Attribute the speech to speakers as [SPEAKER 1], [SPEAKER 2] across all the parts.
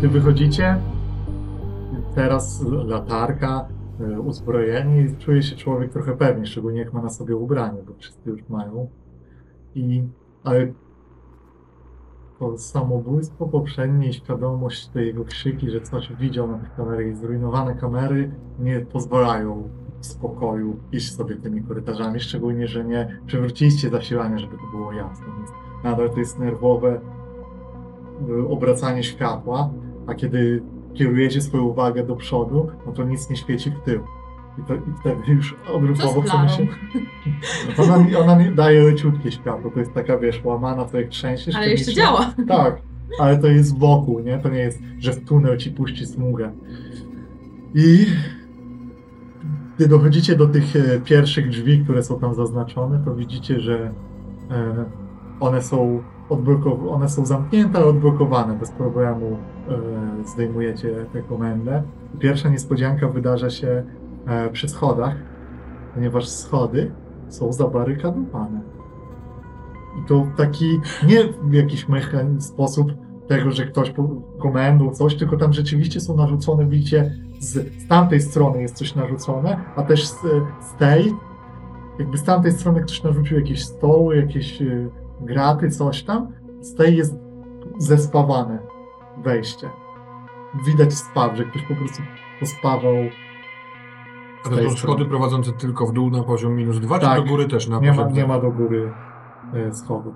[SPEAKER 1] Wy wychodzicie, teraz latarka, e, uzbrojenie i czuje się człowiek trochę pewnie, szczególnie jak ma na sobie ubranie, bo wszyscy już mają. I, ale to samobójstwo poprzednie i świadomość, te jego krzyki, że coś widział na tych kamerach i zrujnowane kamery nie pozwalają w spokoju iść sobie tymi korytarzami, szczególnie, że nie przywróciliście zasilania, żeby to było jasne. Więc nadal to jest nerwowe y, obracanie światła, a kiedy kierujecie swoją uwagę do przodu, no to nic nie świeci w tył. I, to, i wtedy już
[SPEAKER 2] Co
[SPEAKER 1] odruchowo
[SPEAKER 2] z
[SPEAKER 1] chcemy się...
[SPEAKER 2] Klarą?
[SPEAKER 1] Ona, mi- ona mi daje leciutkie światło, to jest taka, wiesz, łamana, to jak trzęsiesz...
[SPEAKER 2] Ale
[SPEAKER 1] to
[SPEAKER 2] jeszcze
[SPEAKER 1] nic-
[SPEAKER 2] działa.
[SPEAKER 1] Tak, ale to jest wokół, nie? To nie jest, że w tunel ci puści smugę. I gdy dochodzicie do tych e, pierwszych drzwi, które są tam zaznaczone, to widzicie, że e, one są odblokow- one są zamknięte, ale odblokowane. Bez problemu e, zdejmujecie tę komendę. Pierwsza niespodzianka wydarza się e, przy schodach, ponieważ schody są zabarykadowane. I to taki nie w jakiś mechan- sposób tego, że ktoś po- komendą coś, tylko tam rzeczywiście są narzucone, widzicie, z, z tamtej strony jest coś narzucone, a też z, z tej, jakby z tamtej strony ktoś narzucił jakieś stoły, jakieś y, graty, coś tam, z tej jest zespawane wejście. Widać spaw, że ktoś po prostu pospawał
[SPEAKER 3] A
[SPEAKER 1] z
[SPEAKER 3] to
[SPEAKER 1] tej
[SPEAKER 3] są
[SPEAKER 1] strony.
[SPEAKER 3] schody prowadzące tylko w dół na poziom minus 2,
[SPEAKER 1] Tak.
[SPEAKER 3] czy do góry też na
[SPEAKER 1] Nie ma,
[SPEAKER 3] poziom
[SPEAKER 1] nie ma do góry e, schodów.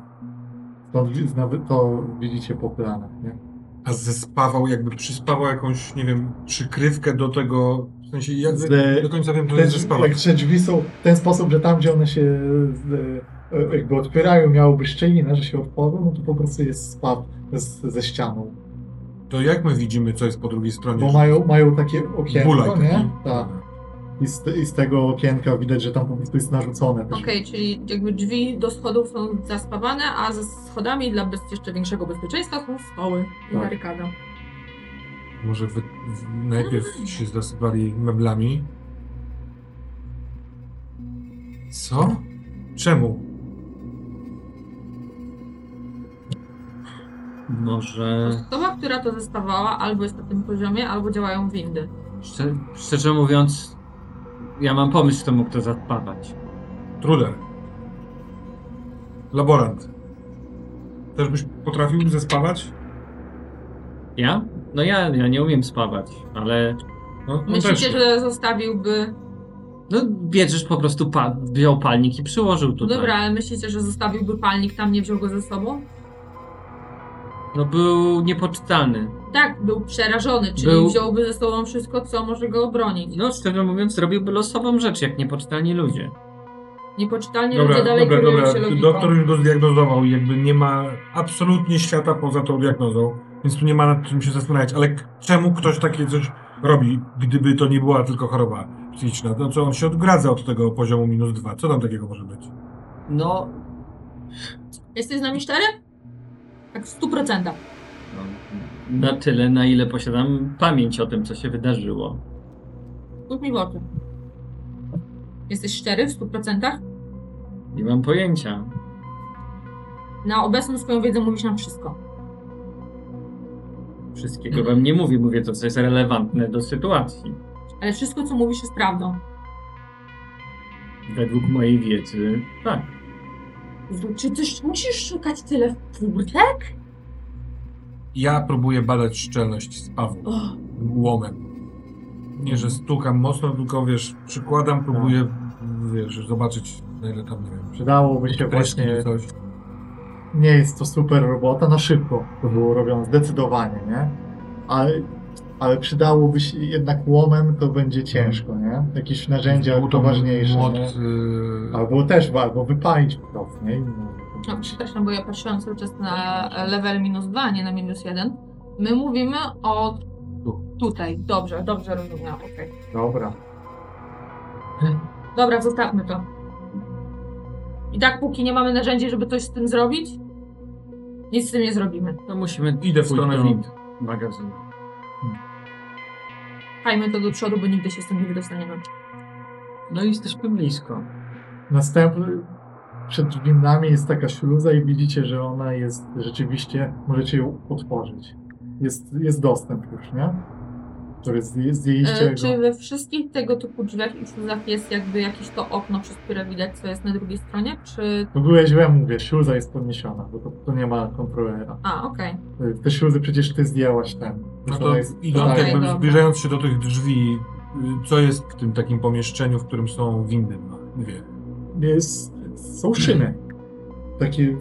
[SPEAKER 1] Stąd wi- zna- to widzicie po planach, nie?
[SPEAKER 3] A zespawał, jakby przyspawał jakąś, nie wiem, przykrywkę do tego, w sensie ja
[SPEAKER 1] Z-
[SPEAKER 3] do końca wiem, to
[SPEAKER 1] Te,
[SPEAKER 3] jest zespawał.
[SPEAKER 1] jak te drzwi są w ten sposób, że tam, gdzie one się e, e, jakby otwierają, miałoby szczelina, że się otworzą, no to po prostu jest spaw z, ze ścianą.
[SPEAKER 3] To jak my widzimy, co jest po drugiej stronie?
[SPEAKER 1] Bo mają, mają takie okienko,
[SPEAKER 3] Bulaj taki.
[SPEAKER 1] nie? Tak. I z, I z tego okienka widać, że tam po prostu jest narzucone też.
[SPEAKER 2] Okej, czyli jakby drzwi do schodów są zaspawane, a ze schodami dla bez jeszcze większego bezpieczeństwa są stoły i
[SPEAKER 1] Tak.
[SPEAKER 2] barykada.
[SPEAKER 3] Może wy, w, najpierw się zasypali meblami? Co? Czemu? E.
[SPEAKER 4] Może.
[SPEAKER 2] Osoba, która to zestawała, albo jest na tym poziomie, albo działają windy.
[SPEAKER 4] Szczerze, szczerze mówiąc, ja mam pomysł, kto mógł to zapadać.
[SPEAKER 3] Truder. Laborant. Też byś potrafił zespawać?
[SPEAKER 4] Ja? No ja, ja nie umiem spawać, ale.
[SPEAKER 3] No, no też
[SPEAKER 2] Myślicie,
[SPEAKER 3] nie.
[SPEAKER 2] że zostawiłby.
[SPEAKER 4] No bierzesz po prostu, pa- wziął palnik i przyłożył tutaj.
[SPEAKER 2] Dobra, ale myślicie, że zostawiłby palnik tam, nie wziął go ze sobą?
[SPEAKER 4] No był niepoczytalny.
[SPEAKER 2] Tak, był przerażony, czyli
[SPEAKER 4] Był-
[SPEAKER 2] wziąłby ze sobą wszystko, co może go obronić.
[SPEAKER 4] No szczerze mówiąc, robiłby losową rzecz, jak niepoczytalni ludzie.
[SPEAKER 2] Niepoczytalnie
[SPEAKER 3] Dobra,
[SPEAKER 2] ludzie dalej
[SPEAKER 3] dobra,
[SPEAKER 2] kierują
[SPEAKER 3] dobra.
[SPEAKER 2] się logiką.
[SPEAKER 3] Doktor już go zdiagnozował. Jakby nie ma absolutnie świata poza tą diagnozą, więc tu nie ma nad czym się zastanawiać. Ale k- czemu ktoś takie coś robi, gdyby to nie była tylko choroba psychiczna? No co, on się odgradza od tego poziomu minus dwa. Co tam takiego może być?
[SPEAKER 4] No.
[SPEAKER 2] Jesteś z nami szczery? Tak w 100%. procentach.
[SPEAKER 4] no, Na tyle, na ile posiadam pamięć o tym, co się wydarzyło.
[SPEAKER 2] Spójrz mi w oczy. Jesteś szczery w 100%? procentach?
[SPEAKER 4] Nie mam pojęcia.
[SPEAKER 2] Na obecną swoją wiedzę mówisz nam wszystko.
[SPEAKER 4] Wszystkiego wam nie mówię, mówię to, co jest relevantne do sytuacji.
[SPEAKER 2] Ale wszystko, co mówisz, jest prawdą.
[SPEAKER 4] Według mojej wiedzy, tak.
[SPEAKER 2] Czy coś musisz szukać tyle w furtek?
[SPEAKER 3] Ja próbuję badać szczelność z Pawłem.
[SPEAKER 2] Oh,
[SPEAKER 3] Łomem. Nie, że stukam mocno, tylko wiesz, przykładam, próbuję, wiesz, zobaczyć na ile tam, nie wiem,
[SPEAKER 1] Przydałoby się
[SPEAKER 3] kreski
[SPEAKER 1] właśnie
[SPEAKER 3] czy coś.
[SPEAKER 1] nie jest to super robota, na szybko to było robione, zdecydowanie, nie? Ale ale przydałoby się jednak łomem, to będzie ciężko, nie? Jakieś narzędzia
[SPEAKER 3] Był to
[SPEAKER 1] poważniejsze.
[SPEAKER 3] Młot,
[SPEAKER 1] nie?
[SPEAKER 3] y,
[SPEAKER 1] Albo też, albo wypalić po prostu, nie? I no,
[SPEAKER 2] No, przepraszam, bo ja patrzyłam cały czas na level minus 2, nie na minus 1. My mówimy o tutaj. Dobrze, dobrze rozumiałam, okej.
[SPEAKER 1] Dobra.
[SPEAKER 2] Dobra, zostawmy to. I tak póki nie mamy narzędzi, żeby coś z tym zrobić, nic z tym nie zrobimy.
[SPEAKER 4] To No musimy
[SPEAKER 3] Idę
[SPEAKER 4] w
[SPEAKER 3] w
[SPEAKER 4] stronę
[SPEAKER 3] stronę
[SPEAKER 4] wind. Magazynu.
[SPEAKER 2] Pchajmy to do przodu, bo nigdy się z tym nie wydostaniemy.
[SPEAKER 4] No i jesteśmy blisko.
[SPEAKER 1] Następny przed drzwi nami jest taka śluza i widzicie, że ona jest rzeczywiście, możecie ją otworzyć. Jest, jest dostęp już, nie? To jest zje- zdjęliście
[SPEAKER 2] E,
[SPEAKER 1] go.
[SPEAKER 3] no.
[SPEAKER 2] czy we wszystkich tego typu drzwiach i śluzach jest jakby jakieś to okno, przez które widać, co jest na drugiej stronie? Czy...
[SPEAKER 1] No byłeś źle mówię, śluza jest podniesiona, bo to, to nie ma kontrolera.
[SPEAKER 2] A, okej.
[SPEAKER 1] Y, Te śluzy przecież ty zdjęłaś ten.
[SPEAKER 3] No
[SPEAKER 1] Już
[SPEAKER 3] to
[SPEAKER 1] ona jest-
[SPEAKER 3] idąc,
[SPEAKER 1] tak,
[SPEAKER 3] jakby
[SPEAKER 2] dobra.
[SPEAKER 3] zbliżając się do tych drzwi, y, co jest w tym takim pomieszczeniu, w którym są windy? No, dwie.
[SPEAKER 1] jest, są szyny. Takie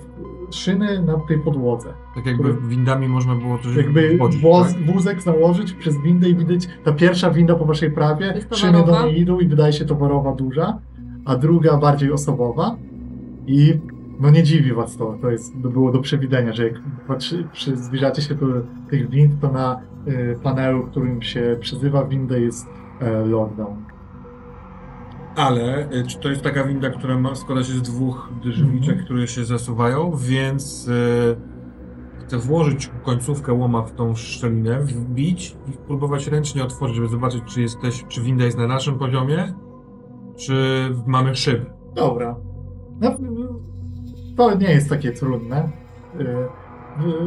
[SPEAKER 1] szyny na tej podłodze.
[SPEAKER 3] Tak jakby windami można było coś
[SPEAKER 1] Jakby
[SPEAKER 3] wchodzić,
[SPEAKER 1] woz,
[SPEAKER 3] Mhm, tak?
[SPEAKER 1] wózek założyć przez windę i widać, ta pierwsza winda po waszej prawie,
[SPEAKER 2] Jest
[SPEAKER 1] szyny do
[SPEAKER 2] towarowa?
[SPEAKER 1] niej idą i wydaje się towarowa duża, a druga bardziej osobowa i no nie dziwi was to, to jest, to było do przewidzenia, że jak patrzy, przy, zbliżacie się do tych wind, to na y, panelu, którym się przyzywa windę jest y, lockdown.
[SPEAKER 3] Ale y, czy to jest taka winda, która ma, składa się z dwóch drzwiczek,
[SPEAKER 1] Mhm.
[SPEAKER 3] które się zasuwają, więc y, chcę włożyć końcówkę łoma w tą szczelinę, wbić i próbować ręcznie otworzyć, żeby zobaczyć, czy jesteś, czy winda jest na naszym poziomie, czy mamy szyby.
[SPEAKER 1] Dobra. No, to nie jest takie trudne. Y,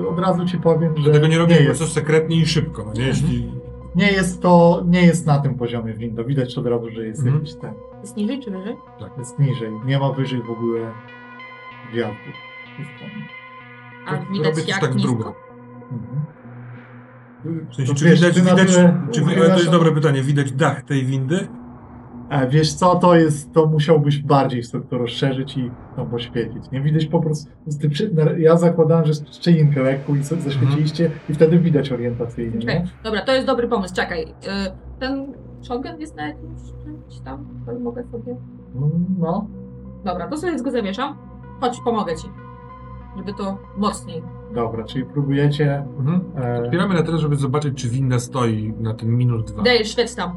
[SPEAKER 1] y, Od razu ci powiem, że
[SPEAKER 3] Dlatego nie robię
[SPEAKER 1] nie
[SPEAKER 3] nie
[SPEAKER 1] jest, Mhm.
[SPEAKER 3] coś sekretnie i szybko, no nie? Jeśli
[SPEAKER 1] nie jest to, nie jest na tym poziomie window. Widać od razu, że jest
[SPEAKER 3] Mhm.
[SPEAKER 1] jakiś ten,
[SPEAKER 2] Jest niżej czy wyżej?
[SPEAKER 1] jest niżej. Nie ma wyżej w ogóle gwiazdy. Jest tam.
[SPEAKER 2] A
[SPEAKER 3] robię
[SPEAKER 2] widać
[SPEAKER 3] coś
[SPEAKER 2] jak
[SPEAKER 3] tak
[SPEAKER 2] nisko?
[SPEAKER 3] drugo.
[SPEAKER 1] Mhm.
[SPEAKER 3] W sensie,
[SPEAKER 1] To
[SPEAKER 3] czy
[SPEAKER 1] wiesz,
[SPEAKER 3] widać,
[SPEAKER 1] ty na
[SPEAKER 3] widać
[SPEAKER 1] tyle
[SPEAKER 3] czy, ale to
[SPEAKER 1] uchylasz-
[SPEAKER 3] jest dobre pytanie, widać dach tej windy?
[SPEAKER 1] A wiesz co, to jest, to musiałbyś bardziej sobie to rozszerzyć i tam poświecić. Nie widać po prostu, ty przy- na- ja zakładałem, że szczelinkę lekką i sobie zaświeciliście
[SPEAKER 3] Mhm.
[SPEAKER 1] i wtedy widać orientacyjnie.
[SPEAKER 2] Okej,
[SPEAKER 1] nie?
[SPEAKER 2] Dobra, to jest dobry pomysł, czekaj. Y, Ten shotgun jest na jakimś czymś tam, to mogę sobie...
[SPEAKER 1] No,
[SPEAKER 2] Dobra, to sobie go zawieszam. Chodź, pomogę ci. Żeby to mocniej.
[SPEAKER 3] Tak.
[SPEAKER 1] Dobra, czyli próbujecie.
[SPEAKER 3] Mhm.
[SPEAKER 1] E,
[SPEAKER 3] Otwieramy na tyle, żeby zobaczyć, czy winda stoi na tym minus dwa.
[SPEAKER 2] Daję świec tam.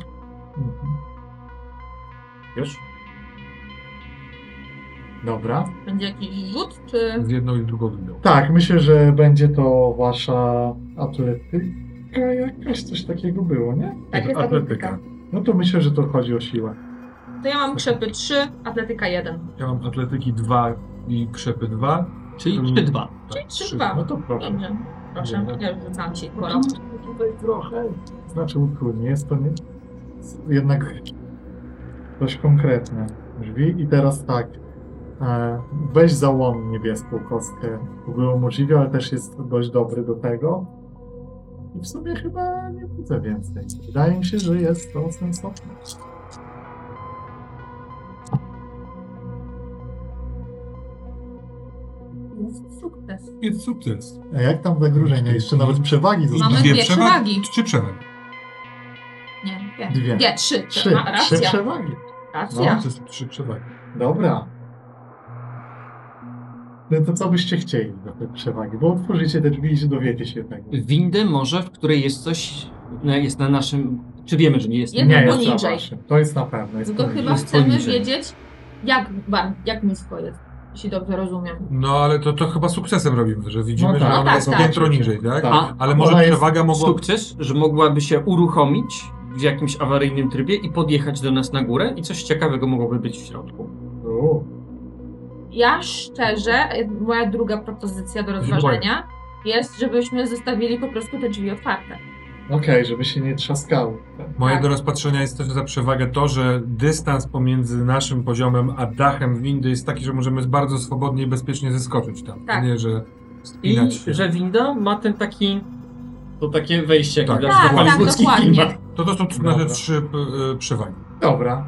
[SPEAKER 1] mhm.
[SPEAKER 4] Już?
[SPEAKER 1] dobra.
[SPEAKER 2] Będzie jakiś rzut, czy...
[SPEAKER 3] Z jedną i drugą windą.
[SPEAKER 1] Tak, myślę, że będzie to wasza atletyka. Jakaś coś takiego było, nie?
[SPEAKER 2] Tak, jest atletyka.
[SPEAKER 1] No to myślę, że to chodzi o siłę.
[SPEAKER 2] To ja
[SPEAKER 3] Tak.
[SPEAKER 2] mam krzepy 3, atletyka 1.
[SPEAKER 3] Ja mam atletyki 2 i krzepy 2.
[SPEAKER 4] Czyli
[SPEAKER 3] Mm.
[SPEAKER 4] 3-2.
[SPEAKER 2] Czyli trzy,
[SPEAKER 3] trzy.
[SPEAKER 2] dwa.
[SPEAKER 1] No to proszę.
[SPEAKER 2] Dobrze, proszę. Ja już rzucam ci,
[SPEAKER 1] No
[SPEAKER 2] skoro...
[SPEAKER 1] to Tutaj trochę. Znaczy utrudnie, jest to nie. Jednak dość konkretne drzwi. I teraz tak. E, weź za łom niebieską kostkę. W ogóle umożliwia, ale też jest dość dobry do tego. I w sumie chyba nie widzę więcej. Wydaje mi się, że jest to sensowne.
[SPEAKER 2] Sukces.
[SPEAKER 3] Jest sukces.
[SPEAKER 1] A jak tam zagrożenia? Jeszcze nawet przewagi zostało.
[SPEAKER 2] Mamy
[SPEAKER 3] Dwie
[SPEAKER 2] dwie
[SPEAKER 3] przewagi.
[SPEAKER 2] przewagi.
[SPEAKER 3] Trzy przewagi.
[SPEAKER 2] Nie,
[SPEAKER 1] Dwie.
[SPEAKER 2] dwie. Nie, trzy.
[SPEAKER 1] Trzy,
[SPEAKER 2] A,
[SPEAKER 1] trzy
[SPEAKER 2] racja,
[SPEAKER 1] przewagi.
[SPEAKER 3] No,
[SPEAKER 2] racja.
[SPEAKER 3] to jest trzy przewagi.
[SPEAKER 1] Dobra. No to co byście chcieli do tej przewagi? Bo otworzycie te drzwi i się dowiecie się tego.
[SPEAKER 4] Windę może, w której jest coś, no, jest na naszym... Czy wiemy, że nie jest?
[SPEAKER 2] Nie,
[SPEAKER 4] na
[SPEAKER 2] no
[SPEAKER 1] Nie,
[SPEAKER 4] naszym?
[SPEAKER 2] bo
[SPEAKER 1] jest na
[SPEAKER 2] niżej.
[SPEAKER 1] waszym. To jest na pewno. Jest
[SPEAKER 2] Tylko
[SPEAKER 1] poniżej.
[SPEAKER 2] chyba
[SPEAKER 4] Jest
[SPEAKER 2] chcemy
[SPEAKER 4] poniżej.
[SPEAKER 2] wiedzieć, jak, bar- jak nisko jest, jeśli dobrze rozumiem.
[SPEAKER 3] No ale to, to chyba sukcesem robimy, że widzimy,
[SPEAKER 1] No tak.
[SPEAKER 3] że
[SPEAKER 2] No
[SPEAKER 3] ona
[SPEAKER 2] tak,
[SPEAKER 3] jest
[SPEAKER 2] tak.
[SPEAKER 3] piętro niżej, tak?
[SPEAKER 1] Tak.
[SPEAKER 4] A,
[SPEAKER 3] Ale
[SPEAKER 1] Ona
[SPEAKER 3] może
[SPEAKER 1] jest
[SPEAKER 3] przewaga mogła...
[SPEAKER 4] Sukces, że mogłaby się uruchomić w jakimś awaryjnym trybie i podjechać do nas na górę i coś ciekawego mogłoby być w środku.
[SPEAKER 1] U,
[SPEAKER 2] Ja szczerze, moja druga propozycja do rozważenia jest, żebyśmy zostawili po prostu te drzwi otwarte.
[SPEAKER 1] Okej, żeby się nie trzaskało.
[SPEAKER 3] Moje
[SPEAKER 2] Tak.
[SPEAKER 3] do rozpatrzenia jest też za przewagę to, że dystans pomiędzy naszym poziomem a dachem windy jest taki, że możemy bardzo swobodnie i bezpiecznie zeskoczyć tam.
[SPEAKER 2] Tak.
[SPEAKER 3] Nie, że
[SPEAKER 4] I
[SPEAKER 3] spinać się.
[SPEAKER 4] że winda ma ten taki... To takie wejście,
[SPEAKER 3] Tak.
[SPEAKER 4] jak
[SPEAKER 3] Tak,
[SPEAKER 4] w
[SPEAKER 3] tak,
[SPEAKER 4] hollywoodzkich
[SPEAKER 2] dokładnie.
[SPEAKER 4] filmach.
[SPEAKER 3] To to są
[SPEAKER 1] Dobra.
[SPEAKER 3] nasze trzy y, przewagi.
[SPEAKER 1] Dobra.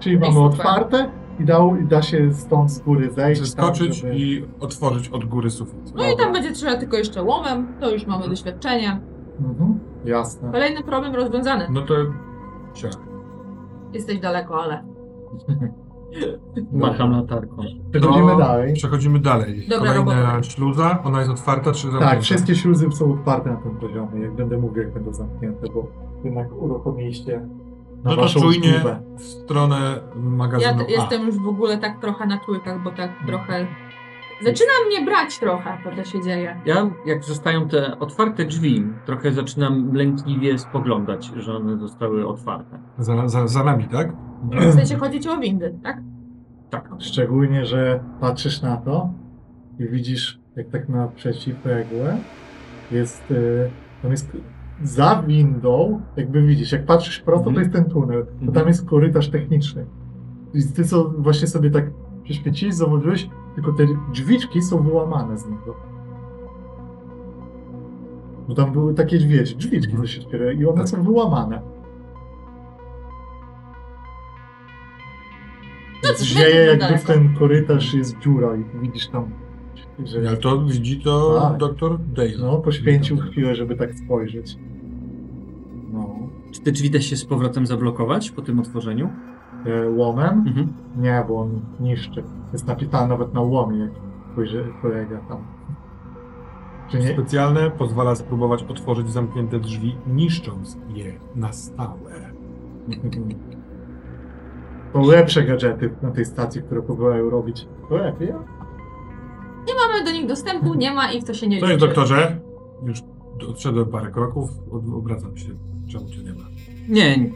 [SPEAKER 1] Czyli
[SPEAKER 2] Jest
[SPEAKER 1] mamy
[SPEAKER 2] super.
[SPEAKER 1] otwarte i, dał, i da się stąd z góry zejść.
[SPEAKER 3] Zeskoczyć
[SPEAKER 1] żeby-
[SPEAKER 3] i otworzyć od góry sufit.
[SPEAKER 2] No i tam będzie trzeba tylko jeszcze łomem, to już mamy doświadczenie.
[SPEAKER 1] Mhm. Jasne.
[SPEAKER 2] Kolejny problem rozwiązany.
[SPEAKER 3] No to... Siak.
[SPEAKER 2] Jesteś daleko, ale.
[SPEAKER 4] Macham latarką.
[SPEAKER 1] Przechodzimy
[SPEAKER 3] To
[SPEAKER 1] dalej.
[SPEAKER 3] Przechodzimy dalej.
[SPEAKER 2] Dobra
[SPEAKER 3] Kolejna
[SPEAKER 2] robota.
[SPEAKER 3] śluza, ona jest otwarta czy zamknięta?
[SPEAKER 1] Tak, wszystkie śluzy są otwarte na tym poziomie. Jak będę mówił, jak będą zamknięte, bo jednak uruchomiliście na
[SPEAKER 3] No to
[SPEAKER 1] waszą
[SPEAKER 3] czujnie
[SPEAKER 1] zgubę.
[SPEAKER 3] w stronę
[SPEAKER 2] Ja
[SPEAKER 3] magazynu
[SPEAKER 2] t- jestem już w ogóle tak trochę na czujkach, bo tak trochę. Zaczyna mnie brać trochę, to co się dzieje.
[SPEAKER 4] Ja, jak zostają te otwarte drzwi, trochę zaczynam lękliwie spoglądać, że one zostały otwarte.
[SPEAKER 3] A. Za, za, za nami, tak?
[SPEAKER 2] W sensie chodzić o windy, tak?
[SPEAKER 4] Tak.
[SPEAKER 1] Szczególnie, że patrzysz na to i widzisz, jak tak naprzeciw regułę jest, y, tam jest za windą, jakby widzisz, jak patrzysz prosto, to
[SPEAKER 4] Mhm.
[SPEAKER 1] jest ten tunel, to
[SPEAKER 4] Mhm.
[SPEAKER 1] tam jest korytarz techniczny. I ty co właśnie sobie tak przyświeciłeś, zauważyłeś, tylko te drzwiczki są wyłamane z niego. Bo tam były takie drzwi, drzwiczki,
[SPEAKER 4] Mhm.
[SPEAKER 1] co się otwierają i one
[SPEAKER 3] Tak.
[SPEAKER 1] są wyłamane.
[SPEAKER 2] Co ty,
[SPEAKER 1] Zieje
[SPEAKER 2] znowu
[SPEAKER 1] jakby w
[SPEAKER 2] daleko.
[SPEAKER 1] ten korytarz jest dziura i widzisz tam, że
[SPEAKER 3] Jak to widzi to
[SPEAKER 1] Tak.
[SPEAKER 3] doktor Dale.
[SPEAKER 1] No, poświęcił chwilę, żeby tak spojrzeć. No.
[SPEAKER 4] Czy te drzwi da się z powrotem zablokować po tym otworzeniu?
[SPEAKER 1] E, łomem?
[SPEAKER 4] Mhm.
[SPEAKER 1] Nie, bo on niszczy. Jest napisane nawet na łomie, jak spojrzy kolega tam. Czy nie?
[SPEAKER 3] Specjalne pozwala spróbować otworzyć zamknięte drzwi, niszcząc je na stałe.
[SPEAKER 1] To lepsze gadżety na tej stacji, które próbują robić. To lepiej.
[SPEAKER 2] Nie mamy do nich dostępu, nie ma ich, to się nie
[SPEAKER 3] Co jest,
[SPEAKER 2] liczy.
[SPEAKER 3] No doktorze? Już odszedłem parę kroków, od- obracam się, czemu cię nie ma.
[SPEAKER 4] Nie. nie.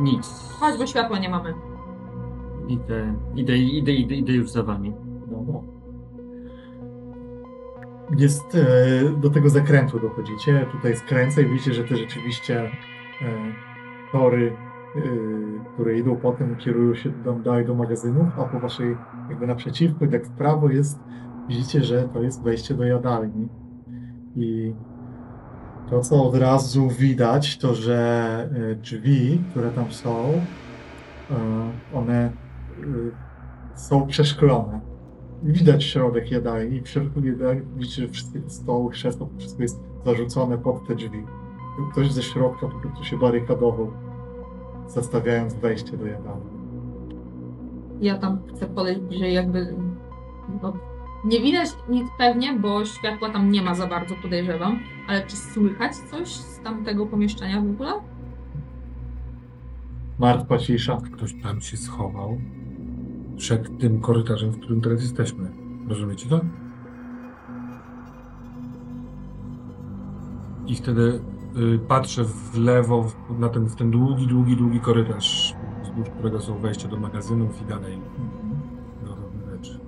[SPEAKER 4] Nic.
[SPEAKER 2] Chodź, bo światła nie mamy.
[SPEAKER 4] Idę, idę, idę, idę, idę już za wami.
[SPEAKER 1] No, no. Jest, e, do tego zakrętu dochodzicie, tutaj skręcę i widzicie, że te rzeczywiście e, tory, e, które idą potem, kierują się do, dalej do magazynów, a po waszej jakby naprzeciwko, i tak w prawo jest, widzicie, że to jest wejście do jadalni. I to, co od razu widać, to, że e, drzwi, które tam są, e, one e, są przeszklone. Widać środek jadalni. W środku jadalni widzicie, że wszystkie te stoły, krzesła, to wszystko jest zarzucone pod te drzwi. Ktoś ze środka po prostu się barykadował, zastawiając wejście do jadalni.
[SPEAKER 2] Ja tam chcę podejść bliżej, jakby. No, nie widać nic pewnie, bo światła tam nie ma za bardzo, podejrzewam. Ale czy słychać coś z tamtego pomieszczenia w ogóle?
[SPEAKER 1] Martwa cisza.
[SPEAKER 3] Ktoś tam się schował przed tym korytarzem, w którym teraz jesteśmy. Rozumiecie to? I wtedy y, patrzę w lewo w, na ten, w ten długi, długi, długi korytarz, wzdłuż którego są wejścia do magazynów i dalej. No, to rzeczy.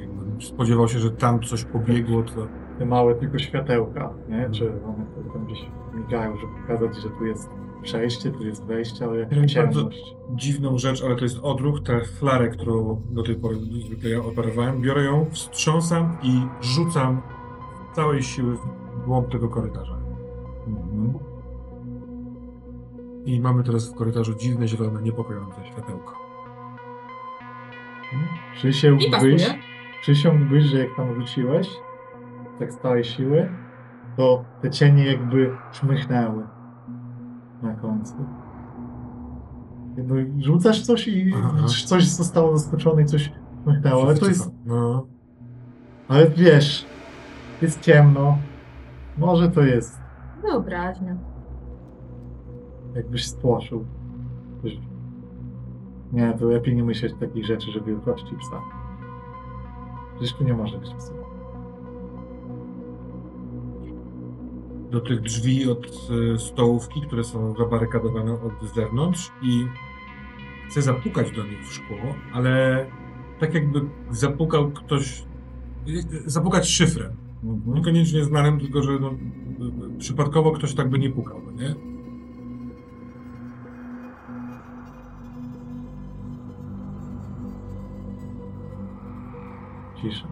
[SPEAKER 3] Jakbym spodziewał się, że tam coś pobiegło, to
[SPEAKER 1] Te małe tylko światełka, nie? Czy one to tam gdzieś migają, żeby pokazać, że tu jest przejście, tu jest wejście, ale
[SPEAKER 3] Ja wiem,
[SPEAKER 1] ciemność.
[SPEAKER 3] dziwną rzecz, ale to jest odruch, tę flarę, którą do tej pory zwykle ja operowałem, biorę ją, wstrząsam i rzucam z całej siły w głąb tego korytarza. Mhm. I mamy teraz w korytarzu dziwne, zielone, niepokojące światełko.
[SPEAKER 1] Czy się
[SPEAKER 2] I pasuje.
[SPEAKER 1] Przysiągłbyś, że jak tam wróciłeś, tak z całej siły, to te cienie jakby czmychnęły na końcu. Jakby rzucasz coś i
[SPEAKER 3] Aha.
[SPEAKER 1] widzisz, coś zostało zaskoczone i coś czmychnęło, ale to jest
[SPEAKER 3] No,
[SPEAKER 1] Ale wiesz, jest ciemno. Może to jest,
[SPEAKER 2] Wyobraźnia.
[SPEAKER 1] jakbyś spłoszył. Wiesz, Nie, to lepiej nie myśleć takich rzeczy, żeby wielkości psa. Przecież tu nie może być psa.
[SPEAKER 3] do tych drzwi od y, stołówki, które są zabarykadowane od zewnątrz i chcę zapukać do nich w szkło, ale tak jakby zapukał ktoś, y, zapukać szyfrem. No, Niekoniecznie znanym, tylko że no, y, y, przypadkowo ktoś tak by nie pukał, no nie?
[SPEAKER 1] Cisza.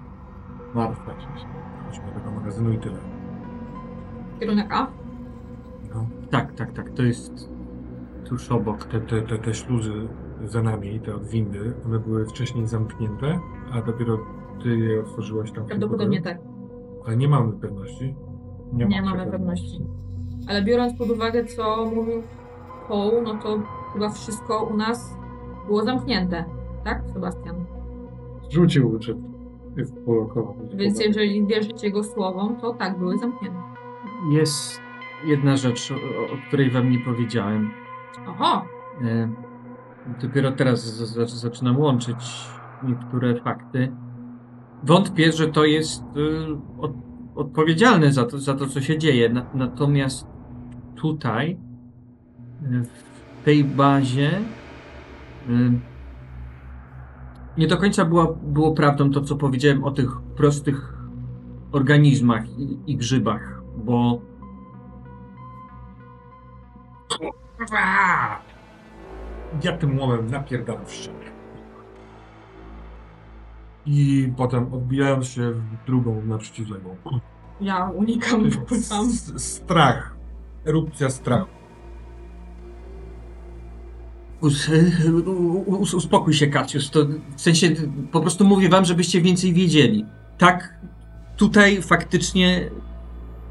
[SPEAKER 1] Martwa cisza.
[SPEAKER 3] Chodźmy do tego magazynu i tyle.
[SPEAKER 2] Kierunek A.
[SPEAKER 3] No.
[SPEAKER 4] Tak, tak, tak, to jest tuż obok.
[SPEAKER 3] Te, te, te, te śluzy za nami, te od windy, one były wcześniej zamknięte, a dopiero ty je otworzyłaś tam. w tym
[SPEAKER 2] Prawdopodobnie
[SPEAKER 3] pokoju.
[SPEAKER 2] tak.
[SPEAKER 3] Ale nie mamy pewności. Nie,
[SPEAKER 2] Nie mamy pewności. Ale biorąc pod uwagę, co mówił Paul, no to chyba wszystko u nas było zamknięte. Tak, Sebastian?
[SPEAKER 1] Rzucił, czy jest blokował.
[SPEAKER 2] Więc jeżeli wierzyć jego słowom, to tak, były zamknięte.
[SPEAKER 4] Jest jedna rzecz, o, o której wam nie powiedziałem.
[SPEAKER 2] Oho!
[SPEAKER 4] E, dopiero teraz z, z, zaczynam łączyć niektóre fakty. Wątpię, że to jest e, od, odpowiedzialne za to, za to, co się dzieje. Na, natomiast tutaj, e, w tej bazie, e, nie do końca była, było prawdą to, co powiedziałem o tych prostych organizmach i, i grzybach, bo
[SPEAKER 3] Aaa! Ja tym łomem napierdalam w ścianę. I potem odbijając się w drugą na przeciwległą.
[SPEAKER 2] Ja unikam tam.
[SPEAKER 3] S- Strach. Erupcja strachu.
[SPEAKER 4] Us, e, us, uspokój się, Kacius. To w sensie po prostu mówię wam, żebyście więcej wiedzieli. Tak, tutaj faktycznie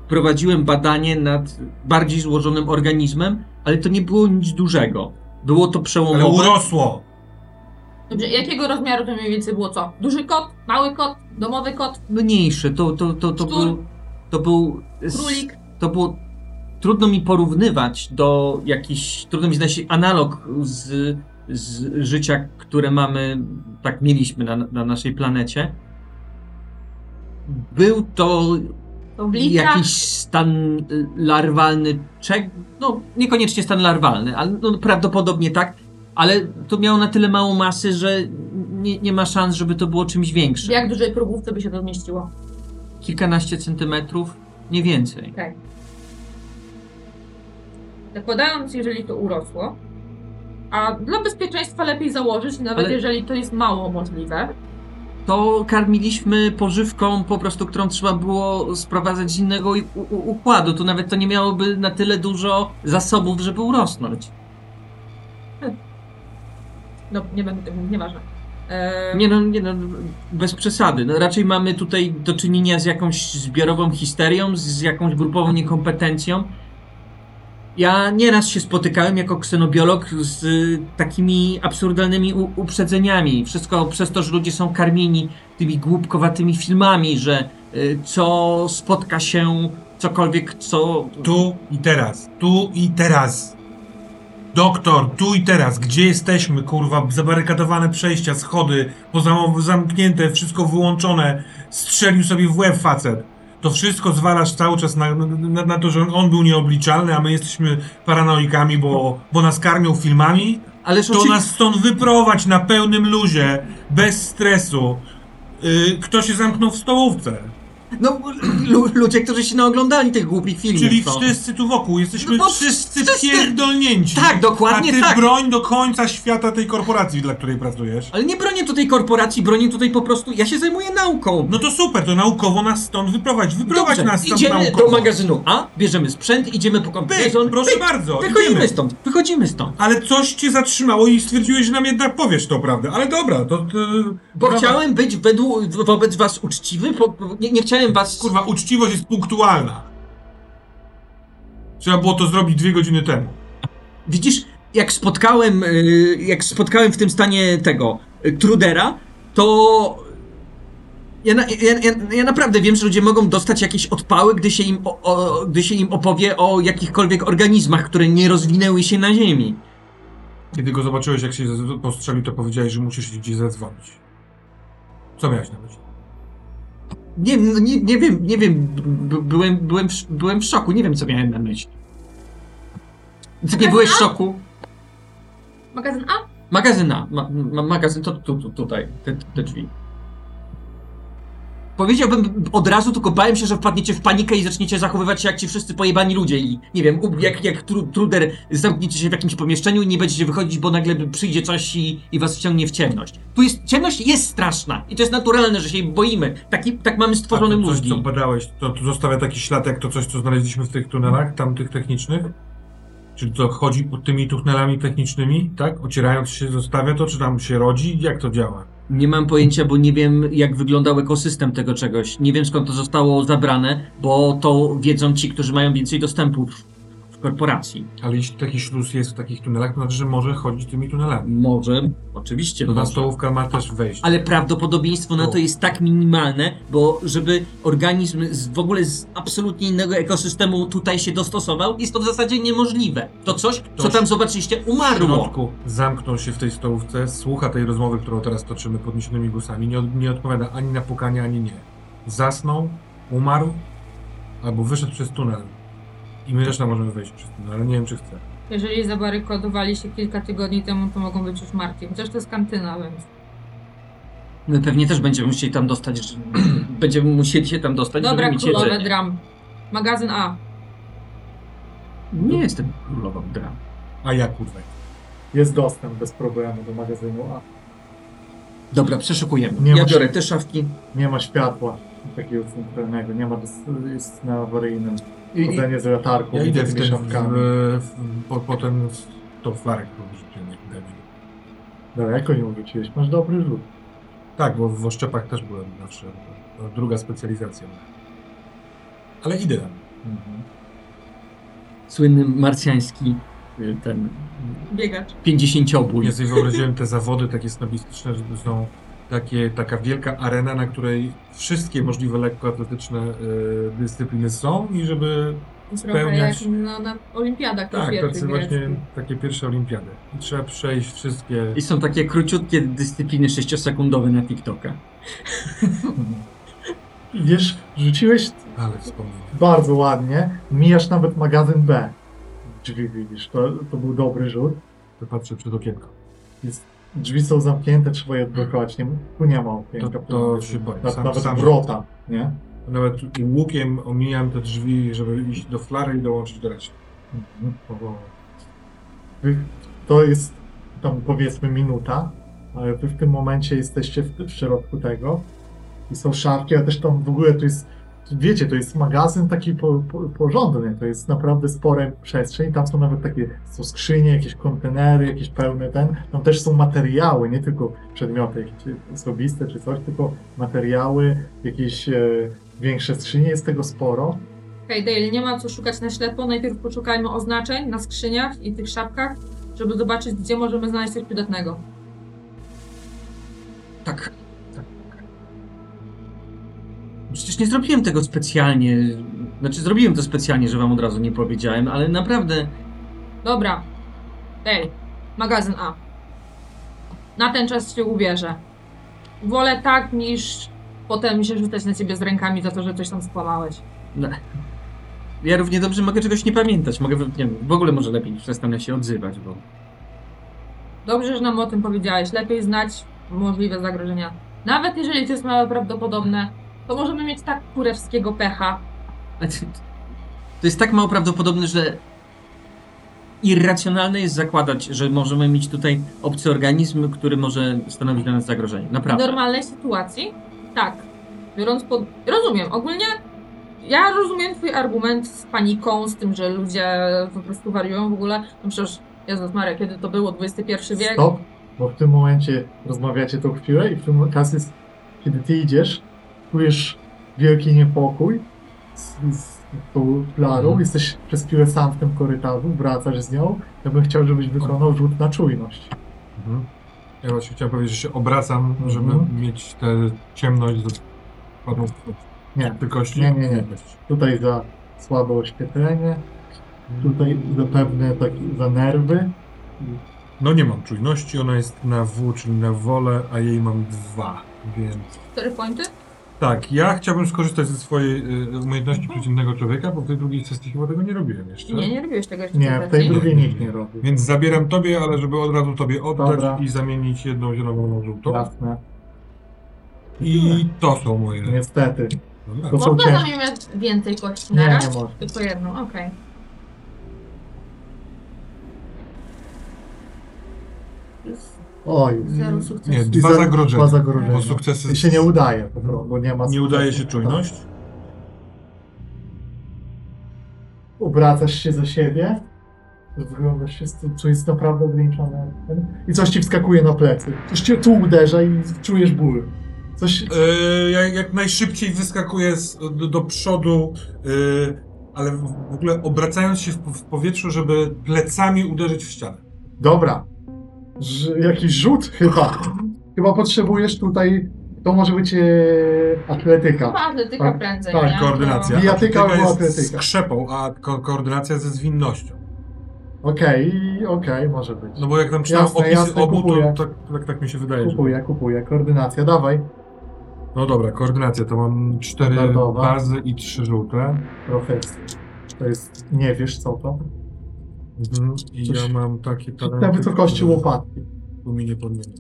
[SPEAKER 4] prowadziłem badanie nad bardziej złożonym organizmem, ale to nie było nic dużego. Było to
[SPEAKER 3] Ale
[SPEAKER 4] przełomowe.
[SPEAKER 3] urosło!
[SPEAKER 2] Dobrze, jakiego rozmiaru to mniej więcej było co? Duży kot, mały kot, domowy kot,
[SPEAKER 4] Mniejsze. To, to, to, to,
[SPEAKER 2] Szczur.
[SPEAKER 4] był, to był. s-
[SPEAKER 2] królik?
[SPEAKER 4] To było. Trudno mi porównywać do jakiś. Trudno mi znaleźć analog z, z życia, które mamy, tak mieliśmy na, na naszej planecie. Był to
[SPEAKER 2] To w litrach?
[SPEAKER 4] jakiś stan y, larwalny, czek, no niekoniecznie stan larwalny, ale no, prawdopodobnie tak, ale to miało na tyle mało masy, że nie, nie ma szans, żeby to było czymś
[SPEAKER 2] W
[SPEAKER 4] większym.
[SPEAKER 2] jak dużej próbówce by się to zmieściło?
[SPEAKER 4] Kilkanaście centymetrów, nie więcej.
[SPEAKER 2] Okej. Zakładając, jeżeli to urosło, a dla bezpieczeństwa lepiej założyć, nawet
[SPEAKER 4] Ale-
[SPEAKER 2] jeżeli to jest mało możliwe.
[SPEAKER 4] To karmiliśmy pożywką po prostu, którą trzeba było sprowadzać z innego i- u- u- układu. Tu nawet to nie miałoby na tyle dużo zasobów, żeby urosnąć.
[SPEAKER 2] No, nie będę tego mówić, nieważne. Eee,
[SPEAKER 4] Nie no, nie no, bez przesady. No, raczej mamy tutaj do czynienia z jakąś zbiorową histerią, z jakąś grupową niekompetencją. Ja nieraz się spotykałem jako ksenobiolog z y, takimi absurdalnymi u- uprzedzeniami. Wszystko przez to, że ludzie są karmieni tymi głupkowatymi filmami, że y, co spotka się cokolwiek, co...
[SPEAKER 3] Tu i teraz. Tu i teraz. Doktor, tu i teraz. Gdzie jesteśmy, kurwa? Zabarykadowane przejścia, schody, pozam- zamknięte, wszystko wyłączone. Strzelił sobie w łeb facet. To wszystko zwalasz cały czas na, na, na to, że on był nieobliczalny, a my jesteśmy paranoikami, bo, bo nas karmią filmami?
[SPEAKER 4] Ależ
[SPEAKER 3] To
[SPEAKER 4] oczywi-
[SPEAKER 3] nas stąd wyprowadź na pełnym luzie, bez stresu. Yy, kto się zamknął w stołówce?
[SPEAKER 4] No, lu- ludzie, którzy się naoglądali tych głupich filmów.
[SPEAKER 3] Czyli
[SPEAKER 4] no.
[SPEAKER 3] wszyscy tu wokół, jesteśmy
[SPEAKER 4] No bo
[SPEAKER 3] wszyscy
[SPEAKER 4] wszyscy-
[SPEAKER 3] pierdolnięci.
[SPEAKER 4] Tak, dokładnie
[SPEAKER 3] A ty
[SPEAKER 4] tak.
[SPEAKER 3] broń do końca świata tej korporacji, dla której pracujesz.
[SPEAKER 4] Ale nie bronię tutaj korporacji, bronię tutaj po prostu. Ja się zajmuję nauką.
[SPEAKER 3] No to super, to naukowo nas stąd wyprowadź, wyprowadź
[SPEAKER 4] Dobrze,
[SPEAKER 3] nas stąd
[SPEAKER 4] idziemy
[SPEAKER 3] naukowo.
[SPEAKER 4] do magazynu A, bierzemy sprzęt, idziemy po
[SPEAKER 3] Pyk,
[SPEAKER 4] kombinezon.
[SPEAKER 3] proszę
[SPEAKER 4] pyk,
[SPEAKER 3] bardzo,
[SPEAKER 4] Wychodzimy
[SPEAKER 3] idziemy.
[SPEAKER 4] stąd, wychodzimy stąd.
[SPEAKER 3] Ale coś cię zatrzymało i stwierdziłeś, że nam jednak powiesz tą prawdę. Ale dobra, to... to
[SPEAKER 4] Bo
[SPEAKER 3] dobra.
[SPEAKER 4] chciałem być według, wobec was uczciwy, bo nie, nie chciałem was...
[SPEAKER 3] Kurwa, uczciwość jest punktualna. Trzeba było to zrobić dwie godziny temu.
[SPEAKER 4] Widzisz, jak spotkałem, y, jak spotkałem w tym stanie tego y, Trudera, to ja, na, ja, ja, ja naprawdę wiem, że ludzie mogą dostać jakieś odpały, gdy się, im o, o, gdy się im opowie o jakichkolwiek organizmach, które nie rozwinęły się na Ziemi.
[SPEAKER 3] Kiedy go zobaczyłeś, jak się z- postrzelił, to powiedziałeś, że musisz gdzieś zadzwonić. Co miałeś na myśli?
[SPEAKER 4] Nie, no nie, nie wiem, nie wiem, b- byłem, byłem, w, sz- byłem w szoku, nie wiem co miałem na myśli. Ty nie byłeś w szoku?
[SPEAKER 2] Magazyn A?
[SPEAKER 4] Magazyna, ma, ma, magazyn to tu, tu, tutaj, te, te drzwi. Powiedziałbym od razu, tylko bałem się, że wpadniecie w panikę i zaczniecie zachowywać się jak ci wszyscy pojebani ludzie i nie wiem, u- jak, jak tru, truder zamkniecie się w jakimś pomieszczeniu i nie będziecie wychodzić, bo nagle przyjdzie coś i, i was wciągnie w ciemność. Tu jest, ciemność jest straszna i to jest naturalne, że się jej boimy. Taki, tak mamy stworzone
[SPEAKER 3] A to coś,
[SPEAKER 4] mózgi.
[SPEAKER 3] co badałeś, to, to zostawia taki ślad jak to coś, co znaleźliśmy w tych tunelach, tamtych technicznych? Czy to chodzi pod tymi tunelami technicznymi, tak? Ocierając się zostawia to, czy tam się rodzi? Jak to działa?
[SPEAKER 4] Nie mam pojęcia, bo nie wiem, jak wyglądał ekosystem tego czegoś. Nie wiem, skąd to zostało zabrane, bo to wiedzą ci, którzy mają więcej dostępu w, w korporacji.
[SPEAKER 3] Ale jeśli taki śluz jest w takich tunelach, to znaczy, że może chodzić tymi tunelami.
[SPEAKER 4] Może, znaczy- oczywiście.
[SPEAKER 3] To ta
[SPEAKER 4] może.
[SPEAKER 3] stołówka ma też wejść.
[SPEAKER 4] Ale prawdopodobieństwo na to jest tak minimalne, bo żeby organizm z, w ogóle z absolutnie innego ekosystemu tutaj się dostosował, jest to w zasadzie niemożliwe. To coś, co tam zobaczyliście,
[SPEAKER 3] W
[SPEAKER 4] umarło.
[SPEAKER 3] środku zamknął się w tej stołówce, słucha tej rozmowy, którą teraz toczymy podniesionymi głosami, nie, od- nie odpowiada ani na pukanie, ani nie. Zasnął, umarł, albo wyszedł przez tunel. I my też tam możemy wejść przez tunel, ale nie wiem, czy chce.
[SPEAKER 2] Jeżeli zabarykadowali się kilka tygodni temu, to mogą być już martwi. Chociaż to jest kantyna, więc
[SPEAKER 4] My pewnie też będziemy musieli tam dostać, że- będziemy musieli się tam dostać,
[SPEAKER 2] Dobra,
[SPEAKER 4] żeby mieć
[SPEAKER 2] królowe
[SPEAKER 4] jedzenie.
[SPEAKER 2] dram. Magazyn A.
[SPEAKER 4] Nie jestem królową dram.
[SPEAKER 3] A ja kurwa.
[SPEAKER 1] Jest dostęp bez problemu do magazynu, a
[SPEAKER 4] Dobra, przeszukujemy.
[SPEAKER 1] Nie
[SPEAKER 4] ja
[SPEAKER 1] masz-
[SPEAKER 4] biorę te szafki.
[SPEAKER 1] nie ma światła takiego centralnego, nie ma, dys- jest na awaryjnym.
[SPEAKER 3] I, i,
[SPEAKER 1] Chodzenie z latarką,
[SPEAKER 3] ja idę w
[SPEAKER 1] z
[SPEAKER 3] ten, w,
[SPEAKER 1] szafkami.
[SPEAKER 3] w, po, potem w to flarek pobliżu
[SPEAKER 1] Daleko nie wróciłeś, masz dobry rzut.
[SPEAKER 3] Tak, bo w oszczepach też byłem zawsze. To druga specjalizacja. Ale idę tam.
[SPEAKER 1] Mhm.
[SPEAKER 4] Słynny marsjański y, ten
[SPEAKER 2] Biegacz.
[SPEAKER 4] pięćdziesięciobój.
[SPEAKER 3] Ja sobie wyobraziłem te zawody takie snobistyczne, że to są takie, taka wielka arena, na której wszystkie możliwe lekkoatletyczne y, dyscypliny są i żeby...
[SPEAKER 2] Trochę jak
[SPEAKER 3] Spełniać.
[SPEAKER 2] no, na olimpiadach
[SPEAKER 3] Tak,
[SPEAKER 2] kobiety
[SPEAKER 3] tacy właśnie
[SPEAKER 2] greckie.
[SPEAKER 3] takie pierwsze olimpiady. I trzeba przejść wszystkie...
[SPEAKER 4] I są takie króciutkie dyscypliny sześciosekundowe na TikToka.
[SPEAKER 1] Wiesz, rzuciłeś
[SPEAKER 3] Ale wspomnienia.
[SPEAKER 1] bardzo ładnie, mijasz nawet magazyn B. Drzwi widzisz, to, to był dobry rzut.
[SPEAKER 3] To patrzę przed okienko.
[SPEAKER 1] Drzwi są zamknięte, trzeba je odblokować. Nie, tu nie ma okienka.
[SPEAKER 3] To- to
[SPEAKER 1] tu-
[SPEAKER 3] się boję.
[SPEAKER 1] na-
[SPEAKER 3] Sam-
[SPEAKER 1] Nawet
[SPEAKER 3] sam-
[SPEAKER 1] wrota, nie?
[SPEAKER 3] Nawet łukiem omijam te drzwi, żeby iść do flary i dołączyć do reszty.
[SPEAKER 1] Mhm. Wy- To jest tam powiedzmy minuta, ale wy w tym momencie jesteście w, w środku tego i są szafki, ale też tam w ogóle to jest, wiecie, to jest magazyn taki po, po, porządny, to jest naprawdę spore przestrzeń, tam są nawet takie, są skrzynie, jakieś kontenery, jakieś pełne ten, tam też są materiały, nie tylko przedmioty jakieś osobiste czy coś, tylko materiały, jakieś e, większe skrzynie, jest tego sporo.
[SPEAKER 2] Okej, Dale, nie ma co szukać na ślepo. Najpierw poszukajmy oznaczeń na skrzyniach i tych szapkach, żeby zobaczyć, gdzie możemy znaleźć coś przydatnego.
[SPEAKER 4] Tak. tak. Przecież nie zrobiłem tego specjalnie. Znaczy, zrobiłem to specjalnie, że wam od razu nie powiedziałem, ale naprawdę
[SPEAKER 2] Dobra. Dale, magazyn A. Na ten czas się ubierze. Wolę tak, niż potem się rzucać na ciebie z rękami za to, że coś tam skłamałeś.
[SPEAKER 4] ja równie dobrze mogę czegoś nie pamiętać. Mogę, nie wiem, w ogóle może lepiej przestanę się odzywać, bo
[SPEAKER 2] Dobrze, że nam o tym powiedziałeś. Lepiej znać możliwe zagrożenia. Nawet jeżeli to jest mało prawdopodobne, to możemy mieć tak kurewskiego pecha.
[SPEAKER 4] Ale To Znaczy, to jest tak mało prawdopodobne, że irracjonalne jest zakładać, że możemy mieć tutaj obcy organizm, który może stanowić dla nas zagrożenie.
[SPEAKER 2] W
[SPEAKER 4] Naprawdę.
[SPEAKER 2] normalnej sytuacji? Tak. Biorąc pod... Rozumiem, ogólnie ja rozumiem twój argument z paniką, z tym, że ludzie po prostu wariują w ogóle. No przecież, Jezus Maria, kiedy to było? XXI wiek?
[SPEAKER 1] Stop, bo w tym momencie rozmawiacie tą chwilę i w tym Kasis, kiedy ty idziesz, czujesz wielki niepokój z, z tą Klarą,
[SPEAKER 4] Mhm.
[SPEAKER 1] jesteś przez chwilę sam w tym korytarzu, wracasz z nią, ja bym chciał, żebyś wykonał rzut na czujność.
[SPEAKER 3] Mhm. Ja właśnie chciałem powiedzieć, że się obracam,
[SPEAKER 1] Mhm.
[SPEAKER 3] żeby mieć tę ciemność do panów
[SPEAKER 1] Nie,
[SPEAKER 3] kości.
[SPEAKER 1] Nie, nie, nie. tutaj za słabe oświetlenie, tutaj zapewne tak za nerwy.
[SPEAKER 3] No nie mam czujności, ona jest na W, czyli na wolę, a jej mam dwa, więc...
[SPEAKER 2] Cztery pointy?
[SPEAKER 3] Tak, ja chciałbym skorzystać ze swojej y, umiejętności przeciętnego człowieka, bo w tej drugiej sesji chyba tego nie robiłem jeszcze.
[SPEAKER 2] Nie, nie robiłeś tego jeszcze
[SPEAKER 1] Nie, w tej
[SPEAKER 2] wcześniej.
[SPEAKER 1] drugiej nikt nie robi.
[SPEAKER 3] Więc zabieram tobie, ale żeby od razu tobie oddać
[SPEAKER 1] Dobra.
[SPEAKER 3] i zamienić jedną zieloną na żółtą.
[SPEAKER 1] Jasne.
[SPEAKER 3] I to są moje...
[SPEAKER 1] Niestety.
[SPEAKER 3] Dobra.
[SPEAKER 1] To są
[SPEAKER 2] Można
[SPEAKER 1] ciężkie.
[SPEAKER 2] zamieniać więcej kości na
[SPEAKER 1] Nie,
[SPEAKER 2] raz?
[SPEAKER 1] nie Tak. można.
[SPEAKER 2] Tylko jedną, okej.
[SPEAKER 1] Oj. mm,
[SPEAKER 2] Zero sukcesu.
[SPEAKER 3] Nie,
[SPEAKER 1] I
[SPEAKER 3] dwa
[SPEAKER 1] za-
[SPEAKER 3] zagrożenia.
[SPEAKER 1] Dwa zagrożenia.
[SPEAKER 3] Bo sukcesy...
[SPEAKER 1] I się nie udaje, po prostu, bo nie ma
[SPEAKER 3] nie
[SPEAKER 1] sukcesu.
[SPEAKER 3] udaje się czujność.
[SPEAKER 1] Tak. Obracasz się za siebie, Wyglądasz się, co- co jest naprawdę ograniczone. I coś ci wskakuje na plecy. Coś cię tu uderza i czujesz ból. Coś,
[SPEAKER 3] E, jak, jak najszybciej wyskakuje z, do, do przodu, e, ale w, w ogóle obracając się w, w powietrzu, żeby plecami uderzyć w ścianę.
[SPEAKER 1] Dobra. Ż- jakiś rzut chyba. Chyba potrzebujesz tutaj. To może być e, atletyka.
[SPEAKER 2] Chyba atletyka
[SPEAKER 1] Tak,
[SPEAKER 2] prędzej,
[SPEAKER 1] tak,
[SPEAKER 2] nie?
[SPEAKER 3] Koordynacja.
[SPEAKER 1] Bijatyka
[SPEAKER 3] Atletyka
[SPEAKER 1] albo
[SPEAKER 3] jest z
[SPEAKER 1] atletyka.
[SPEAKER 3] krzepą, a ko koordynacja ze zwinnością.
[SPEAKER 1] Okej, okej, może być.
[SPEAKER 3] No bo jak tam czytam
[SPEAKER 1] Jasne,
[SPEAKER 3] opisy
[SPEAKER 1] jasne,
[SPEAKER 3] obu,
[SPEAKER 1] kupuję.
[SPEAKER 3] to tak, tak, tak mi się wydaje. Że...
[SPEAKER 1] Kupuję, kupuję. Koordynacja, dawaj.
[SPEAKER 3] No dobra, koordynacja. To mam cztery
[SPEAKER 1] Standardowa.
[SPEAKER 3] bazy i trzy żółte.
[SPEAKER 1] Profesor. To jest. Nie wiesz co to?
[SPEAKER 3] Mhm. I
[SPEAKER 1] Coś-
[SPEAKER 3] ja mam takie talenty...
[SPEAKER 1] Na wysokości
[SPEAKER 3] które-
[SPEAKER 1] łopatki.
[SPEAKER 3] Tu mi nie podmieni.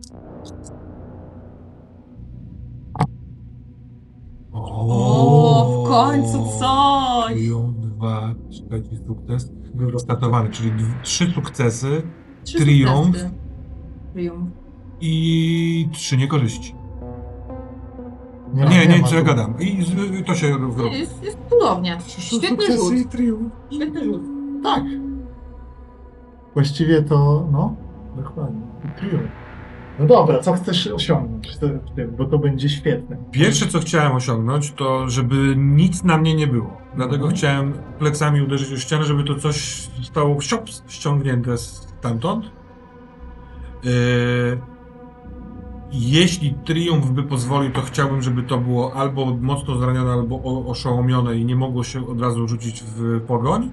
[SPEAKER 2] O, w końcu coś!
[SPEAKER 3] Kryją dwa, trzeci sukces. Był rozstatowany, czyli d- trzy sukcesy
[SPEAKER 2] Trzy
[SPEAKER 3] Triumf.
[SPEAKER 2] sukcesy. Triumf.
[SPEAKER 3] i trzy niekorzyści.
[SPEAKER 1] Nie,
[SPEAKER 3] No, Nie, nie,
[SPEAKER 1] ma
[SPEAKER 3] co
[SPEAKER 1] tu.
[SPEAKER 3] ja gadam. I z- to się
[SPEAKER 2] Nie,
[SPEAKER 3] robi.
[SPEAKER 2] Jest, jest cudownie. Świetny rzut.
[SPEAKER 3] i triumf.
[SPEAKER 2] Świetny rzut.
[SPEAKER 1] Tak. Właściwie to, no, dokładnie. Triumf. No dobra, co chcesz osiągnąć w tym- w tym, bo to będzie świetne.
[SPEAKER 3] Pierwsze, co chciałem osiągnąć, to żeby nic na mnie nie było. Dlatego
[SPEAKER 1] Mhm.
[SPEAKER 3] chciałem plecami uderzyć o ścianę, żeby to coś zostało siops, ściągnięte stamtąd. Yy, jeśli triumf by pozwolił, to chciałbym, żeby to było albo mocno zranione, albo o- oszołomione i nie mogło się od razu rzucić w pogoń.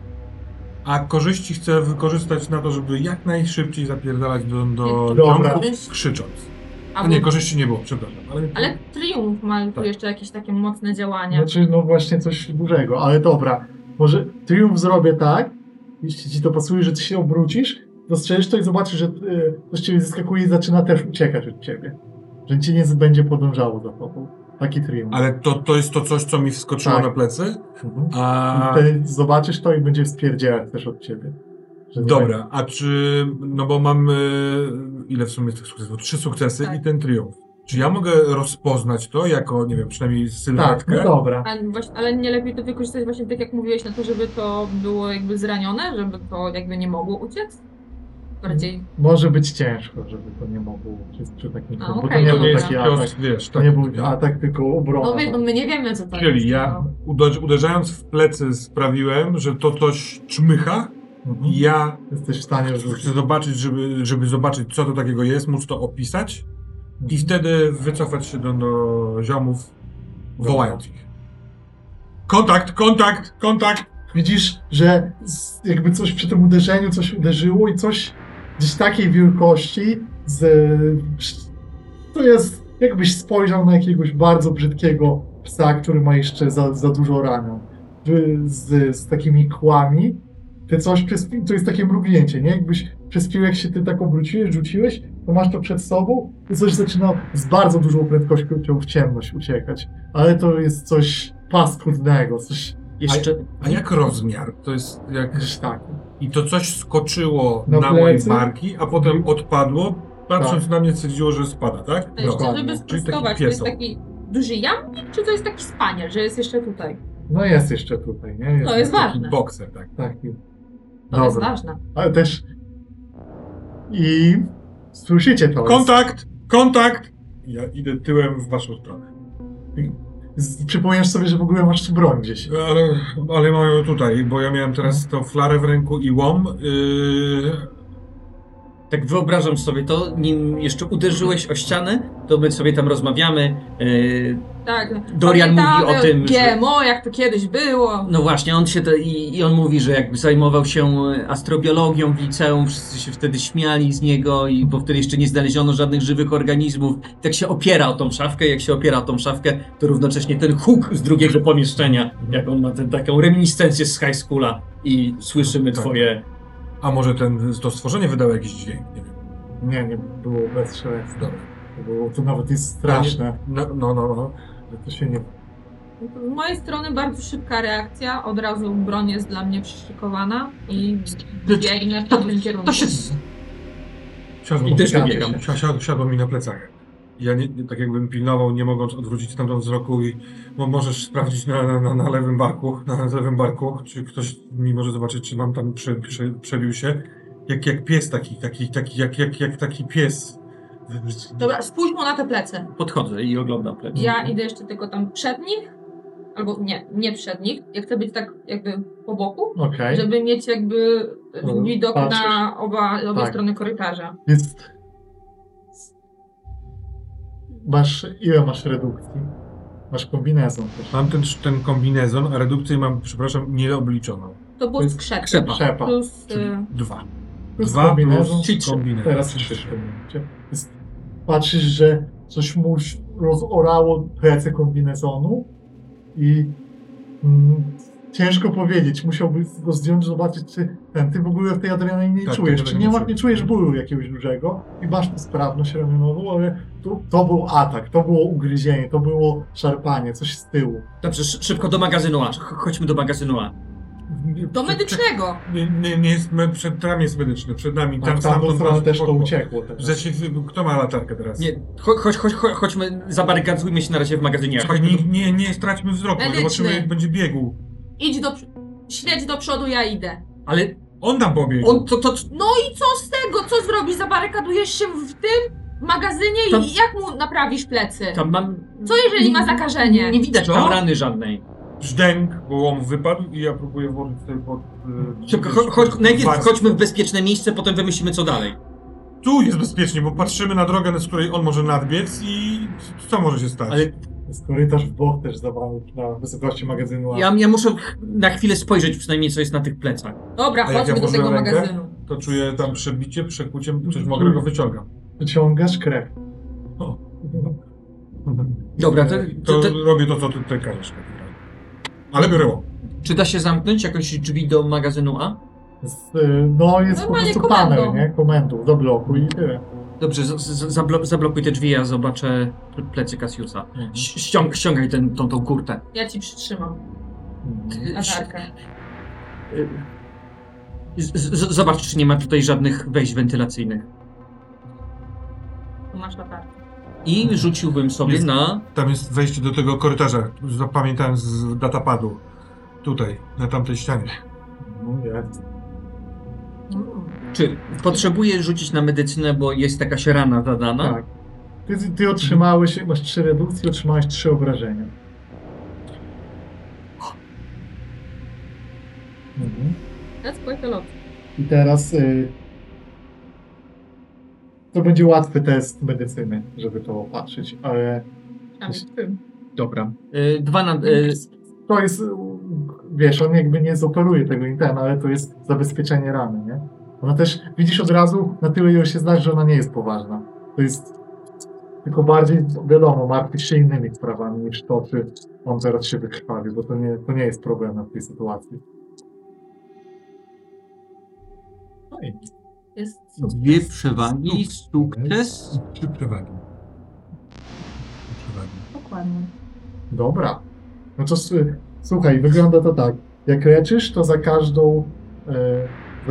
[SPEAKER 3] A korzyści chcę wykorzystać na to, żeby jak najszybciej zapierdalać do, do
[SPEAKER 1] Dobra.
[SPEAKER 3] domków, krzycząc. A
[SPEAKER 2] Albo-
[SPEAKER 3] nie, korzyści nie było, przepraszam. Ale,
[SPEAKER 2] Ale triumf ma tu
[SPEAKER 3] Tak.
[SPEAKER 2] jeszcze jakieś takie mocne działania.
[SPEAKER 1] Znaczy, no właśnie coś dużego, ale dobra. Może triumf zrobię tak, jeśli ci to pasuje, że ty się obrócisz, dostrzeżesz to i zobaczysz, że y, ktoś ciebie zaskakuje i zaczyna też uciekać od ciebie. Że ci nie z- będzie podążało za tobą. Taki triumf.
[SPEAKER 3] Ale to, to jest to coś, co mi wskoczyło
[SPEAKER 1] Tak.
[SPEAKER 3] na plecy?
[SPEAKER 1] Mhm.
[SPEAKER 3] A...
[SPEAKER 1] I Ty zobaczysz to i będzie wspierdzielać też od ciebie. Że
[SPEAKER 3] Dobra, a czy... No bo mam... y, Ile w sumie tych sukcesów? Trzy sukcesy
[SPEAKER 2] Tak.
[SPEAKER 3] i ten triumf. Czy ja mogę rozpoznać to jako, nie wiem, przynajmniej
[SPEAKER 1] Tak,
[SPEAKER 3] sylwetkę?
[SPEAKER 1] no dobra.
[SPEAKER 2] A właśnie, ale nie lepiej to wykorzystać właśnie tak jak mówiłeś na to, żeby to było jakby zranione, żeby to jakby nie mogło uciec? Bardziej
[SPEAKER 1] Może być ciężko, żeby to nie mogło uciec przy takim
[SPEAKER 2] A,
[SPEAKER 1] bo to
[SPEAKER 2] okej,
[SPEAKER 1] nie
[SPEAKER 2] no
[SPEAKER 1] był
[SPEAKER 2] dobra.
[SPEAKER 1] taki atak.
[SPEAKER 3] Cios, wiesz,
[SPEAKER 1] To
[SPEAKER 3] tak.
[SPEAKER 1] nie był atak, tylko obrona.
[SPEAKER 2] No, wie, no my nie wiemy co to jest.
[SPEAKER 3] Czyli ja
[SPEAKER 2] no.
[SPEAKER 3] uder- uderzając w plecy sprawiłem, że to coś czmycha
[SPEAKER 1] Mhm.
[SPEAKER 3] i ja
[SPEAKER 1] Jesteś w stanie
[SPEAKER 3] chcę
[SPEAKER 1] rzucić.
[SPEAKER 3] zobaczyć, żeby, żeby zobaczyć, co to takiego jest, móc to opisać i wtedy wycofać się do, do ziomów, wołając ich. Kontakt, kontakt, kontakt!
[SPEAKER 1] Widzisz, że z- jakby coś przy tym uderzeniu, coś uderzyło i coś gdzieś takiej wielkości z... To jest jakbyś spojrzał na jakiegoś bardzo brzydkiego psa, który ma jeszcze za, za dużo ranion. Wy- Z, z takimi kłami. Ty coś przyspi... To jest takie mrugnięcie, nie? Jakbyś przez chwilę, jak się ty tak obróciłeś, rzuciłeś, to masz to przed sobą i coś zaczyna z bardzo dużą prędkością w ciemność uciekać. Ale to jest coś paskudnego, coś
[SPEAKER 4] Jeszcze,
[SPEAKER 3] A jak rozmiar? To jest jak...
[SPEAKER 1] Gdzieś tak.
[SPEAKER 3] I to coś skoczyło
[SPEAKER 1] Na
[SPEAKER 3] na, moje
[SPEAKER 1] plecy? Mhm. Tak.
[SPEAKER 3] barki, a potem odpadło, patrząc na mnie stwierdziło, że spada, tak?
[SPEAKER 2] A jeszcze,
[SPEAKER 1] Dokładnie.
[SPEAKER 2] żeby
[SPEAKER 1] Czyli
[SPEAKER 3] taki
[SPEAKER 2] sprostować, to jest
[SPEAKER 3] pieseł.
[SPEAKER 2] taki duży jamnik, czy to jest taki spaniel, że jest jeszcze tutaj?
[SPEAKER 1] No jest jeszcze tutaj, nie?
[SPEAKER 2] To No, jest
[SPEAKER 1] taki-
[SPEAKER 2] ważne.
[SPEAKER 3] Taki bokser, tak.
[SPEAKER 1] Taki.
[SPEAKER 2] To jest
[SPEAKER 1] Dobra,
[SPEAKER 2] ważne.
[SPEAKER 1] ale też... I słyszycie to.
[SPEAKER 3] Kontakt! Kontakt! Ja idę tyłem w waszą stronę.
[SPEAKER 1] Z- Przypomniesz sobie, że w ogóle masz tu broń gdzieś.
[SPEAKER 3] Ale, ale mają tutaj, bo ja miałem teraz
[SPEAKER 4] No.
[SPEAKER 3] tą flarę w ręku i łom. Yy,
[SPEAKER 4] tak wyobrażam sobie to, nim jeszcze uderzyłeś o ścianę, to my sobie tam rozmawiamy. Yy,
[SPEAKER 2] Tak.
[SPEAKER 4] Dorian
[SPEAKER 2] Pamiętamy
[SPEAKER 4] mówi o tym, że-
[SPEAKER 2] GMO, jak to kiedyś było.
[SPEAKER 4] no właśnie, on się to, i, i on mówi, że jakby zajmował się e, astrobiologią w liceum, wszyscy się wtedy śmiali z niego, i bo wtedy jeszcze nie znaleziono żadnych żywych organizmów. Tak się opiera o tą szafkę, jak się opiera o tą szafkę, to równocześnie ten huk z drugiego pomieszczenia, jak on ma tę taką reminiscencję z high schoola i słyszymy
[SPEAKER 3] Tak.
[SPEAKER 4] twoje...
[SPEAKER 3] a może ten, to stworzenie wydało jakiś dźwięk? Nie wiem.
[SPEAKER 1] Nie, nie było bez szelestów.
[SPEAKER 3] Dobra.
[SPEAKER 1] To, było, to nawet jest straszne,
[SPEAKER 3] No, no, no. no.
[SPEAKER 1] że to się nie...
[SPEAKER 2] Z mojej strony bardzo szybka reakcja, od razu broń jest dla mnie przyszykowana i biegnę w tamtym kierunku.
[SPEAKER 3] Siadło,
[SPEAKER 4] I też
[SPEAKER 3] siadło-
[SPEAKER 4] dobiegam.
[SPEAKER 3] si- Siadło, siadło mi na plecach. Ja nie, nie, tak jakbym pilnował, nie mogąc odwrócić tamtą wzroku i mo- możesz sprawdzić na, na- na, na lewym barku, na lewym barku, czy ktoś mi może zobaczyć, czy mam tam prze, prze, przebił się. Jak, jak pies taki, taki, taki, jak, jak, jak taki pies.
[SPEAKER 2] Dobra, spójrz mu na te plecy.
[SPEAKER 4] Podchodzę i oglądam plec.
[SPEAKER 2] Ja idę jeszcze tylko tam przed nich, albo nie, nie przed nich. Ja chcę być tak jakby po boku,
[SPEAKER 1] Okej.
[SPEAKER 2] żeby mieć jakby
[SPEAKER 1] No,
[SPEAKER 2] widok
[SPEAKER 1] patrzysz.
[SPEAKER 2] na oba, obie
[SPEAKER 1] Tak.
[SPEAKER 2] strony korytarza.
[SPEAKER 1] Jest. Masz. Ile masz redukcji? Masz kombinezon też.
[SPEAKER 3] Mam ten, ten kombinezon, a redukcję mam, przepraszam, nieobliczoną.
[SPEAKER 2] To
[SPEAKER 1] To
[SPEAKER 2] było
[SPEAKER 1] jest
[SPEAKER 2] z krzepa.
[SPEAKER 4] Krzepa.
[SPEAKER 1] Szepa.
[SPEAKER 2] Plus,
[SPEAKER 3] Czyli
[SPEAKER 4] Mm.
[SPEAKER 2] y,
[SPEAKER 3] dwa.
[SPEAKER 1] Plus
[SPEAKER 3] Dwa
[SPEAKER 1] kombinezon.
[SPEAKER 3] plus kombinezon.
[SPEAKER 1] Teraz
[SPEAKER 3] Trzy.
[SPEAKER 1] trzy w tym momencie. Jest- Patrzysz, że coś mu ś- rozorało plecy kombinezonu i mm, ciężko powiedzieć, musiałby go zdjąć, zobaczyć, czy ten, ty w ogóle w tej adrenalinie nie
[SPEAKER 3] Tak,
[SPEAKER 1] czujesz,
[SPEAKER 3] tego
[SPEAKER 1] czy
[SPEAKER 3] nie
[SPEAKER 1] nie, ma,
[SPEAKER 3] czuję.
[SPEAKER 1] nie czujesz bólu jakiegoś dużego i masz tu sprawność ramionową, ale to, to był atak, to było ugryzienie, to było szarpanie, coś z tyłu.
[SPEAKER 4] Dobrze, szy- szybko do magazynu A. Ch- Chodźmy do magazynu A.
[SPEAKER 2] do medycznego.
[SPEAKER 3] Nie, nie, nie jest, me- przed, tam jest medyczny, przed nami.
[SPEAKER 1] Tam,
[SPEAKER 3] Tam,
[SPEAKER 1] Tak, tam,
[SPEAKER 3] stamtąd
[SPEAKER 1] tam też
[SPEAKER 3] po-
[SPEAKER 1] to
[SPEAKER 3] po-
[SPEAKER 1] uciekło. Teraz.
[SPEAKER 3] Zasięg, kto ma latarkę teraz?
[SPEAKER 4] Nie, cho- chodź, chodź, chodź, chodźmy, zabarykadujmy się na razie w magazynie A.
[SPEAKER 3] Słuchaj,
[SPEAKER 4] Chodźmy
[SPEAKER 3] nie,
[SPEAKER 4] do...
[SPEAKER 3] nie, nie straćmy wzroku,
[SPEAKER 2] Medyczny.
[SPEAKER 3] zobaczymy jak będzie biegł.
[SPEAKER 2] Idź do... pr- Śledź do przodu, ja idę.
[SPEAKER 4] Ale
[SPEAKER 3] On tam pobiegł.
[SPEAKER 4] on to, to,
[SPEAKER 2] No i co z tego? Co zrobisz? Zabarykadujesz się w tym magazynie
[SPEAKER 4] Tam-
[SPEAKER 2] i jak mu naprawisz plecy?
[SPEAKER 4] tam mam...
[SPEAKER 2] Co jeżeli ma zakażenie?
[SPEAKER 4] Nie widać
[SPEAKER 3] Co?
[SPEAKER 4] tam rany żadnej.
[SPEAKER 3] Brzdęk, bo łom wypadł i ja próbuję włożyć tutaj pod... e,
[SPEAKER 4] Szybko,
[SPEAKER 3] wiesz,
[SPEAKER 4] cho- chodź, najpierw
[SPEAKER 3] warstwę.
[SPEAKER 4] chodźmy w bezpieczne miejsce, potem wymyślimy co dalej.
[SPEAKER 3] Tu jest bezpiecznie, bo patrzymy na drogę, z której on może nadbiec i co może się stać?
[SPEAKER 4] Ale
[SPEAKER 1] Jest korytarz w bok też zabrany na wysokości magazynu. a-
[SPEAKER 4] ja, ja muszę ch- na chwilę spojrzeć przynajmniej co jest na tych plecach.
[SPEAKER 2] Dobra,
[SPEAKER 3] A jak
[SPEAKER 2] chodźmy
[SPEAKER 3] ja
[SPEAKER 2] do tego
[SPEAKER 3] włożyłem rękę?
[SPEAKER 2] magazynu.
[SPEAKER 3] To czuję tam przebicie, przekucie,
[SPEAKER 1] Mhm.
[SPEAKER 3] coś mokrego wyciągam.
[SPEAKER 1] Wyciągasz krew.
[SPEAKER 3] O.
[SPEAKER 4] Dobra, to,
[SPEAKER 3] To
[SPEAKER 4] to, E, to,
[SPEAKER 3] robię to, co ty tutaj każesz. Ale biorę łom.
[SPEAKER 4] czy da się zamknąć jakoś drzwi do magazynu A?
[SPEAKER 1] Z, y, no jest po
[SPEAKER 2] Normalnie
[SPEAKER 1] prostu
[SPEAKER 2] komendą.
[SPEAKER 1] panel, nie? Komendą do bloku i tyle.
[SPEAKER 4] Dobrze, z, z, zablo, zablokuj te drzwi, ja zobaczę pl- plecy Kasiusa. Ś- Ściąg, ściągaj ten, tą, tą kurtę.
[SPEAKER 2] Ja ci przytrzymam
[SPEAKER 1] Mhm.
[SPEAKER 2] latarkę.
[SPEAKER 4] Z, z, zobacz, czy nie ma tutaj żadnych wejść wentylacyjnych.
[SPEAKER 2] Tu masz latarkę.
[SPEAKER 4] I rzuciłbym sobie
[SPEAKER 3] Jest.
[SPEAKER 4] na...
[SPEAKER 3] Tam jest wejście do tego korytarza, zapamiętałem z datapadu. Tutaj, na tamtej ścianie.
[SPEAKER 1] No, jest.
[SPEAKER 2] Mm.
[SPEAKER 4] Czy potrzebuję rzucić na medycynę, bo jest jakaś rana zadana?
[SPEAKER 1] Tak. Ty, ty otrzymałeś, masz trzy redukcje, otrzymałeś trzy obrażenia. Mhm.
[SPEAKER 2] Teraz pojechał lot.
[SPEAKER 1] I teraz y, to będzie łatwy test medycyny, żeby to opatrzyć, ale
[SPEAKER 2] Tam jest tym.
[SPEAKER 4] Dobra. Y, dwa na... Y,
[SPEAKER 1] to jest, y, wiesz, on jakby nie zoperuje tego i ten, ale to jest zabezpieczenie rany, nie? Ona też, widzisz od razu, na tyle ją się znasz, że ona nie jest poważna. To jest tylko bardziej, wiadomo, martwisz się innymi sprawami niż to, czy on zaraz się wykrwawi, bo to nie, to nie jest problemem w tej sytuacji. No i
[SPEAKER 2] Jest
[SPEAKER 4] dwie przewagi, sukces.
[SPEAKER 3] Trzy przewagi. Trzy przewagi.
[SPEAKER 2] dokładnie.
[SPEAKER 1] Dobra. No to s- słuchaj, wygląda to tak. Jak leczysz, to za każdą, e,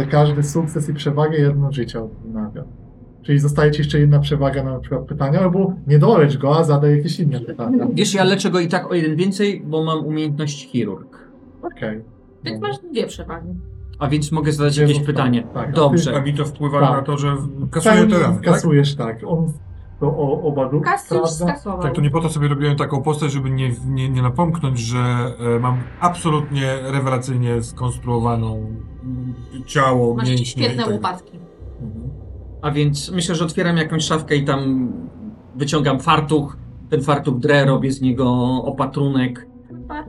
[SPEAKER 1] za każdy sukces i przewagę jedno życie odnawia. Czyli zostaje ci jeszcze jedna przewaga na przykład pytania, albo nie dolecz go, a zadaj jakieś inne pytania.
[SPEAKER 4] Wiesz, ja leczę go i tak o jeden więcej, bo mam umiejętność chirurg.
[SPEAKER 1] Okej.
[SPEAKER 2] Więc
[SPEAKER 3] No.
[SPEAKER 2] masz dwie przewagi.
[SPEAKER 4] A więc mogę zadać
[SPEAKER 1] Nie
[SPEAKER 4] jakieś
[SPEAKER 1] zostało.
[SPEAKER 4] pytanie.
[SPEAKER 1] Tak.
[SPEAKER 3] A
[SPEAKER 4] Dobrze.
[SPEAKER 3] mi to wpływa
[SPEAKER 1] Tak.
[SPEAKER 3] na to, że kasuję te rany, tak?
[SPEAKER 1] Kasujesz, tak. On to o, oba dróg
[SPEAKER 2] Kasy już
[SPEAKER 1] sprawdza.
[SPEAKER 2] skasował.
[SPEAKER 3] Tak, to nie po to sobie robiłem taką postać, żeby nie, nie, nie napomknąć, że e, mam absolutnie rewelacyjnie skonstruowaną mm, ciało,
[SPEAKER 2] Masz
[SPEAKER 3] mięśnie i
[SPEAKER 2] świetne
[SPEAKER 3] tak
[SPEAKER 2] łopatki.
[SPEAKER 1] Mhm.
[SPEAKER 4] A więc myślę, że otwieram jakąś szafkę i tam wyciągam fartuch. Ten fartuch drę, robię z niego opatrunek.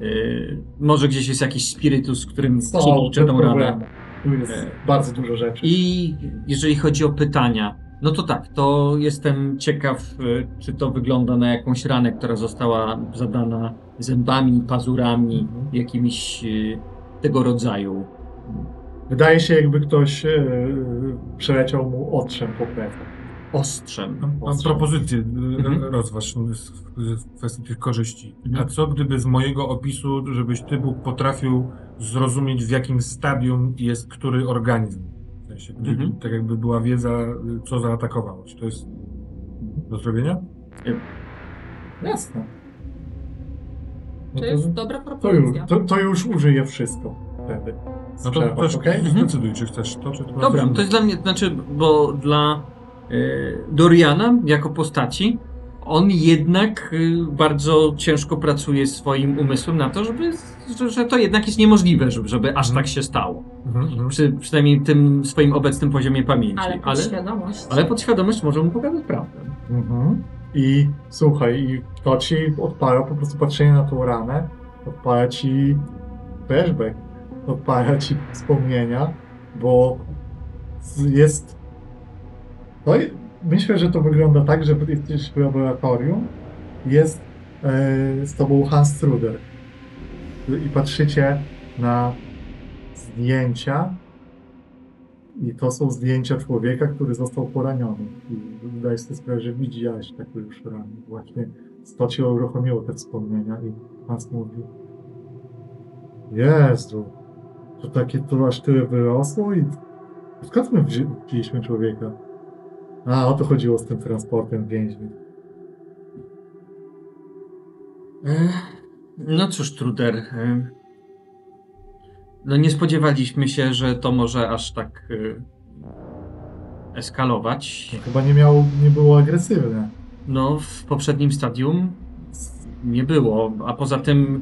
[SPEAKER 4] Yy, może gdzieś jest jakiś spirytus, którym
[SPEAKER 1] Są,
[SPEAKER 4] przeliczę
[SPEAKER 1] bez
[SPEAKER 4] tą
[SPEAKER 1] problemu.
[SPEAKER 4] ranę.
[SPEAKER 1] Tu jest
[SPEAKER 4] E.
[SPEAKER 1] bardzo dużo rzeczy.
[SPEAKER 4] I jeżeli chodzi o pytania, no to tak, to jestem ciekaw, y, czy to wygląda na jakąś ranę, która została zadana zębami, pazurami,
[SPEAKER 1] Mhm.
[SPEAKER 4] jakimiś y, tego rodzaju.
[SPEAKER 1] Wydaje się, jakby ktoś e, przeleciał mu otrzem po plecach.
[SPEAKER 4] Ostrzem.
[SPEAKER 3] Mam, mam
[SPEAKER 1] Ostrzem.
[SPEAKER 3] propozycję,
[SPEAKER 4] Mhm.
[SPEAKER 3] mhm. rozważ z- z- w kwestii tych korzyści. A co gdyby z mojego opisu, żebyś ty Bóg potrafił zrozumieć w jakim stadium jest który organizm? W sensie, gdyby,
[SPEAKER 4] Mhm.
[SPEAKER 3] tak jakby była wiedza, y, co zaatakowało. Czy to jest do zrobienia? No
[SPEAKER 1] Jasne. No
[SPEAKER 2] To jest dobra
[SPEAKER 3] No
[SPEAKER 1] To już,
[SPEAKER 2] propozycja.
[SPEAKER 1] to, to już użyję wszystko wtedy.
[SPEAKER 3] No to
[SPEAKER 1] Przerwać,
[SPEAKER 3] też
[SPEAKER 1] okej?
[SPEAKER 4] Mhm.
[SPEAKER 3] zdecyduj, czy chcesz to, czy to.
[SPEAKER 4] Dobra, to jest dla mnie, znaczy, bo dla y, Doriana jako postaci, on jednak y, bardzo ciężko pracuje swoim umysłem na to, żeby, że, że to jednak jest niemożliwe, żeby, żeby aż tak się stało.
[SPEAKER 3] Mhm, mhm.
[SPEAKER 4] Przy, przynajmniej tym swoim obecnym poziomie pamięci.
[SPEAKER 2] Ale
[SPEAKER 4] Ale,
[SPEAKER 2] pod
[SPEAKER 4] ale,
[SPEAKER 2] świadomość.
[SPEAKER 4] podświadomość może mu pokazać prawdę.
[SPEAKER 3] Mhm.
[SPEAKER 1] I słuchaj, i to ci odpala po prostu patrzenie na tą ranę, odpala ci flashback, odpala ci wspomnienia, bo z- jest. No i myślę, że to wygląda tak, że jesteś w laboratorium, jest e, z tobą Hans Truder i patrzycie na zdjęcia. I to są zdjęcia człowieka, który został poraniony. I wydaje sobie sprawę, że widziałaś takie już rany. Właśnie to cię uruchomiło te wspomnienia i pan mówi Jezu, to takie to aż tyle wyrosło i skąd my wzi- wzięliśmy człowieka? A, o to chodziło z tym transportem więźniów.
[SPEAKER 4] Ech, No cóż, Truder. em, No nie spodziewaliśmy się, że to może aż tak y, eskalować.
[SPEAKER 1] Chyba nie miał, nie było agresywne.
[SPEAKER 4] No, w poprzednim stadium nie było, a poza tym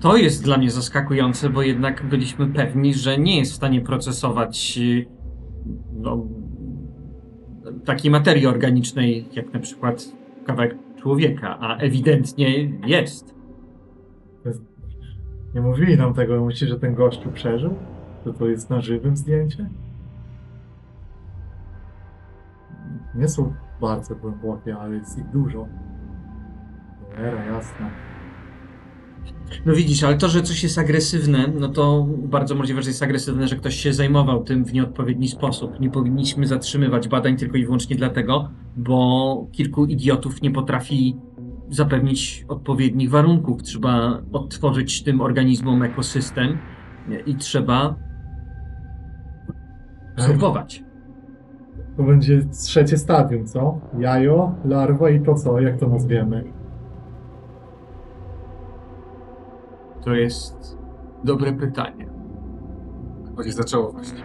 [SPEAKER 4] to jest dla mnie zaskakujące, bo jednak byliśmy pewni, że nie jest w stanie procesować y, no, takiej materii organicznej, jak na przykład kawałek człowieka, a ewidentnie jest.
[SPEAKER 1] Nie mówili nam tego, myślisz, że ten gościu przeżył? Że to jest na żywym zdjęcie? Nie są bardzo głębokie, ale jest ich dużo. Cholera, jasna.
[SPEAKER 4] No widzisz, ale to, że coś jest agresywne, no to bardzo możliwe, że jest agresywne, że ktoś się zajmował tym w nieodpowiedni sposób. Nie powinniśmy zatrzymywać badań tylko i wyłącznie dlatego, bo kilku idiotów nie potrafi zapewnić odpowiednich warunków. Trzeba odtworzyć tym organizmom ekosystem i trzeba obserwować.
[SPEAKER 1] To będzie trzecie stadium, co? Jajo, larwa i to co? Jak to nazwiemy?
[SPEAKER 4] To jest dobre pytanie.
[SPEAKER 3] Bo się zaczęło właśnie.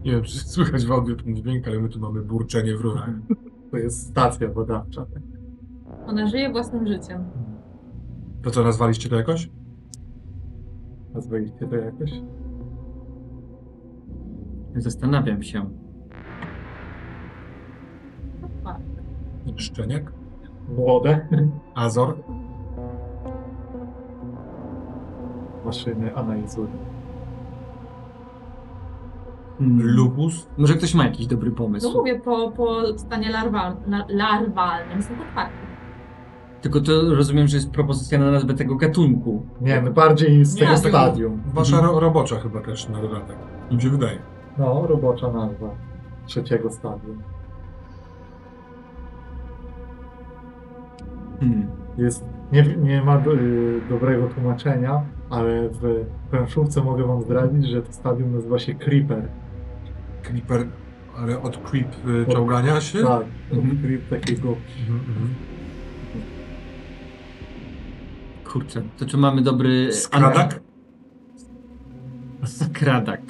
[SPEAKER 3] Nie wiem, czy słychać w audio ten dźwięk, ale my tu mamy burczenie w rurach.
[SPEAKER 1] To jest stacja badawcza.
[SPEAKER 2] Ona żyje własnym życiem.
[SPEAKER 3] To co, nazwaliście to jakoś?
[SPEAKER 1] Nazwaliście to jakoś?
[SPEAKER 4] Zastanawiam się.
[SPEAKER 3] Szczeniak?
[SPEAKER 1] Młode
[SPEAKER 3] Azor?
[SPEAKER 1] maszyny analizują.
[SPEAKER 4] Mm.
[SPEAKER 3] Lupus?
[SPEAKER 4] Może ktoś ma jakiś dobry
[SPEAKER 2] No
[SPEAKER 4] pomysł.
[SPEAKER 2] mówię, po, po stanie larwal, la, larwalnym są otwarte.
[SPEAKER 4] Tylko to rozumiem, że jest propozycja na nazwę tego gatunku.
[SPEAKER 1] Nie, no bardziej z tego
[SPEAKER 2] Nie,
[SPEAKER 1] stadium.
[SPEAKER 3] Wasza ro robocza chyba też na dodatek. Mi się wydaje.
[SPEAKER 1] No, robocza nazwa. Trzeciego stadium.
[SPEAKER 4] Hmm.
[SPEAKER 1] jest, nie, nie ma do, y, dobrego tłumaczenia, ale w planszówce mogę wam zdradzić, że to stadium nazywa się Creeper.
[SPEAKER 3] Creeper, ale od creep y, czołgania się?
[SPEAKER 1] Tak,
[SPEAKER 4] Mhm.
[SPEAKER 1] creep takiego.
[SPEAKER 3] Mhm, mhm.
[SPEAKER 4] Kurczę, to czy mamy dobry...
[SPEAKER 3] Skradak?
[SPEAKER 4] Skradak.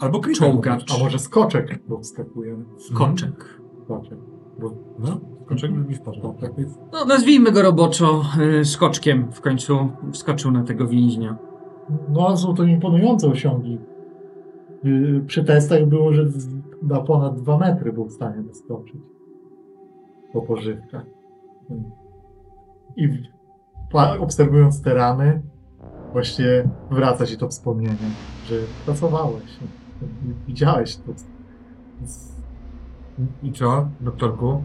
[SPEAKER 3] Albo creeper.
[SPEAKER 4] Czołgacz.
[SPEAKER 1] A może skoczek, bo wskakujemy.
[SPEAKER 4] Koczek.
[SPEAKER 1] Skoczek.
[SPEAKER 3] No, skoczek mi w porządku.
[SPEAKER 1] Tak jest.
[SPEAKER 4] No nazwijmy go roboczo y, skoczkiem. W końcu wskoczył na tego więźnia.
[SPEAKER 1] No, są to imponujące osiągi. Y, Przy testach było, że z- na ponad 2 metry był w stanie wyskoczyć po pożywkach. Mm. I w- pa- obserwując te rany, właśnie wraca ci to wspomnienie, że pracowałeś. i Widziałeś to. Więc,
[SPEAKER 3] I co, doktorku?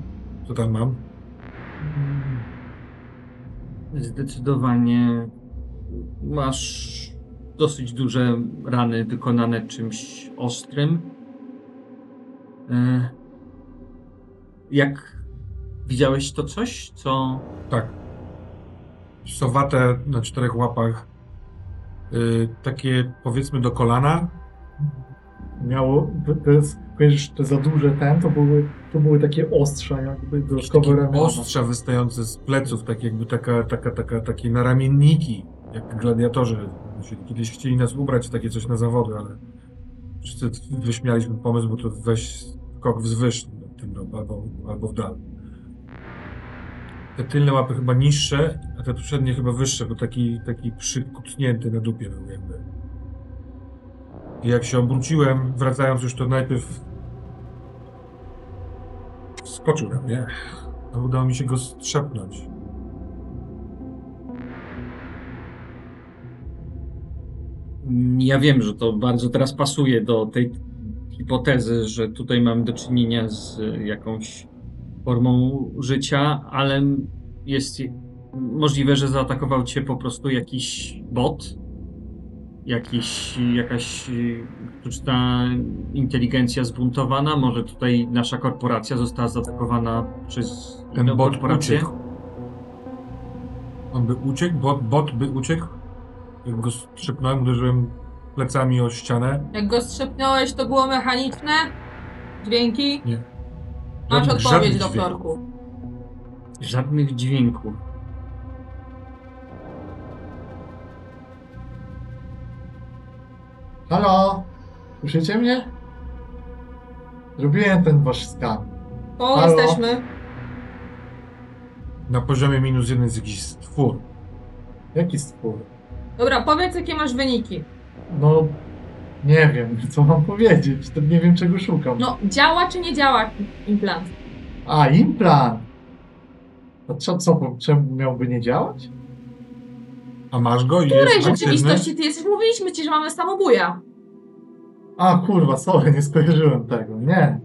[SPEAKER 3] Co tam mam?
[SPEAKER 1] mm,
[SPEAKER 4] Zdecydowanie masz dosyć duże rany wykonane czymś ostrym. Y, Jak widziałeś to coś, co
[SPEAKER 3] Tak. Sowate na czterech łapach. Y, takie powiedzmy do kolana.
[SPEAKER 1] Miało, to- to jest, kojarzysz, te za duże ten, to były, to były takie ostrza jakby
[SPEAKER 3] Jakieś
[SPEAKER 1] dodatkowe
[SPEAKER 3] takie
[SPEAKER 1] ramiona.
[SPEAKER 3] ostrza wystające z pleców, tak jakby taka, taka, taka, takie naramienniki. jak gladiatorzy. Kiedyś chcieli nas ubrać w takie coś na zawody, ale wszyscy wyśmialiśmy pomysł, bo to weź skok wzwyż nad tym rob- albo, albo w dal. Te tylne łapy chyba niższe, a te przednie chyba wyższe, bo taki, taki przykucnięty na dupie był jakby. I jak się obróciłem, wracając już, to najpierw skoczył na mnie. No, udało mi się go strzepnąć.
[SPEAKER 4] Ja wiem, że to bardzo teraz pasuje do tej hipotezy, że tutaj mamy do czynienia z y, jakąś formą życia, ale jest możliwe, że zaatakował cię po prostu jakiś bot, jakiś, jakaś y, sztuczna inteligencja zbuntowana. Może tutaj nasza korporacja została zaatakowana przez
[SPEAKER 3] Ten
[SPEAKER 4] inną
[SPEAKER 3] bot
[SPEAKER 4] korporację.
[SPEAKER 3] uciekł. On by uciekł, bot, bot by uciekł. Jak go strzepnąłem, uderzyłem plecami o ścianę.
[SPEAKER 2] Jak go strzepnąłeś, to było mechaniczne? Dźwięki?
[SPEAKER 3] Nie.
[SPEAKER 2] Masz
[SPEAKER 3] Żadnych-
[SPEAKER 2] odpowiedź,
[SPEAKER 3] żadnych dźwięków.
[SPEAKER 2] doktorku.
[SPEAKER 4] Żadnych dźwięków.
[SPEAKER 1] Halo? Słyszycie mnie? Zrobiłem ten wasz skan.
[SPEAKER 2] O,
[SPEAKER 1] Halo?
[SPEAKER 2] jesteśmy.
[SPEAKER 3] Na poziomie minus jeden jest jakiś stwór.
[SPEAKER 1] Jaki spór?
[SPEAKER 2] Dobra, powiedz, jakie masz wyniki.
[SPEAKER 1] No, nie wiem, co mam powiedzieć. To nie wiem, czego szukam.
[SPEAKER 2] No, działa czy nie działa implant?
[SPEAKER 1] A, implant! A co, co, bo czemu miałby nie działać?
[SPEAKER 3] A masz go i
[SPEAKER 2] W której
[SPEAKER 3] jest aktywny?
[SPEAKER 2] rzeczywistości ty jesteś? Mówiliśmy ci, że mamy samobuja.
[SPEAKER 1] A, kurwa, sorry, nie skojarzyłem tego, nie.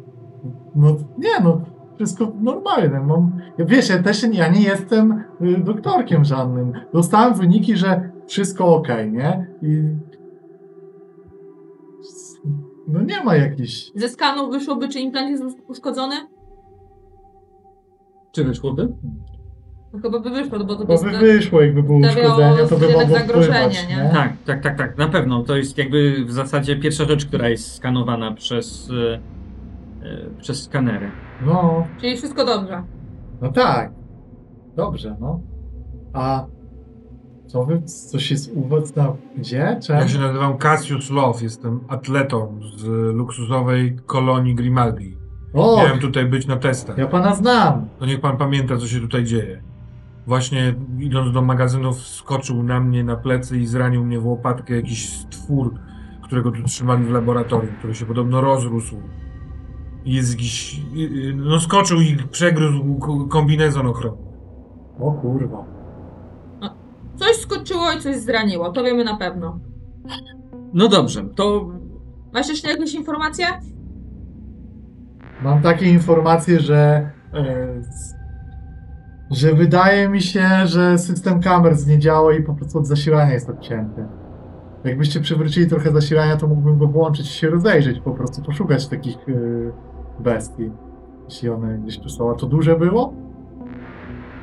[SPEAKER 1] No, nie, no, wszystko normalne. Mam, ja, wiesz, ja też nie, ja nie jestem y, doktorkiem żadnym. Dostałem wyniki, że wszystko ok, nie? I... No nie ma jakichś...
[SPEAKER 2] Ze skanów wyszłoby, czy implant jest uszkodzony?
[SPEAKER 4] Czy wyszłoby?
[SPEAKER 2] No chyba by wyszło, bo to
[SPEAKER 1] Bo
[SPEAKER 2] jest...
[SPEAKER 1] by wyszło, jakby było
[SPEAKER 2] stawiało
[SPEAKER 1] uszkodzenia, to by
[SPEAKER 2] jednak
[SPEAKER 1] mogło
[SPEAKER 2] zagrożenie,
[SPEAKER 1] wpływać,
[SPEAKER 2] nie?
[SPEAKER 1] nie?
[SPEAKER 4] Tak, tak, tak, tak, na pewno. To jest jakby w zasadzie pierwsza rzecz, która jest skanowana przez, e, e, przez skanery.
[SPEAKER 1] No,
[SPEAKER 2] Czyli wszystko dobrze.
[SPEAKER 1] No tak. Dobrze, no. A co wy, coś jest u was na gdzie?
[SPEAKER 3] Ja
[SPEAKER 1] Czemu?
[SPEAKER 3] się nazywam Cassius Love, jestem atletą z luksusowej kolonii Grimaldi.
[SPEAKER 1] O,
[SPEAKER 3] Miałem tutaj być na testach.
[SPEAKER 1] ja pana znam.
[SPEAKER 3] To No niech pan pamięta, co się tutaj dzieje. Właśnie idąc do magazynów, skoczył na mnie na plecy i zranił mnie w łopatkę jakiś stwór, którego tu trzymali w laboratorium, który się podobno rozrósł. I Jest jakiś... y- y, No skoczył i przegryzł k- kombinezon ochronny.
[SPEAKER 1] O kurwa.
[SPEAKER 2] Coś skoczyło i coś zraniło, to wiemy na pewno.
[SPEAKER 4] No dobrze, to
[SPEAKER 2] Masz jeszcze jakieś informacje?
[SPEAKER 1] Mam takie informacje, że e, s- że wydaje mi się, że system kamer nie działa i po prostu od zasilania jest odcięty. Jakbyście przywrócili trochę zasilania, to mógłbym go włączyć i się rozejrzeć, po prostu poszukać takich e, bestii, jeśli one gdzieś tu są. A to duże było?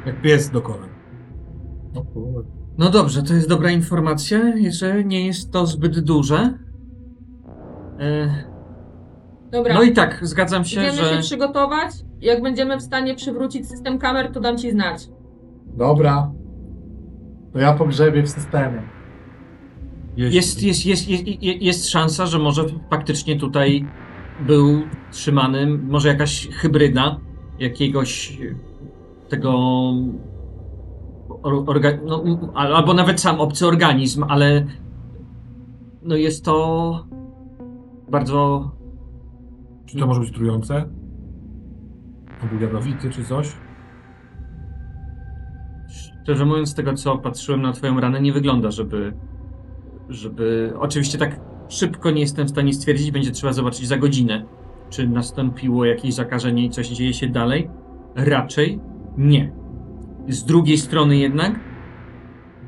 [SPEAKER 3] Jak pies do kolan.
[SPEAKER 1] O kurwa.
[SPEAKER 4] No dobrze, to jest dobra informacja, że nie jest to zbyt duże. E,
[SPEAKER 2] Dobra,
[SPEAKER 4] No i tak, zgadzam się,
[SPEAKER 2] idziemy się
[SPEAKER 4] że.
[SPEAKER 2] przygotować. Jak będziemy w stanie przywrócić system kamer, to dam ci znać.
[SPEAKER 1] Dobra. To ja pogrzebię w systemie.
[SPEAKER 3] Jeździ.
[SPEAKER 4] Jest, jest, jest, jest, je- jest szansa, że może faktycznie tutaj był trzymany, może jakaś hybryda jakiegoś e, tego or- orga, no, al- albo nawet sam obcy organizm, ale no jest to bardzo
[SPEAKER 3] Czy to może być trujące? To był jadowity czy coś?
[SPEAKER 4] Szczerze mówiąc, z tego co patrzyłem na twoją ranę, nie wygląda, żeby... żeby... Oczywiście tak szybko nie jestem w stanie stwierdzić, będzie trzeba zobaczyć za godzinę, czy nastąpiło jakieś zakażenie i coś dzieje się dalej. Raczej nie. Z drugiej strony jednak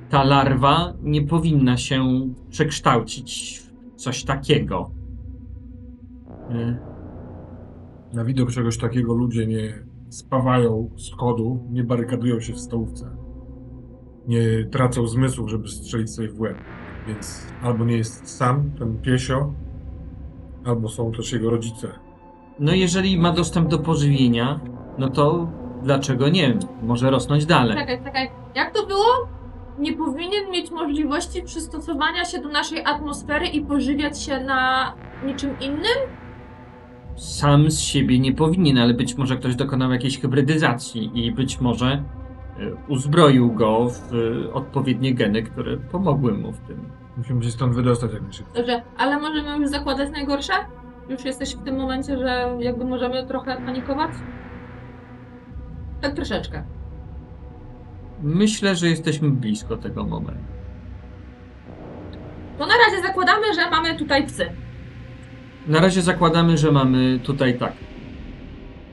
[SPEAKER 4] ta larwa nie powinna się przekształcić w coś takiego. Y,
[SPEAKER 3] Na widok czegoś takiego ludzie nie spawają schodu, nie barykadują się w stołówce. Nie tracą zmysłów, żeby strzelić sobie w łeb. Więc albo nie jest sam, ten piesio, albo są też jego rodzice.
[SPEAKER 4] No jeżeli ma dostęp do pożywienia, no to dlaczego nie? Może rosnąć dalej.
[SPEAKER 2] Czekaj, czekaj. Jak to było? nie powinien mieć możliwości przystosowania się do naszej atmosfery i pożywiać się na niczym innym?
[SPEAKER 4] Sam z siebie nie powinien, ale być może ktoś dokonał jakiejś hybrydyzacji i być może y, uzbroił go w y, odpowiednie geny, które pomogły mu w tym.
[SPEAKER 3] Musimy się stąd wydostać jak najszybciej.
[SPEAKER 2] Dobrze, ale możemy już zakładać najgorsze? Już jesteś w tym momencie, że jakby możemy trochę panikować? Tak troszeczkę.
[SPEAKER 4] Myślę, że jesteśmy blisko tego momentu.
[SPEAKER 2] To na razie zakładamy, że mamy tutaj psy.
[SPEAKER 4] Na razie zakładamy, że mamy tutaj tak.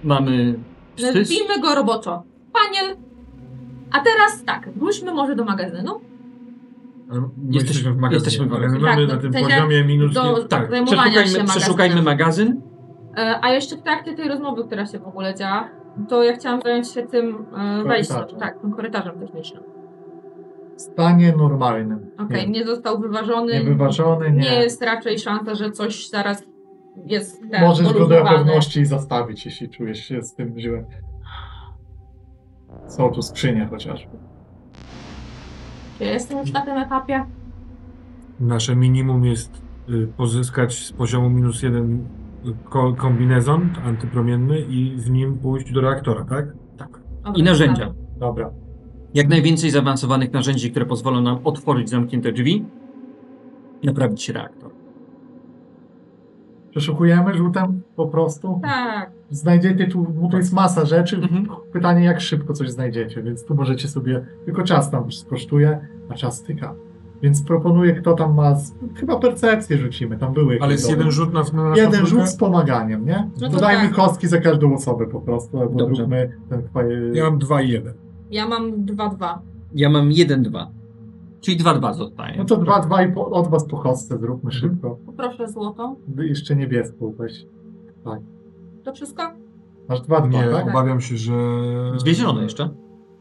[SPEAKER 4] Mamy psy,
[SPEAKER 2] Nazwijmy go roboczo. Paniel. A teraz tak, wróćmy może do magazynu.
[SPEAKER 3] Ale my
[SPEAKER 4] Jesteśmy-
[SPEAKER 3] w magazynie.
[SPEAKER 4] jesteśmy w magazynie.
[SPEAKER 3] Mamy
[SPEAKER 2] Tak,
[SPEAKER 3] na tym
[SPEAKER 2] w sensie
[SPEAKER 3] poziomie minus...
[SPEAKER 2] do-
[SPEAKER 3] nie- tak.
[SPEAKER 2] zajmowania się
[SPEAKER 4] przeszukajmy,
[SPEAKER 2] magazynem.
[SPEAKER 4] przeszukajmy magazyn.
[SPEAKER 2] E, a jeszcze w trakcie tej rozmowy, która się w ogóle działa, to ja chciałam zająć się tym e, wejściem,
[SPEAKER 1] Korytarzem.
[SPEAKER 2] tak, tym korytarzem technicznym.
[SPEAKER 1] W stanie normalnym.
[SPEAKER 2] Okej,
[SPEAKER 1] Nie.
[SPEAKER 2] nie został wyważony.
[SPEAKER 1] Niewyważony, nie.
[SPEAKER 2] nie jest raczej szansa, że coś zaraz jest ten,
[SPEAKER 1] Możesz go do
[SPEAKER 2] porównywane.
[SPEAKER 1] pewności zastawić, jeśli czujesz się z tym źle. Są tu skrzynie chociażby.
[SPEAKER 2] Czy jestem już na tym etapie?
[SPEAKER 3] Nasze minimum jest y, pozyskać z poziomu minus jeden y, ko- kombinezon antypromienny i z nim pójść do reaktora, tak? Tak.
[SPEAKER 2] Dobra,
[SPEAKER 4] I narzędzia.
[SPEAKER 1] Dobra.
[SPEAKER 4] Jak najwięcej zaawansowanych narzędzi, które pozwolą nam otworzyć zamknięte drzwi, naprawić reaktor.
[SPEAKER 1] Przeszukujemy żółtem po prostu.
[SPEAKER 2] Tak,
[SPEAKER 1] Znajdziecie tu, bo to jest masa rzeczy.
[SPEAKER 4] Mhm.
[SPEAKER 1] Pytanie, jak szybko coś znajdziecie, więc tu możecie sobie, tylko czas tam kosztuje, a czas tyka. Więc proponuję, kto tam ma, z, chyba percepcję rzucimy, tam były jakieś
[SPEAKER 3] Ale jest
[SPEAKER 1] dobre.
[SPEAKER 3] jeden rzut na, na naszą
[SPEAKER 1] Jeden
[SPEAKER 3] trójkę?
[SPEAKER 1] rzut z pomaganiem, nie?
[SPEAKER 2] No to
[SPEAKER 1] Dodajmy
[SPEAKER 2] tak.
[SPEAKER 1] kostki za każdą osobę po prostu, albo
[SPEAKER 4] Dobrze.
[SPEAKER 1] zróbmy ten kwaje...
[SPEAKER 3] Ja mam dwa i jeden.
[SPEAKER 2] ja mam 2-2.
[SPEAKER 4] Ja mam 1-2. Czyli 2-2 zostaje.
[SPEAKER 1] No to dwa, dwa i po, od was po kostce zróbmy
[SPEAKER 3] Mhm.
[SPEAKER 1] szybko.
[SPEAKER 2] Poproszę złotą.
[SPEAKER 1] Wy Jeszcze niebieską weź.
[SPEAKER 2] To wszystko?
[SPEAKER 1] Masz dwa, dwa,
[SPEAKER 3] Nie,
[SPEAKER 1] tak?
[SPEAKER 3] obawiam się, że...
[SPEAKER 4] Dwie zielone jeszcze.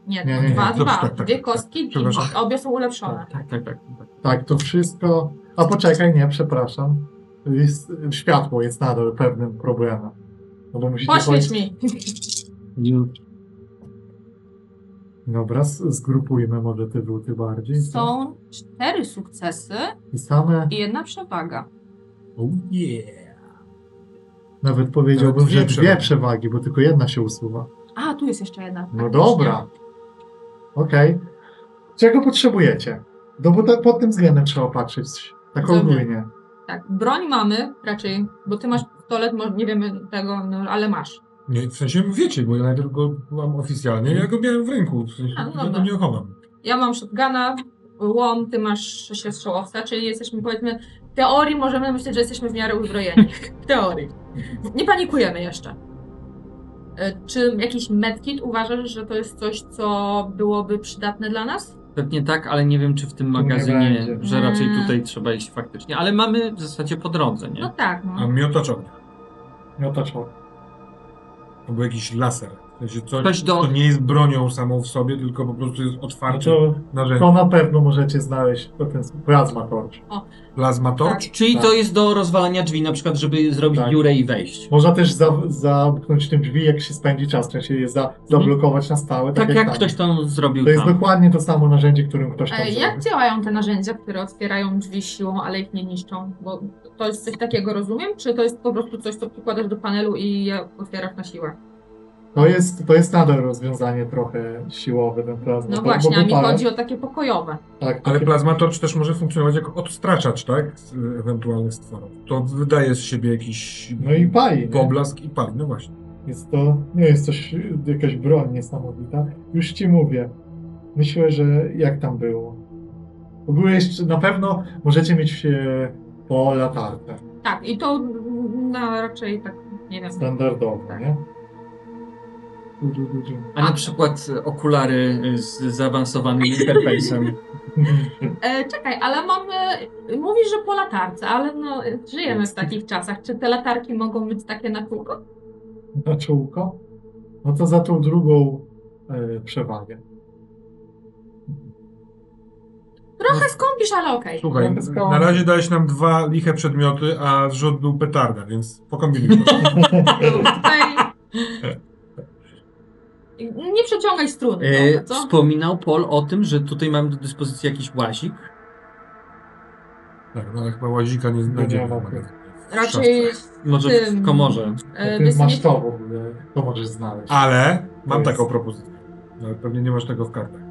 [SPEAKER 2] Nie,
[SPEAKER 1] Nie, nie, nie.
[SPEAKER 2] 2-2.
[SPEAKER 3] Dobrze, tak, tak,
[SPEAKER 2] Dwie
[SPEAKER 3] tak.
[SPEAKER 2] kostki i
[SPEAKER 3] Przepraszam.
[SPEAKER 2] obie są ulepszone.
[SPEAKER 4] Tak, tak, tak. tak.
[SPEAKER 1] Tak, to wszystko... A poczekaj, nie, przepraszam. Jest, światło jest nadal pewnym problemem. No bo musicie
[SPEAKER 2] Poświeć
[SPEAKER 1] chodzić-
[SPEAKER 2] mi.
[SPEAKER 1] Dobra, s- zgrupujmy może te żółty bardziej.
[SPEAKER 2] Są cztery sukcesy
[SPEAKER 1] I same,
[SPEAKER 2] i jedna przewaga.
[SPEAKER 3] Oh yeah.
[SPEAKER 1] nawet powiedziałbym,
[SPEAKER 3] Dwie
[SPEAKER 1] że dwie
[SPEAKER 3] przewagi.
[SPEAKER 1] przewagi, bo tylko jedna się usuwa.
[SPEAKER 2] A, tu jest jeszcze jedna.
[SPEAKER 1] No
[SPEAKER 2] faktycznie.
[SPEAKER 1] dobra. Okej. Czego potrzebujecie? No bo tak pod tym względem trzeba patrzeć. Tak
[SPEAKER 2] Dobrze.
[SPEAKER 1] ogólnie.
[SPEAKER 2] Tak, broń mamy raczej, bo ty masz pistolet, mo- nie wiemy tego, no, ale masz.
[SPEAKER 3] Nie, w sensie wiecie, bo ja najpierw go mam oficjalnie, ja go miałem w ręku, w sensie
[SPEAKER 2] A, no
[SPEAKER 3] ja go
[SPEAKER 2] dobra.
[SPEAKER 3] nie ochowam.
[SPEAKER 2] Ja mam shotguna, łom, ty masz sześciostrzałowca, czyli jesteśmy powiedzmy, w teorii możemy myśleć, że jesteśmy w miarę uzbrojeni. W teorii. Nie panikujemy jeszcze. E, Czy jakiś medkit uważasz, że to jest coś, co byłoby przydatne dla nas?
[SPEAKER 4] Pewnie tak, ale nie wiem, czy w tym
[SPEAKER 1] nie
[SPEAKER 4] magazynie,
[SPEAKER 1] będzie.
[SPEAKER 4] że raczej
[SPEAKER 2] Mm.
[SPEAKER 4] tutaj trzeba iść faktycznie. Ale mamy w zasadzie po drodze,
[SPEAKER 2] No
[SPEAKER 4] nie?
[SPEAKER 2] tak,
[SPEAKER 3] A
[SPEAKER 2] no.
[SPEAKER 3] miotaczony.
[SPEAKER 1] No to trzeba.
[SPEAKER 3] To był jakiś laser. W sensie coś,
[SPEAKER 4] Ktoś do-
[SPEAKER 3] to nie jest bronią samą w sobie, tylko po prostu jest otwarcie
[SPEAKER 1] No To,
[SPEAKER 3] narzędzie.
[SPEAKER 1] to na pewno możecie znaleźć to ten plazma torch.
[SPEAKER 3] Plazma torch.
[SPEAKER 2] Tak.
[SPEAKER 4] Czyli
[SPEAKER 1] Tak.
[SPEAKER 4] to jest do rozwalania drzwi, na przykład, żeby zrobić
[SPEAKER 1] Tak.
[SPEAKER 4] dziurę i wejść.
[SPEAKER 1] Można też za, zamknąć te drzwi, jak się spędzi czas, w sensie je za,
[SPEAKER 2] Mhm.
[SPEAKER 1] zablokować na stałe.
[SPEAKER 4] Tak jak
[SPEAKER 1] tam.
[SPEAKER 4] ktoś to zrobił
[SPEAKER 1] To jest
[SPEAKER 4] tam.
[SPEAKER 1] dokładnie to samo narzędzie, którym ktoś tam
[SPEAKER 2] E,
[SPEAKER 1] zrobił.
[SPEAKER 2] Jak działają te narzędzia, które otwierają drzwi siłą, ale ich nie niszczą? Bo to jest coś takiego, rozumiem? Czy to jest po prostu coś, co przykładasz do panelu i je otwierasz na siłę?
[SPEAKER 1] To jest, to jest nadal rozwiązanie trochę siłowe, ten plazma.
[SPEAKER 2] No
[SPEAKER 1] torch,
[SPEAKER 2] właśnie,
[SPEAKER 1] bo
[SPEAKER 2] a mi
[SPEAKER 1] wypala-
[SPEAKER 2] chodzi o takie pokojowe.
[SPEAKER 1] Tak,
[SPEAKER 3] Ale
[SPEAKER 1] takie-
[SPEAKER 3] plazma torch też może funkcjonować jako odstraczacz, tak? Z y, ewentualnych stworów. To wydaje z siebie jakiś
[SPEAKER 1] No i pali. nie?
[SPEAKER 3] poblask i pali, no właśnie.
[SPEAKER 1] Jest to, nie jest coś, jakaś broń niesamowita. Już ci mówię. Myślę, że jak tam było. Bo Były jeszcze, na pewno możecie mieć e, po latarce.
[SPEAKER 2] Tak, i to mm, no, raczej tak, nie wiem.
[SPEAKER 1] Standardowo, nie? Du,
[SPEAKER 2] Tak.
[SPEAKER 1] du, du, du.
[SPEAKER 4] A na przykład okulary z zaawansowanym interfejsem.
[SPEAKER 1] No,
[SPEAKER 2] E, czekaj, ale mamy. Mówisz, że po latarce, ale no, e, żyjemy w takich czasach. Czy te latarki mogą być takie na kółko?
[SPEAKER 1] Na czółko? No to za tą drugą e, przewagę. No.
[SPEAKER 2] Trochę skąpisz, ale okej.
[SPEAKER 3] Słuchaj,
[SPEAKER 1] Będę skał-
[SPEAKER 3] na razie dałeś nam dwa liche przedmioty, a zrzut był petarda, więc pokombinujmy.
[SPEAKER 2] Tutaj Nie przeciągaj struny,
[SPEAKER 4] E,
[SPEAKER 2] e, co?
[SPEAKER 4] wspominał Paul o tym, że tutaj mamy do dyspozycji jakiś łazik.
[SPEAKER 3] Tak, no ale chyba łazika nie znajdziemy.
[SPEAKER 1] ma.
[SPEAKER 2] Raczej
[SPEAKER 4] Może
[SPEAKER 2] Tym.
[SPEAKER 4] w komorze.
[SPEAKER 2] e,
[SPEAKER 1] Ty masz
[SPEAKER 2] wysynie-
[SPEAKER 1] to w ogóle, to możesz znaleźć.
[SPEAKER 3] Ale mam
[SPEAKER 1] jest-
[SPEAKER 3] taką propozycję. No, ale pewnie nie masz tego w kartach.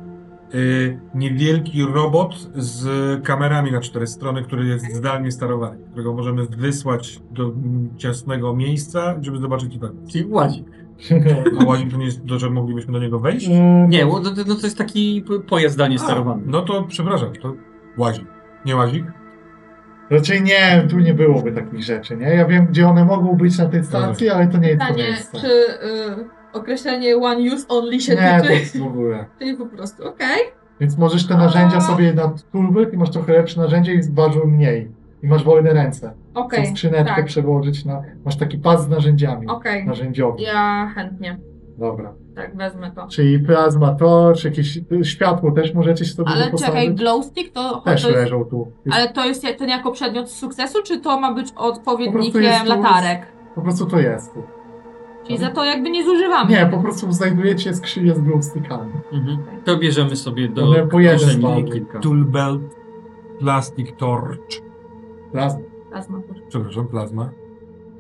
[SPEAKER 3] Yy, niewielki robot z kamerami na cztery strony, który jest zdalnie sterowany, którego możemy wysłać do mm, ciasnego miejsca, żeby zobaczyć tak.
[SPEAKER 4] Czyli łazik.
[SPEAKER 1] No.
[SPEAKER 3] A łazik to nie jest to, że moglibyśmy do niego wejść?
[SPEAKER 4] Nie, bo to, no to jest taki p- pojazd zdalnie
[SPEAKER 3] A,
[SPEAKER 4] sterowany.
[SPEAKER 3] No to przepraszam, to łazik. Nie łazik?
[SPEAKER 1] Raczej nie, tu nie byłoby takich rzeczy, nie? Ja wiem, gdzie one mogą być na tej stacji, ale to nie jest to
[SPEAKER 2] Pytanie,
[SPEAKER 1] miejsce.
[SPEAKER 2] czy y, określenie one use only się
[SPEAKER 1] Nie, to
[SPEAKER 2] tyczy,
[SPEAKER 1] jest w ogóle.
[SPEAKER 2] czyli po prostu okej.
[SPEAKER 1] Więc możesz te narzędzia
[SPEAKER 2] A.
[SPEAKER 1] sobie na turbyk i masz trochę lepsze narzędzie i ważył mniej. I masz wolne ręce.
[SPEAKER 2] Okej,
[SPEAKER 1] Chcę skrzyneczkę
[SPEAKER 2] tak.
[SPEAKER 1] przełożyć na... Masz taki pas z narzędziami.
[SPEAKER 2] okej.
[SPEAKER 1] Narzędziowy.
[SPEAKER 2] Ja chętnie,
[SPEAKER 1] Dobra.
[SPEAKER 2] tak, wezmę to.
[SPEAKER 1] Czyli plazma to, czy jakieś y, światło też możecie sobie
[SPEAKER 2] Ale
[SPEAKER 1] wyposażyć?
[SPEAKER 2] czekaj, glowstick to,
[SPEAKER 1] Też
[SPEAKER 2] to jest,
[SPEAKER 1] leżą tu. Jest,
[SPEAKER 2] ale to jest ten jako przedmiot sukcesu, czy to ma być odpowiednikiem
[SPEAKER 1] jest tu-
[SPEAKER 2] latarek?
[SPEAKER 1] Po prostu to jest tu.
[SPEAKER 2] Czyli za to jakby nie zużywamy.
[SPEAKER 1] Nie, po prostu znajdujecie skrzynię z glowstickami.
[SPEAKER 2] Tak.
[SPEAKER 4] Mhm. To bierzemy sobie do
[SPEAKER 1] One po jeden
[SPEAKER 4] kieszeni
[SPEAKER 1] mamy.
[SPEAKER 4] kilka.
[SPEAKER 3] Tool belt, plastic torch,
[SPEAKER 1] Plazma.
[SPEAKER 2] Plazma.
[SPEAKER 3] przepraszam, plazma.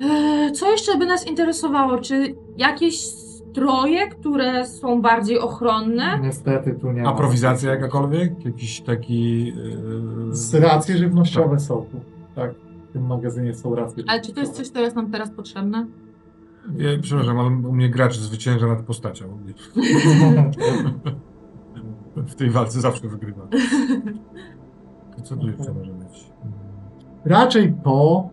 [SPEAKER 2] Eee, Co jeszcze by nas interesowało? Czy jakieś stroje, które są bardziej ochronne?
[SPEAKER 1] Niestety tu nie ma.
[SPEAKER 3] Aprowizacja jakakolwiek? Jakiś taki... Yy...
[SPEAKER 1] Z racje żywnościowe są tu. Tak. W tym magazynie są racje
[SPEAKER 2] Ale czy to jest coś, co jest nam teraz potrzebne?
[SPEAKER 3] Ja, przepraszam, ale u mnie gracz zwycięża nad postacią.
[SPEAKER 1] żywnościowe.
[SPEAKER 3] W tej walce zawsze wygrywa. To co tu jeszcze może być?
[SPEAKER 1] Raczej to,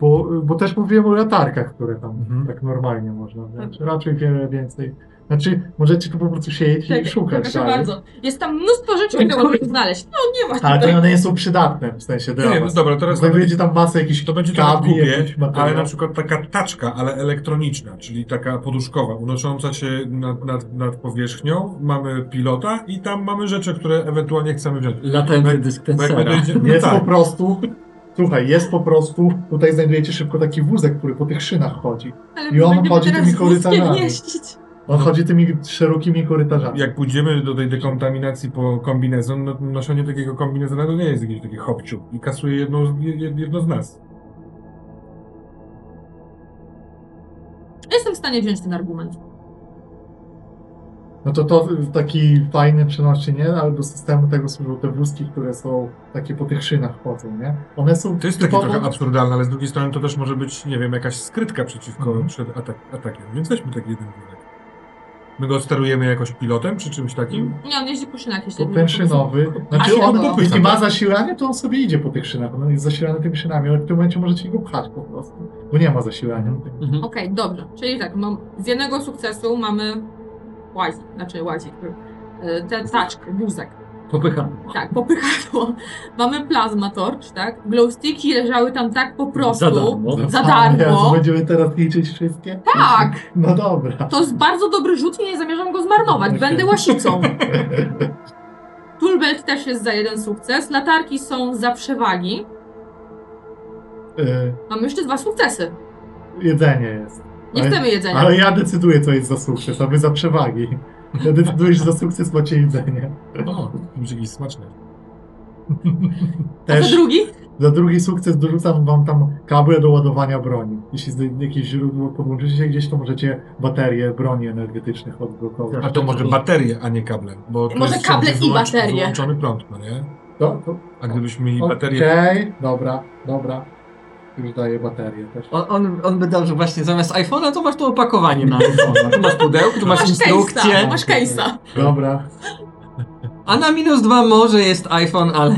[SPEAKER 1] bo, bo też mówiłem o latarkach, które tam
[SPEAKER 3] Mhm.
[SPEAKER 1] tak normalnie można wziąć. Raczej wiele więcej. Znaczy, możecie tu po prostu siedzieć i
[SPEAKER 2] Czekaj,
[SPEAKER 1] szukać
[SPEAKER 2] Tak, Proszę
[SPEAKER 1] dalej.
[SPEAKER 2] bardzo. Jest tam mnóstwo rzeczy, które możemy znaleźć. No nie ma
[SPEAKER 1] Ale
[SPEAKER 2] tutaj.
[SPEAKER 1] to one nie są przydatne, w sensie dla
[SPEAKER 3] Nie, no
[SPEAKER 1] was.
[SPEAKER 3] dobra, teraz
[SPEAKER 1] Znajdujecie tam masę jakichś
[SPEAKER 3] to będzie trochę
[SPEAKER 1] kabli,
[SPEAKER 3] głupie,
[SPEAKER 1] jakichś materiałów.
[SPEAKER 3] ale na przykład taka taczka, ale elektroniczna, czyli taka poduszkowa, unosząca się nad, nad, nad powierzchnią. Mamy pilota i tam mamy rzeczy, które ewentualnie chcemy wziąć.
[SPEAKER 4] Latający
[SPEAKER 3] Bo jak
[SPEAKER 4] dyspensera.
[SPEAKER 3] my dojdziemy,
[SPEAKER 1] Jest
[SPEAKER 3] tak,
[SPEAKER 1] po prostu. Słuchaj, jest po prostu. Tutaj znajdujecie szybko taki wózek, który po tych szynach chodzi.
[SPEAKER 2] Ale
[SPEAKER 1] I on chodzi tymi
[SPEAKER 2] teraz wózkiem
[SPEAKER 1] korytarzami.
[SPEAKER 2] jeździć.
[SPEAKER 3] No.
[SPEAKER 1] On chodzi tymi szerokimi korytarzami.
[SPEAKER 3] jak pójdziemy do tej dekontaminacji po kombinezon, no, noszenie takiego kombinezona to nie jest jakiś taki hopciu i kasuje jedno, z- jed- jedno z nas.
[SPEAKER 2] Jestem w stanie wziąć ten argument.
[SPEAKER 1] No to to w taki fajny przenośny, nie? Ale do systemu tego służą te wózki, które są takie po tych szynach chodzą, nie? One są
[SPEAKER 3] To jest takie
[SPEAKER 1] typowo-
[SPEAKER 3] trochę absurdalne, ale z drugiej strony to też może być, nie wiem, jakaś skrytka przeciwko
[SPEAKER 1] Mhm.
[SPEAKER 3] przed atak, atakiem, więc weźmy taki jeden wózek. My go sterujemy jakoś pilotem czy czymś takim?
[SPEAKER 2] Nie, on jeździ po szynach, jeśli
[SPEAKER 1] To ten szynowy.
[SPEAKER 2] A
[SPEAKER 1] Znaczy
[SPEAKER 2] się
[SPEAKER 1] on,
[SPEAKER 2] go-
[SPEAKER 1] jeśli
[SPEAKER 3] tak?
[SPEAKER 1] ma zasilanie, to on sobie idzie po tych szynach. On jest zasilany tymi szynami, ale w tym momencie możecie go pchać po prostu. Bo nie ma zasilania.
[SPEAKER 3] No.
[SPEAKER 4] Mhm.
[SPEAKER 2] Okej, dobrze. Czyli tak, mam, z jednego sukcesu mamy łazik, znaczy łazik, e, tę taczkę, wózek.
[SPEAKER 4] Popycham.
[SPEAKER 2] Tak, popychadło. Mamy plazmatorcz, tak? Glowsticki leżały tam tak po prostu.
[SPEAKER 4] Za darmo.
[SPEAKER 2] Za
[SPEAKER 1] No. A, Jezu,
[SPEAKER 2] darmo.
[SPEAKER 1] będziemy teraz liczyć wszystkie?
[SPEAKER 2] Tak!
[SPEAKER 1] No dobra.
[SPEAKER 2] To jest bardzo dobry rzut i nie zamierzam go zmarnować.
[SPEAKER 1] Okej.
[SPEAKER 2] Będę łasicą. Tulbelt też jest za jeden sukces. Latarki są za przewagi.
[SPEAKER 1] Y,
[SPEAKER 2] Mamy jeszcze dwa sukcesy.
[SPEAKER 1] Jedzenie jest.
[SPEAKER 2] Nie
[SPEAKER 1] Ale-
[SPEAKER 2] chcemy jedzenia.
[SPEAKER 1] Ale ja decyduję, co jest za sukces, a wy za przewagi. Ja decyduję, że za sukces macie jedzenie.
[SPEAKER 3] O, No, będzie jakiś smaczny.
[SPEAKER 2] A za
[SPEAKER 1] Też
[SPEAKER 2] drugi?
[SPEAKER 1] za drugi sukces dorzucam wam tam kable do ładowania broni. Jeśli znajdziecie jakieś źródło podłączycie gdzieś, to możecie baterie broni energetycznych odblokować.
[SPEAKER 3] A to może baterie, a nie kable. Bo to
[SPEAKER 2] Może
[SPEAKER 3] jest
[SPEAKER 2] kable
[SPEAKER 3] wszędzie
[SPEAKER 2] i
[SPEAKER 3] wyłącz-
[SPEAKER 2] baterie.
[SPEAKER 3] Wyłączony prąd, no nie?
[SPEAKER 1] To, to,
[SPEAKER 3] A gdybyśmy mieli
[SPEAKER 1] Okej,
[SPEAKER 3] baterie...
[SPEAKER 1] dobra, dobra. Już daję baterię też.
[SPEAKER 4] On, on, on by dał, że właśnie zamiast iPhone'a to masz to opakowanie na iPhone'a. Tu masz pudełko, tu masz,
[SPEAKER 2] No. Masz
[SPEAKER 4] instrukcję.
[SPEAKER 2] case'a. Masz case'a.
[SPEAKER 1] Dobra,
[SPEAKER 4] A na minus dwa może jest iPhone, ale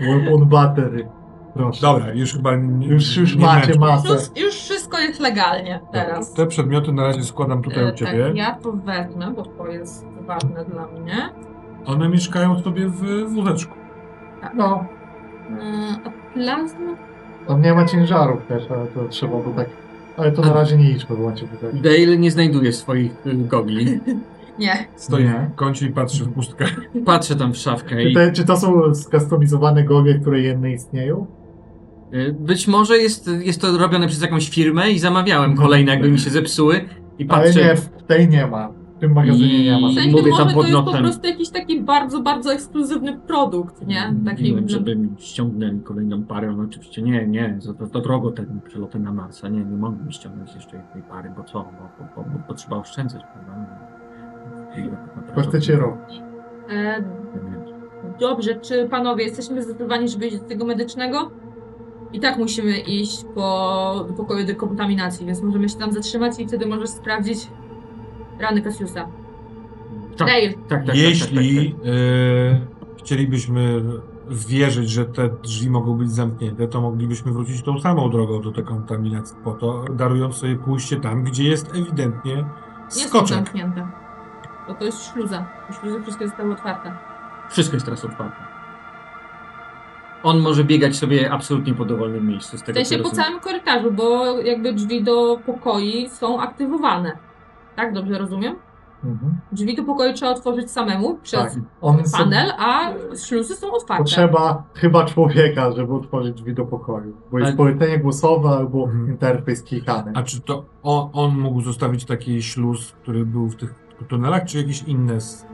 [SPEAKER 1] weapon battery. Proszę.
[SPEAKER 3] Dobra, już chyba nie,
[SPEAKER 1] Już, już
[SPEAKER 3] nie
[SPEAKER 1] macie
[SPEAKER 3] męczę.
[SPEAKER 1] masę.
[SPEAKER 2] Już, już wszystko jest legalnie
[SPEAKER 1] Tak.
[SPEAKER 2] teraz.
[SPEAKER 3] Te przedmioty na razie składam tutaj
[SPEAKER 2] E,
[SPEAKER 3] u ciebie.
[SPEAKER 2] Tak, ja to wezmę, bo to jest ważne dla mnie.
[SPEAKER 3] One mieszkają sobie w wózeczku.
[SPEAKER 1] No,
[SPEAKER 2] Tak, E, A plazma?
[SPEAKER 1] tam nie ma ciężarów też, ale to trzeba by tak... Ale to na razie nie idźmy, bo macie tutaj.
[SPEAKER 4] Dale nie znajduje swoich y, gogli.
[SPEAKER 2] Nie.
[SPEAKER 3] Stoi
[SPEAKER 1] Nie.
[SPEAKER 3] w kącie i patrzy w pustkę.
[SPEAKER 4] Tak, Patrzę tam w szafkę
[SPEAKER 1] Czy,
[SPEAKER 4] i
[SPEAKER 1] te, czy to są skustomizowane gogle, które jedne istnieją?
[SPEAKER 4] y, być może jest, jest to robione przez jakąś firmę i zamawiałem kolejne, jakby mi się zepsuły i
[SPEAKER 1] Ale
[SPEAKER 4] patrzę.
[SPEAKER 1] nie, w tej nie ma. W tym magazynie nie ma.
[SPEAKER 2] W sensie
[SPEAKER 4] Mówię tam
[SPEAKER 2] może to
[SPEAKER 4] pod
[SPEAKER 2] jest po
[SPEAKER 4] nosem.
[SPEAKER 2] prostu jakiś taki bardzo, bardzo ekskluzywny produkt, nie? Taki,
[SPEAKER 4] Mówiłem,
[SPEAKER 2] no,
[SPEAKER 4] Mm, żeby mi ściągnęli kolejną parę, no oczywiście nie, nie, za to, to drogo te przeloty na Marsa, nie, nie mogę mi ściągnąć jeszcze jednej pary, bo co, bo, bo, bo, bo, bo trzeba oszczędzać, prawda? No,
[SPEAKER 1] Co chcecie robić?
[SPEAKER 2] e,
[SPEAKER 4] no,
[SPEAKER 2] Dobrze, czy panowie jesteśmy zdecydowani, żeby iść do tego medycznego? I tak musimy iść po do pokoju dekontaminacji, więc możemy się tam zatrzymać i wtedy możesz sprawdzić rany Cassiusa.
[SPEAKER 4] Tak,
[SPEAKER 2] Dale,
[SPEAKER 4] tak, tak.
[SPEAKER 3] Jeśli
[SPEAKER 4] Tak,
[SPEAKER 3] e, chcielibyśmy wierzyć, że te drzwi mogą być zamknięte, to moglibyśmy wrócić tą samą drogą do tej kontaminacji po to, darując sobie pójście tam, gdzie jest ewidentnie
[SPEAKER 2] nie są
[SPEAKER 3] skoczek.
[SPEAKER 2] zamknięte. Bo to jest śluza. Bo Śluzy wszystkie zostały otwarte.
[SPEAKER 4] tak. Wszystko jest teraz otwarte. On może biegać sobie absolutnie po dowolnym miejscu, z
[SPEAKER 2] W
[SPEAKER 4] tego
[SPEAKER 2] sensie po
[SPEAKER 4] co rozumiem.
[SPEAKER 2] całym korytarzu, bo jakby drzwi do pokoi są aktywowane. Tak, dobrze rozumiem?
[SPEAKER 1] Mhm.
[SPEAKER 2] Drzwi do pokoju trzeba otworzyć samemu przez
[SPEAKER 1] Tak. On
[SPEAKER 2] panel, a śluzy są otwarte.
[SPEAKER 1] Potrzeba chyba człowieka, żeby otworzyć drzwi do pokoju. Bo jest
[SPEAKER 4] Ale-
[SPEAKER 1] polecenie głosowe albo
[SPEAKER 3] Mhm.
[SPEAKER 1] interfejs klikany.
[SPEAKER 3] A czy to on, on mógł zostawić taki śluz, który był w tych tunelach, czy jakieś inne? Z...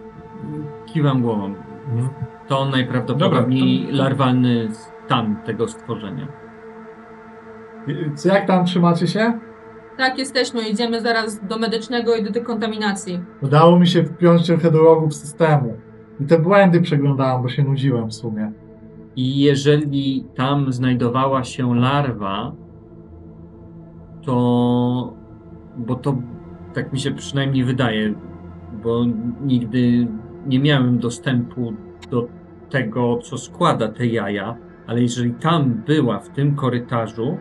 [SPEAKER 4] Kiwam głową.
[SPEAKER 3] Mhm.
[SPEAKER 4] To najprawdopodobniej
[SPEAKER 3] Dobra, to- to-
[SPEAKER 4] larwalny stan tego stworzenia.
[SPEAKER 1] I- Y, Co, jak tam trzymacie się?
[SPEAKER 2] Tak, jesteśmy, idziemy zaraz do medycznego i do dekontaminacji.
[SPEAKER 1] Udało mi się wpiąć trochę do logów systemu. I te błędy przeglądałem, bo się nudziłem w sumie.
[SPEAKER 4] I jeżeli tam znajdowała się larwa, to. Bo to tak mi się przynajmniej wydaje, bo nigdy nie miałem dostępu do tego, co składa te jaja, ale jeżeli tam była w tym korytarzu,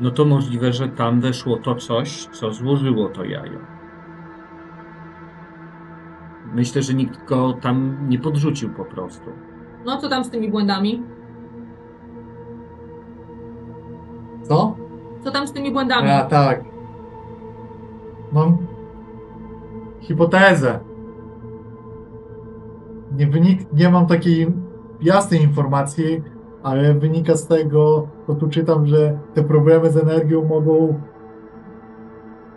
[SPEAKER 4] no to możliwe, że tam weszło to coś, co złożyło to jajo. Myślę, że nikt go tam nie podrzucił po prostu.
[SPEAKER 2] No co tam z tymi błędami?
[SPEAKER 1] Co?
[SPEAKER 2] Co tam z tymi błędami?
[SPEAKER 1] A, tak. Mam hipotezę. Nie, wynik, nie mam takiej jasnej informacji, ale wynika z tego, bo tu czytam, że te problemy z energią mogą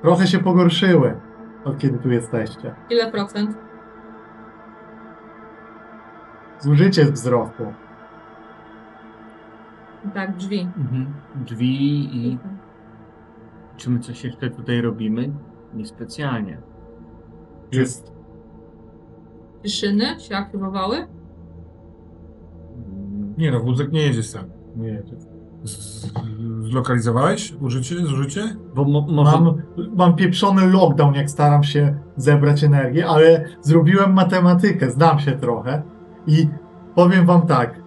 [SPEAKER 1] trochę się pogorszyły od kiedy tu jesteście.
[SPEAKER 2] Ile procent?
[SPEAKER 1] Zużycie wzrosło.
[SPEAKER 2] Tak, drzwi.
[SPEAKER 4] Mhm. Drzwi i
[SPEAKER 1] Mm.
[SPEAKER 4] czy my coś jeszcze tutaj robimy? Niespecjalnie.
[SPEAKER 1] Jest
[SPEAKER 2] Szyny się aktywowały?
[SPEAKER 4] Mm,
[SPEAKER 3] Nie no, wózek nie jedzie sam. Nie jedzie. Z- Zlokalizowałeś użycie, zużycie?
[SPEAKER 4] Bo mo- może...
[SPEAKER 1] Mam, mam pieprzony lockdown, jak staram się zebrać energię, ale zrobiłem matematykę, znam się trochę i powiem wam tak.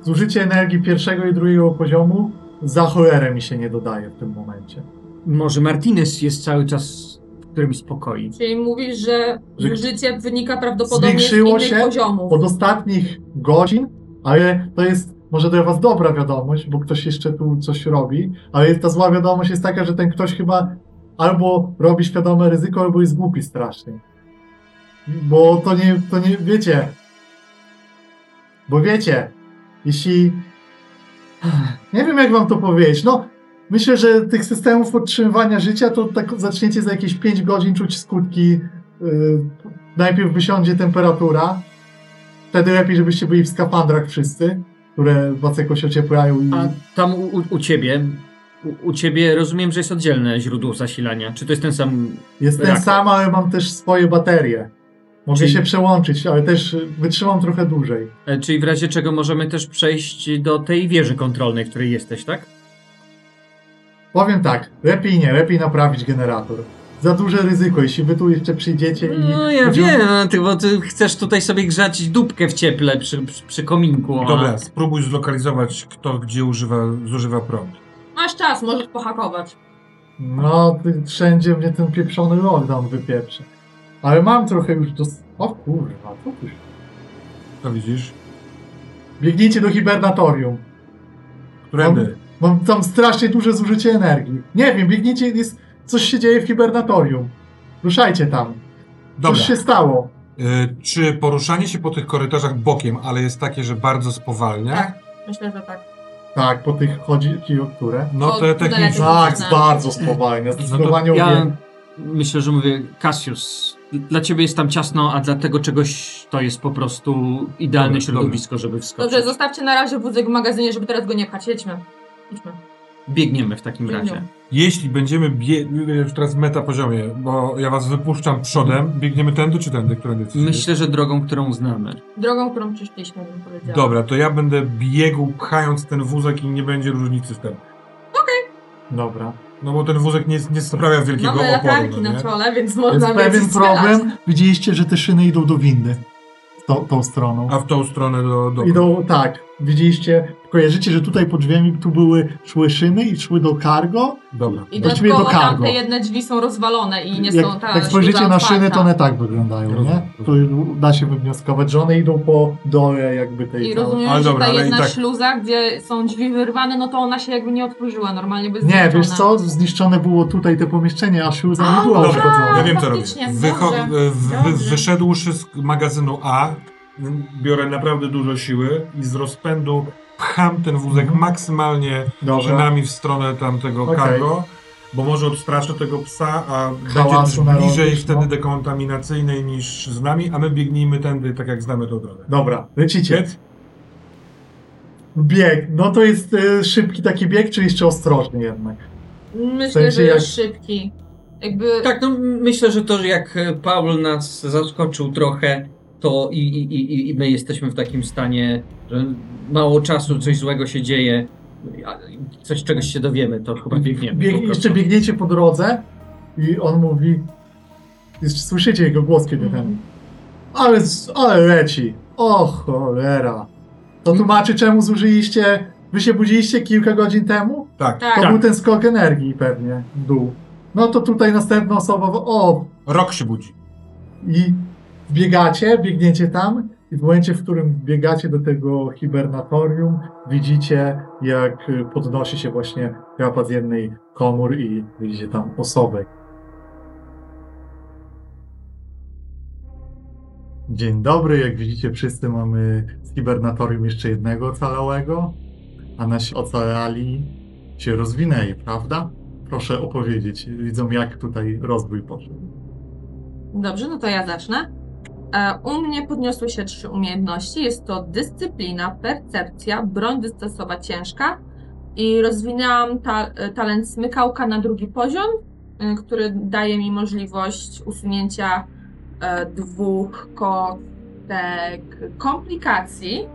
[SPEAKER 1] Zużycie energii pierwszego i drugiego poziomu za cholerę mi się nie dodaje w tym momencie.
[SPEAKER 4] Może Martinez jest cały czas w którymś pokoju.
[SPEAKER 2] Czyli mówisz, że
[SPEAKER 1] Że-
[SPEAKER 2] życie wynika prawdopodobnie z
[SPEAKER 1] Zwiększyło
[SPEAKER 2] innych
[SPEAKER 1] się
[SPEAKER 2] poziomów.
[SPEAKER 1] Od ostatnich godzin, ale to jest może dla was dobra wiadomość, bo ktoś jeszcze tu coś robi, ale ta zła wiadomość jest taka, że ten ktoś chyba albo robi świadome ryzyko, albo jest głupi strasznie. Bo to nie, to nie, wiecie, Bo wiecie, jeśli. Nie wiem, jak wam to powiedzieć. No, myślę, że tych systemów podtrzymywania życia to tak zaczniecie za jakieś 5 godzin czuć skutki. Yy, najpierw wysiądzie temperatura. Wtedy lepiej, żebyście byli w skafandrach wszyscy, które was jakoś ocieplają. I...
[SPEAKER 4] A tam u, u- u ciebie... U, u ciebie rozumiem, że jest oddzielne źródło zasilania. Czy to jest ten sam...
[SPEAKER 1] Jestem
[SPEAKER 4] rak.
[SPEAKER 1] sam, ale mam też swoje baterie. Mogę
[SPEAKER 4] Czyli-
[SPEAKER 1] się przełączyć, ale też y, wytrzymam trochę dłużej.
[SPEAKER 4] e, Czyli w razie czego możemy też przejść do tej wieży kontrolnej, w której jesteś, tak?
[SPEAKER 1] Powiem tak, lepiej nie, lepiej naprawić generator. Za duże ryzyko, jeśli wy tu jeszcze przyjdziecie i.
[SPEAKER 4] No ja
[SPEAKER 1] będziemy-
[SPEAKER 4] wiem, no, ty, bo ty chcesz tutaj sobie grzać dupkę w cieple przy, przy, przy kominku. a-
[SPEAKER 3] Dobra, spróbuj zlokalizować, kto gdzie używa, zużywa prąd.
[SPEAKER 2] Masz czas, możesz pohakować.
[SPEAKER 1] No, ty- wszędzie mnie ten pieprzony lockdown wypieprze. Ale mam trochę już do... O kurwa, co tu się...
[SPEAKER 3] To widzisz?
[SPEAKER 1] Biegnijcie do hibernatorium.
[SPEAKER 3] Którędy?
[SPEAKER 1] Mam tam strasznie duże zużycie energii. Nie wiem, biegnijcie, jest... Coś się dzieje w hibernatorium. Ruszajcie tam.
[SPEAKER 3] Dobra.
[SPEAKER 1] Coś się stało.
[SPEAKER 3] Y, czy poruszanie się po tych korytarzach bokiem, ale jest takie, że bardzo spowalnia?
[SPEAKER 2] Tak. Myślę, że tak.
[SPEAKER 1] Tak, po tych chodzi ci o które?
[SPEAKER 3] No
[SPEAKER 2] O,
[SPEAKER 3] te technicznie.
[SPEAKER 2] tunele.
[SPEAKER 1] Tak, bardzo spowalnia. Zdecydowanie
[SPEAKER 4] Ja
[SPEAKER 1] ja...
[SPEAKER 4] myślę, że mówię Cassius Dla ciebie jest tam ciasno, a dla tego czegoś to jest po prostu idealne
[SPEAKER 3] Dobra,
[SPEAKER 4] środowisko, żeby wskoczyć.
[SPEAKER 2] No Dobrze, zostawcie na razie wózek w magazynie, żeby teraz go nie pchać. Jedźmy. Idźmy.
[SPEAKER 4] Biegniemy w takim
[SPEAKER 2] Biegniemy.
[SPEAKER 4] razie.
[SPEAKER 3] Jeśli będziemy bie... już teraz w metapoziomie, bo ja was wypuszczam przodem, biegniemy tędy czy tędy, którędy chcecie?
[SPEAKER 4] Myślę, że drogą, którą znamy.
[SPEAKER 2] Drogą, którą przyszliśmy, bym powiedziała.
[SPEAKER 3] Dobra, to ja będę biegł pchając ten wózek i nie będzie różnicy w tym.
[SPEAKER 1] Dobra.
[SPEAKER 3] No bo ten wózek nie, nie sprawia wielkiego
[SPEAKER 2] Mamy
[SPEAKER 3] oporu.
[SPEAKER 2] latarki
[SPEAKER 3] No,
[SPEAKER 2] na
[SPEAKER 3] nie?
[SPEAKER 2] czole, więc
[SPEAKER 1] Jest
[SPEAKER 2] można
[SPEAKER 1] pewien
[SPEAKER 2] wiedzieć
[SPEAKER 1] problem. Widzieliście, że te szyny idą do windy. To, tą stroną.
[SPEAKER 3] A w tą stronę do... do...
[SPEAKER 1] Idą tak. Widzieliście, kojarzycie, że tutaj pod drzwiami tu były, szły szyny i szły do cargo.
[SPEAKER 3] Dobra.
[SPEAKER 2] I
[SPEAKER 1] Właściwie do
[SPEAKER 2] dodatkowo
[SPEAKER 1] cargo.
[SPEAKER 2] tamte jedne drzwi są rozwalone i nie są
[SPEAKER 1] jak,
[SPEAKER 2] ta
[SPEAKER 1] jak spojrzycie
[SPEAKER 2] śruba
[SPEAKER 1] na szyny, to
[SPEAKER 2] otwarta.
[SPEAKER 1] one tak wyglądają, nie?
[SPEAKER 3] Rozumiem.
[SPEAKER 1] Tu da się wywnioskować, że one idą po dole jakby tej
[SPEAKER 2] I
[SPEAKER 1] całej-
[SPEAKER 2] rozumiem,
[SPEAKER 3] Ale
[SPEAKER 2] że
[SPEAKER 3] dobra,
[SPEAKER 2] ta
[SPEAKER 3] ale i
[SPEAKER 2] jedna
[SPEAKER 3] tak-
[SPEAKER 2] śluza, gdzie są drzwi wyrwane, no to ona się jakby nie otworzyła normalnie bez
[SPEAKER 1] Nie, wiesz co? Zniszczone było tutaj te pomieszczenie, a sił za nie było
[SPEAKER 3] Dobra, ja
[SPEAKER 1] uszkodzone.
[SPEAKER 3] wiem co robię.
[SPEAKER 2] faktycznie,
[SPEAKER 3] Wycho-
[SPEAKER 2] dobrze,
[SPEAKER 3] w- wy-
[SPEAKER 2] dobrze.
[SPEAKER 3] wyszedłszy z magazynu A, biorę naprawdę dużo siły i z rozpędu pcham ten wózek
[SPEAKER 1] Mhm.
[SPEAKER 3] maksymalnie
[SPEAKER 1] Dobra.
[SPEAKER 3] szynami w stronę tamtego
[SPEAKER 1] Okej.
[SPEAKER 3] cargo, bo może odstraszę tego psa, a
[SPEAKER 1] Hałasu
[SPEAKER 3] będzie bliżej
[SPEAKER 1] narobisz,
[SPEAKER 3] wtedy
[SPEAKER 1] no.
[SPEAKER 3] dekontaminacyjnej niż z nami, a my biegnijmy tędy tak jak znamy tą drogę.
[SPEAKER 1] Dobra, lecicie.
[SPEAKER 3] Więc
[SPEAKER 1] Bieg. No to jest y, szybki taki bieg, czy jeszcze ostrożny jednak?
[SPEAKER 2] Myślę,
[SPEAKER 1] W sensie
[SPEAKER 2] że
[SPEAKER 1] jak-
[SPEAKER 2] jest szybki. Jakby
[SPEAKER 4] Tak, no myślę, że to, że jak e, Paul nas zaskoczył trochę, to i, i, i, i my jesteśmy w takim stanie, że mało czasu, coś złego się dzieje, a coś czegoś się dowiemy, to chyba biegniemy. po
[SPEAKER 1] Bieg,
[SPEAKER 4] prostu.
[SPEAKER 1] jeszcze biegniecie po drodze i on mówi... Jeszcze słyszycie jego głos, kiedy ten... Ale, s- ale leci. O cholera. To tłumaczy, czemu zużyliście... Wy się budziliście kilka godzin temu?
[SPEAKER 3] tak,
[SPEAKER 1] To
[SPEAKER 2] tak.
[SPEAKER 1] był ten skok energii pewnie. w Dół. No to tutaj następna osoba... w- O,
[SPEAKER 3] rok się budzi.
[SPEAKER 1] I biegacie, biegniecie tam i w momencie, w którym biegacie do tego hibernatorium, widzicie jak y, podnosi się właśnie krapa z jednej komór i widzicie tam osobę. Dzień dobry, jak widzicie wszyscy mamy z hibernatorium jeszcze jednego ocalałego, a nasi ocalali się rozwinęli, prawda? Proszę opowiedzieć, widzą jak tutaj rozwój poszedł.
[SPEAKER 2] Dobrze, no to ja zacznę. E, U mnie podniosły się trzy umiejętności. Jest to dyscyplina, percepcja, broń dystansowa ciężka i rozwinęłam ta, e, talent smykałka na drugi poziom, e, który daje mi możliwość usunięcia e, dwóch kostek komplikacji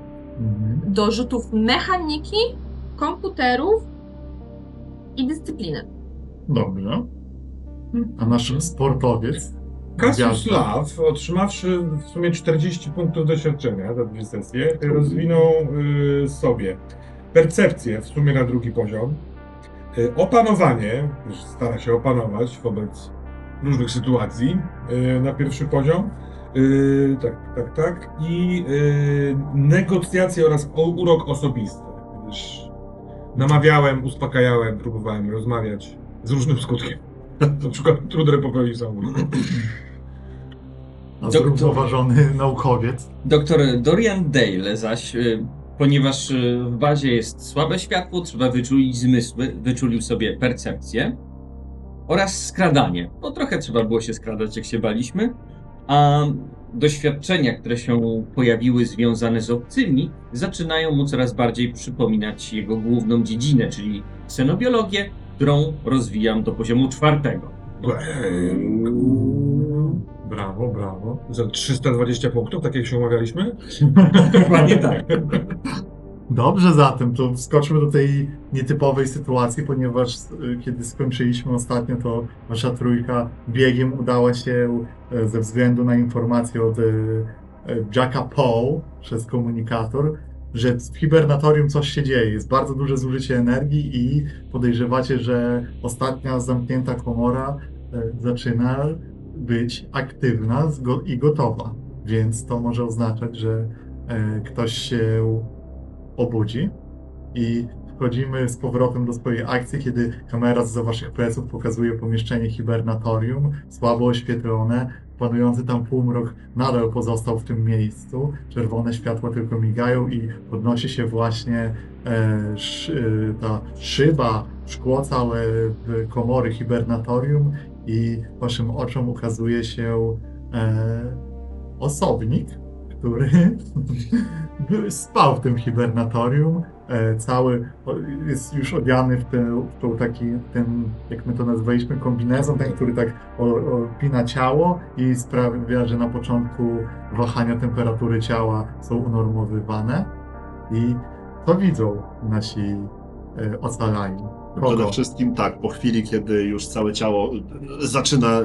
[SPEAKER 2] do rzutów mechaniki, komputerów i dyscypliny.
[SPEAKER 1] Dobrze. A nasz sportowiec.
[SPEAKER 3] Cassius
[SPEAKER 1] Gwiazda.
[SPEAKER 3] Love, otrzymawszy w sumie 40 punktów doświadczenia za dwie sesje, rozwinął y, sobie percepcję w sumie na drugi poziom, y, opanowanie, już stara się opanować wobec różnych sytuacji y, na pierwszy poziom, y, tak, tak, tak, i y, negocjacje oraz o- urok osobisty, gdyż namawiałem, uspokajałem, próbowałem rozmawiać z różnym skutkiem. Na przykład trudne popełnił samobójstwo.
[SPEAKER 1] A
[SPEAKER 5] Doktor.
[SPEAKER 1] zrównoważony naukowiec.
[SPEAKER 5] Doktor Dorian Dale zaś, y, ponieważ y, w bazie jest słabe światło, trzeba wyczulić zmysły, wyczulił sobie percepcję oraz skradanie, bo trochę trzeba było się skradać, jak się baliśmy, a doświadczenia, które się pojawiły związane z obcymi, zaczynają mu coraz bardziej przypominać jego główną dziedzinę, czyli ksenobiologię, którą rozwijam do poziomu czwartego.
[SPEAKER 3] Brawo, brawo. Za 320 punktów, tak jak się umawialiśmy?
[SPEAKER 4] Dokładnie tak.
[SPEAKER 1] Dobrze zatem, to wskoczmy do tej nietypowej sytuacji, ponieważ y, kiedy skończyliśmy ostatnio, to nasza trójka biegiem udała się e, ze względu na informację od e, e, Jacka Paul przez komunikator, że w hibernatorium coś się dzieje. Jest bardzo duże zużycie energii i podejrzewacie, że ostatnia zamknięta komora e, zaczyna być aktywna zgo- i gotowa. Więc to może oznaczać, że e, ktoś się obudzi i wchodzimy z powrotem do swojej akcji, kiedy kamera z waszych pleców pokazuje pomieszczenie hibernatorium, słabo oświetlone, panujący tam półmrok nadal pozostał w tym miejscu, czerwone światła tylko migają i podnosi się właśnie e, szy, e, ta szyba, szkło całe w komory hibernatorium i waszym oczom ukazuje się e, osobnik, który był- spał w tym hibernatorium, e, cały o- jest już odziany w ten, w tą taki, ten, jak my to nazwaliśmy, kombinezon, ten, który tak o- opina ciało i sprawia, że na początku wahania temperatury ciała są unormowywane i to widzą nasi e, ocalani.
[SPEAKER 6] Przede
[SPEAKER 1] Kogo?
[SPEAKER 6] wszystkim tak, po chwili, kiedy już całe ciało y, zaczyna y,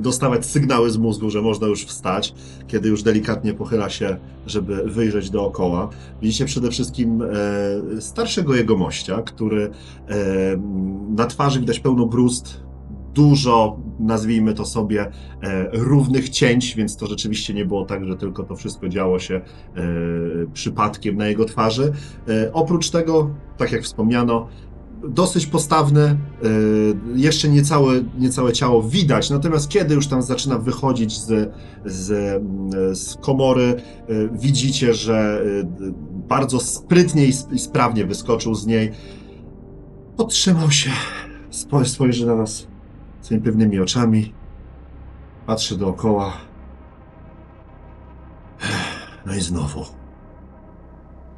[SPEAKER 6] dostawać sygnały z mózgu, że można już wstać, kiedy już delikatnie pochyla się, żeby wyjrzeć dookoła, widzicie przede wszystkim e, starszego jegomościa, który e, na twarzy widać pełno brust, dużo, nazwijmy to sobie, e, równych cięć, więc to rzeczywiście nie było tak, że tylko to wszystko działo się e, przypadkiem na jego twarzy. E, oprócz tego, tak jak wspomniano, dosyć postawny, e, jeszcze niecałe, niecałe ciało widać, natomiast kiedy już tam zaczyna wychodzić z, z, mm, z komory, e, widzicie, że e, d- bardzo sprytnie i sp- i sprawnie wyskoczył z niej. Podtrzymał się, spo- spojrzy na nas swoimi pewnymi oczami, patrzy dookoła. No i znowu.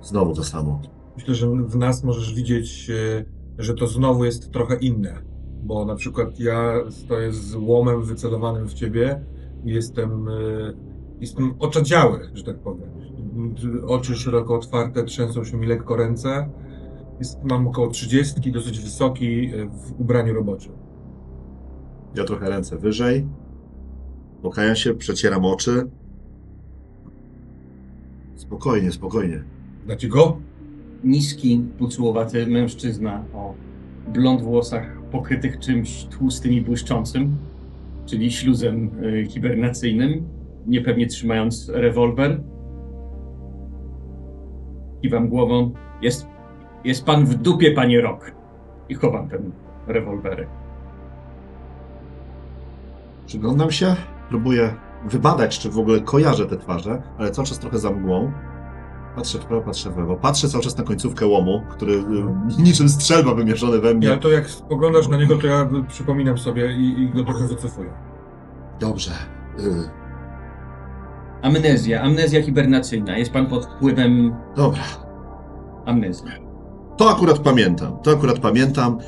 [SPEAKER 6] Znowu to samo.
[SPEAKER 3] Myślę, że w nas możesz widzieć, e, że to znowu jest trochę inne. Bo na przykład ja stoję z łomem wycelowanym w ciebie i jestem, e, jestem oczadziały, że tak powiem. M- Oczy szeroko otwarte, trzęsą się mi lekko ręce. Jest, mam około 30, dosyć wysoki e, w ubraniu roboczym.
[SPEAKER 6] Ja trochę ręce wyżej. Pokajam się, przecieram oczy. Spokojnie, spokojnie.
[SPEAKER 3] Znacie go?
[SPEAKER 5] Niski, pucłowaty mężczyzna o blond włosach pokrytych czymś tłustym i błyszczącym, czyli śluzem y, hibernacyjnym, niepewnie trzymając rewolwer. Kiwam głową. Jest, jest pan w dupie, panie Rok. I chowam ten rewolwery.
[SPEAKER 6] Przyglądam się, próbuję wybadać, czy w ogóle kojarzę te twarze, ale cały czas trochę za mgłą. Patrzę w prawo, patrzę w lewo. Patrzę cały czas na końcówkę łomu, który y, niczym strzelba wymierzony we
[SPEAKER 3] Ja
[SPEAKER 6] mnie.
[SPEAKER 3] No to jak spoglądasz na niego, to ja y, przypominam sobie i, i go trochę wycofuję.
[SPEAKER 6] Dobrze. y,
[SPEAKER 5] Amnezja, amnezja hibernacyjna. Jest pan pod wpływem
[SPEAKER 6] Dobra.
[SPEAKER 5] amnezji.
[SPEAKER 6] To akurat pamiętam. To akurat pamiętam.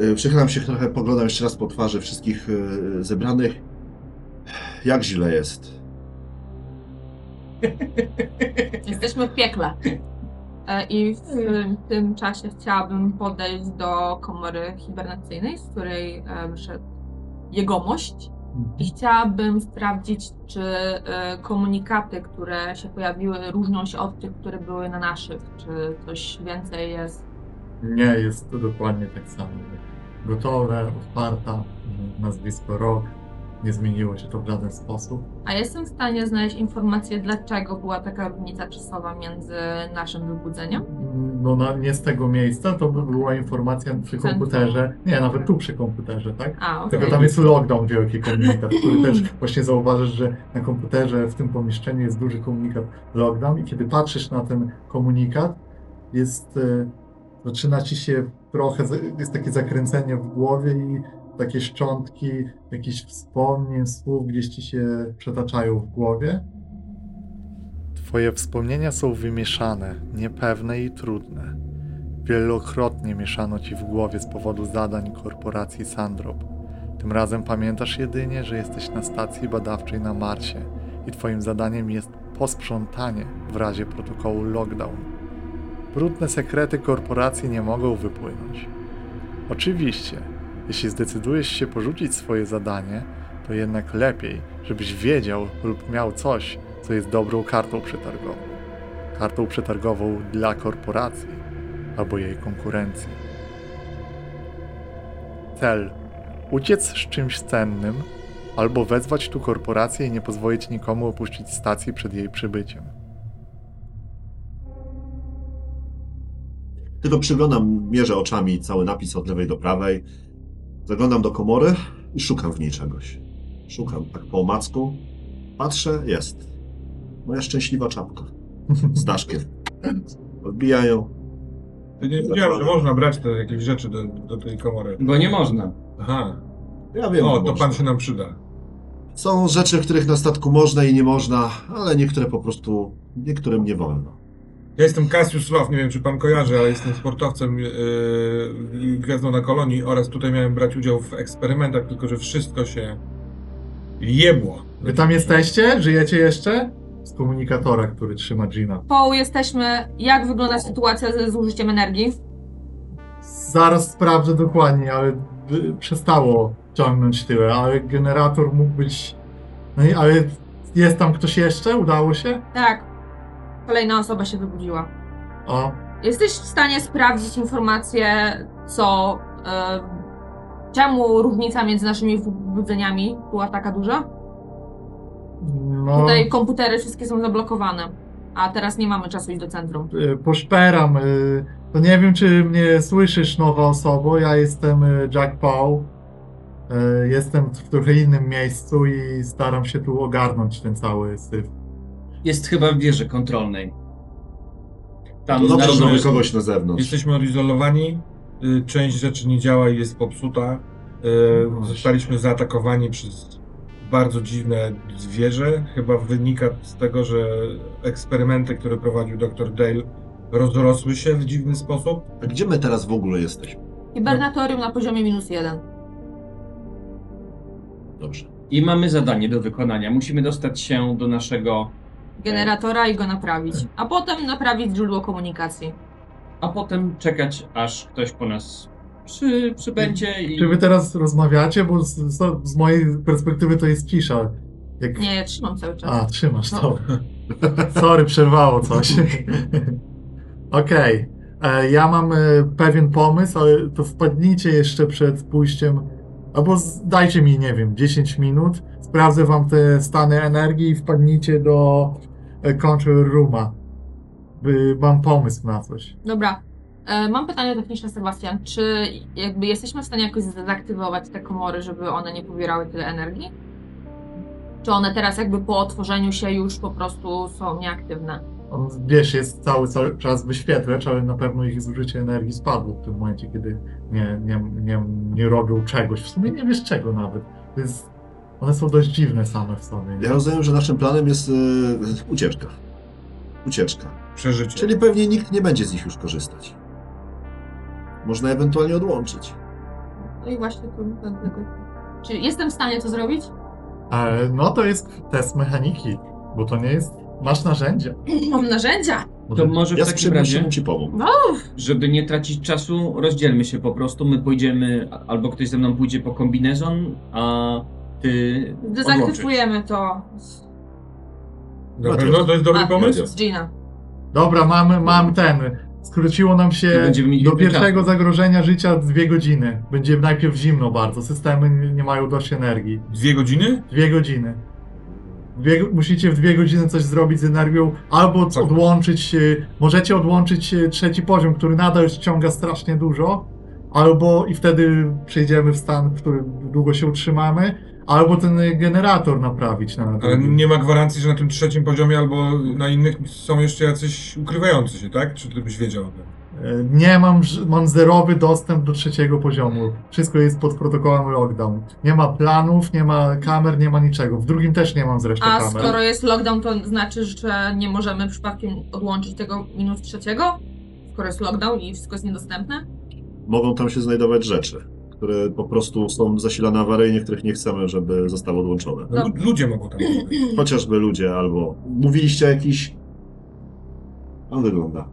[SPEAKER 6] Y, Przychylam się trochę, poglądam jeszcze raz po twarzy wszystkich y, zebranych. Jak źle jest.
[SPEAKER 2] Jesteśmy w piekle. E, I w tym czasie chciałabym podejść do komory hibernacyjnej, z której e, wyszedł jegomość. I chciałabym sprawdzić, czy e, komunikaty, które się pojawiły, różnią się od tych, które były na naszych. Czy coś więcej jest.
[SPEAKER 1] Nie, jest to dokładnie tak samo. Gotowe, otwarta, mm, nazwisko rok. Nie zmieniło się to w żaden sposób.
[SPEAKER 2] A jestem w stanie znaleźć informację, dlaczego była taka różnica czasowa między naszym wybudzeniem.
[SPEAKER 1] No na, nie z tego miejsca, to by była informacja przy
[SPEAKER 2] Centrum.
[SPEAKER 1] komputerze. Nie, nawet tu przy komputerze, tak?
[SPEAKER 2] A, okej.
[SPEAKER 1] Tylko tam jest lockdown wielki komunikat, który też właśnie zauważasz, że na komputerze w tym pomieszczeniu jest duży komunikat lockdown i kiedy patrzysz na ten komunikat, jest, e, zaczyna ci się trochę, za- jest takie zakręcenie w głowie i takie szczątki jakichś wspomnień, słów gdzieś ci się przetaczają w głowie. Twoje wspomnienia są wymieszane, niepewne i trudne. Wielokrotnie mieszano ci w głowie z powodu zadań korporacji Sandrop. Tym razem pamiętasz jedynie, że jesteś na stacji badawczej na Marsie i twoim zadaniem jest posprzątanie w razie protokołu lockdown. Brudne sekrety korporacji nie mogą wypłynąć. Oczywiście, jeśli zdecydujesz się porzucić swoje zadanie, to jednak lepiej, żebyś wiedział lub miał coś, co jest dobrą kartą przetargową. Kartą przetargową dla korporacji albo jej konkurencji. Cel uciec z czymś cennym, albo wezwać tu korporację i nie pozwolić nikomu opuścić stacji przed jej przybyciem.
[SPEAKER 6] Tylko przyglądam, mierzę oczami cały napis od lewej do prawej. Zaglądam do komory i szukam w niej czegoś. Szukam tak po omacku. Patrzę, jest. Moja szczęśliwa czapka. Z daszkiem. Odbijają.
[SPEAKER 3] Ja nie wiedziałem, że można brać te jakieś rzeczy do, do tej komory.
[SPEAKER 5] Bo nie można.
[SPEAKER 3] Aha.
[SPEAKER 6] Ja wiem,
[SPEAKER 3] o,
[SPEAKER 6] że
[SPEAKER 3] to
[SPEAKER 6] można.
[SPEAKER 3] pan się nam przyda.
[SPEAKER 6] Są rzeczy, których na statku można i nie można, ale niektóre po prostu, niektórym nie wolno.
[SPEAKER 3] Ja jestem Cassius Love, nie wiem czy pan kojarzy, ale jestem sportowcem yy, i gwiazdą na kolonii oraz tutaj miałem brać udział w eksperymentach, tylko że wszystko się jebło.
[SPEAKER 1] Wy tam jesteście? Żyjecie jeszcze? Z komunikatora, który trzyma Gina.
[SPEAKER 2] Poł, jesteśmy. Jak wygląda sytuacja ze zużyciem energii?
[SPEAKER 1] Zaraz sprawdzę dokładnie, ale y, przestało ciągnąć tyle, ale generator mógł być... No i, ale jest tam ktoś jeszcze? Udało się?
[SPEAKER 2] Tak. Kolejna osoba się wybudziła.
[SPEAKER 1] O,
[SPEAKER 2] Jesteś w stanie sprawdzić informację, co. E, czemu różnica między naszymi wybudzeniami była taka duża?
[SPEAKER 1] no...
[SPEAKER 2] Tutaj komputery wszystkie są zablokowane, a teraz nie mamy czasu iść do centrum.
[SPEAKER 1] y, poszperam. y, To nie wiem, czy mnie słyszysz, nowa osobo. Ja jestem y, Jack Paul. Y, Jestem w trochę innym miejscu i staram się tu ogarnąć ten cały syf.
[SPEAKER 5] Jest chyba w wieży kontrolnej. Tam
[SPEAKER 6] To dobrze,
[SPEAKER 3] znaczy,
[SPEAKER 6] że
[SPEAKER 5] na
[SPEAKER 6] mamy
[SPEAKER 5] dole-
[SPEAKER 6] kogoś na zewnątrz.
[SPEAKER 3] Jesteśmy odizolowani, y, część rzeczy nie działa i jest popsuta.
[SPEAKER 1] No
[SPEAKER 3] Y,
[SPEAKER 1] właśnie.
[SPEAKER 3] zostaliśmy zaatakowani przez bardzo dziwne zwierzę. Chyba wynika z tego, że eksperymenty, które prowadził dr Dale, rozrosły się w dziwny sposób.
[SPEAKER 6] A gdzie my teraz w ogóle jesteśmy?
[SPEAKER 2] Hibernatorium na poziomie minus jeden.
[SPEAKER 6] Dobrze.
[SPEAKER 5] I mamy zadanie do wykonania. Musimy dostać się do naszego,
[SPEAKER 2] Generatora i go naprawić. A potem naprawić źródło komunikacji.
[SPEAKER 5] a potem czekać, aż ktoś po nas przy, przybędzie i...
[SPEAKER 1] Czy wy teraz rozmawiacie? Bo z, z, z mojej perspektywy to jest cisza. Jak...
[SPEAKER 2] Nie, ja trzymam cały czas.
[SPEAKER 1] A, trzymasz
[SPEAKER 2] No.
[SPEAKER 1] to. Sorry, przerwało coś. Okej. E, Ja mam e, pewien pomysł, ale to wpadnijcie jeszcze przed pójściem. Albo z- dajcie mi, nie wiem, 10 minut. Sprawdzę wam te stany energii i wpadnijcie do e, control rooma. By, mam pomysł na coś.
[SPEAKER 2] Dobra. E, Mam pytanie techniczne, Sebastian. Czy jakby jesteśmy w stanie jakoś zdezaktywować te komory, żeby one nie pobierały tyle energii? Czy one teraz jakby po otworzeniu się już po prostu są nieaktywne?
[SPEAKER 1] On, wiesz, jest cały, cały czas wyświetlacz, ale na pewno ich zużycie energii spadło w tym momencie, kiedy nie, nie, nie, nie robią czegoś. W sumie nie wiesz czego nawet. To jest, one są dość dziwne same w sobie.
[SPEAKER 6] Ja rozumiem, że naszym planem jest y, ucieczka. Ucieczka.
[SPEAKER 3] Przeżycie.
[SPEAKER 6] Czyli pewnie nikt nie będzie z nich już korzystać. Można ewentualnie odłączyć.
[SPEAKER 2] No i właśnie tu dlatego. Czy jestem w stanie to zrobić?
[SPEAKER 1] Ale no to jest test mechaniki, bo to nie jest... Masz narzędzia.
[SPEAKER 2] Mam narzędzia!
[SPEAKER 5] To może w
[SPEAKER 6] Ja z
[SPEAKER 5] takim razie,
[SPEAKER 6] przyjemnością ci pomogę.
[SPEAKER 5] żeby nie tracić czasu, rozdzielmy się po prostu. My pójdziemy, a- albo ktoś ze mną pójdzie po kombinezon, a ty odłączysz.
[SPEAKER 2] Dezaktywujemy to z,
[SPEAKER 3] Na pewno to jest dobry
[SPEAKER 2] A,
[SPEAKER 3] pomysł?
[SPEAKER 2] z Gina.
[SPEAKER 1] Dobra, mam, mam ten. Skróciło nam
[SPEAKER 5] I
[SPEAKER 1] się
[SPEAKER 5] będziemy mieli
[SPEAKER 1] do
[SPEAKER 5] więcej czasu.
[SPEAKER 1] pierwszego zagrożenia życia dwie godziny. Będzie najpierw zimno bardzo, systemy nie- nie mają dość energii.
[SPEAKER 3] Dwie godziny?
[SPEAKER 1] Dwie godziny. Dwie, musicie w dwie godziny coś zrobić z energią, albo
[SPEAKER 3] Tak.
[SPEAKER 1] odłączyć. y, Możecie odłączyć y, trzeci poziom, który nadal ściąga strasznie dużo, albo i wtedy przejdziemy w stan, w którym długo się utrzymamy, albo ten y, generator naprawić na
[SPEAKER 3] Ale nie ma gwarancji, że na tym trzecim poziomie albo na innych są jeszcze jacyś ukrywający się, tak? Czy ty byś wiedział o tym?
[SPEAKER 1] Y, Nie mam, ż- mam zerowy dostęp do trzeciego poziomu. Wszystko jest pod protokołem lockdown. Nie ma planów, nie ma kamer, nie ma niczego. W drugim też nie mam zresztą
[SPEAKER 2] A
[SPEAKER 1] kamer.
[SPEAKER 2] skoro jest lockdown, to znaczy, że nie możemy przypadkiem odłączyć tego minus trzeciego? Skoro jest lockdown i wszystko jest niedostępne?
[SPEAKER 6] Mogą tam się znajdować rzeczy, które po prostu są zasilane awaryjnie, których nie chcemy, żeby zostały odłączone.
[SPEAKER 3] No, lu- ludzie mogą tam być.
[SPEAKER 5] Hmm.
[SPEAKER 6] Chociażby ludzie albo... Mówiliście o jakiś... Pan wygląda.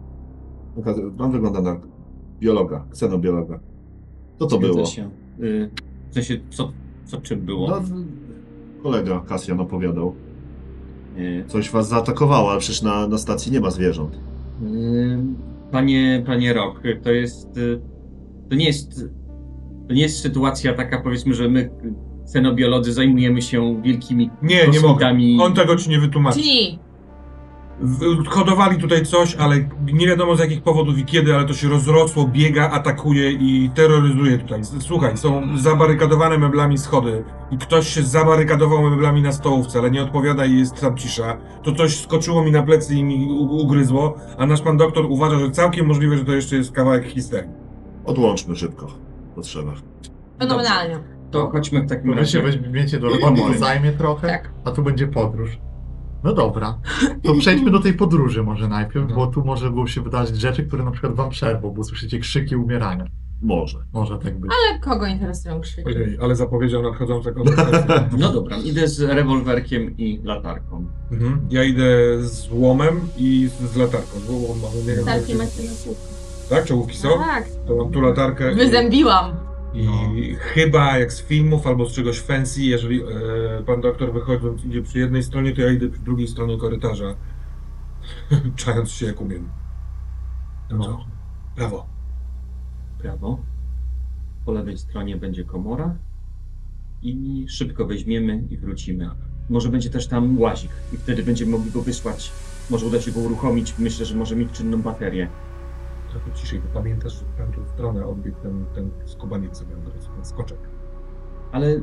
[SPEAKER 6] Oka- Pan wygląda na biologa, ksenobiologa. Co to
[SPEAKER 5] Zgadza
[SPEAKER 6] było?
[SPEAKER 5] Się. Y, W sensie, co, co czym było?
[SPEAKER 6] No, kolega Kasjan opowiadał.
[SPEAKER 5] Y,
[SPEAKER 6] Coś was zaatakowało, ale przecież na, na stacji nie ma zwierząt.
[SPEAKER 5] y, Panie, panie Rok, to jest... y, To nie jest... To nie jest sytuacja taka, powiedzmy, że my, cenobiolodzy, zajmujemy się wielkimi
[SPEAKER 3] Nie, nie mogę.
[SPEAKER 5] kosmitami.
[SPEAKER 3] On tego ci nie wytłumaczy.
[SPEAKER 2] Czyli
[SPEAKER 3] W- Hodowali tutaj coś, ale nie wiadomo z jakich powodów i kiedy, ale to się rozrosło, biega, atakuje i terroryzuje tutaj. S- Słuchaj, są zabarykadowane meblami schody i ktoś się zabarykadował meblami na stołówce, ale nie odpowiada i jest tam cisza. To coś skoczyło mi na plecy i mi u- ugryzło, a nasz pan doktor uważa, że całkiem możliwe, że to jeszcze jest kawałek histerii.
[SPEAKER 6] Odłączmy szybko, potrzeba.
[SPEAKER 2] fenomenalnie.
[SPEAKER 4] To chodźmy w takim
[SPEAKER 1] Wy się
[SPEAKER 4] razie.
[SPEAKER 1] weźmiecie do roboty, to
[SPEAKER 4] Moment.
[SPEAKER 1] zajmie trochę,
[SPEAKER 2] Tak.
[SPEAKER 1] a tu będzie podróż. No dobra, to przejdźmy do tej podróży może najpierw,
[SPEAKER 5] No.
[SPEAKER 1] bo tu może było się wydarzyć rzeczy, które na przykład wam przerwą, bo słyszycie krzyki umierania.
[SPEAKER 6] Może.
[SPEAKER 1] Może tak być.
[SPEAKER 2] Ale kogo interesują krzyki?
[SPEAKER 3] Ojej, ale zapowiedział nadchodzące konsekwencje.
[SPEAKER 4] No dobra, idę z rewolwerkiem i latarką.
[SPEAKER 3] Mhm. Ja idę z łomem i z, z latarką. Bo łom mam, nie wiem,
[SPEAKER 2] Tarki
[SPEAKER 3] jak-
[SPEAKER 2] macie na pół.
[SPEAKER 3] Tak, czołówki są?
[SPEAKER 2] Tak,
[SPEAKER 3] To mam tu latarkę. i-
[SPEAKER 2] wyzębiłam.
[SPEAKER 3] I chyba jak z filmów albo z czegoś fancy, jeżeli e, pan doktor wychodząc idzie przy jednej stronie, to ja idę przy drugiej stronie korytarza. Czając się jak umiem. No. Prawo.
[SPEAKER 4] prawo. Po lewej stronie będzie komora i szybko weźmiemy i wrócimy. Może będzie też tam łazik i wtedy będziemy mogli go wysłać. Może uda się go uruchomić. Myślę, że może mieć czynną baterię.
[SPEAKER 3] Trochę ciszej, bo pamiętasz, że w tamtą stronę odbiegł ten, ten skubaniec sobie od ten skoczek.
[SPEAKER 4] Ale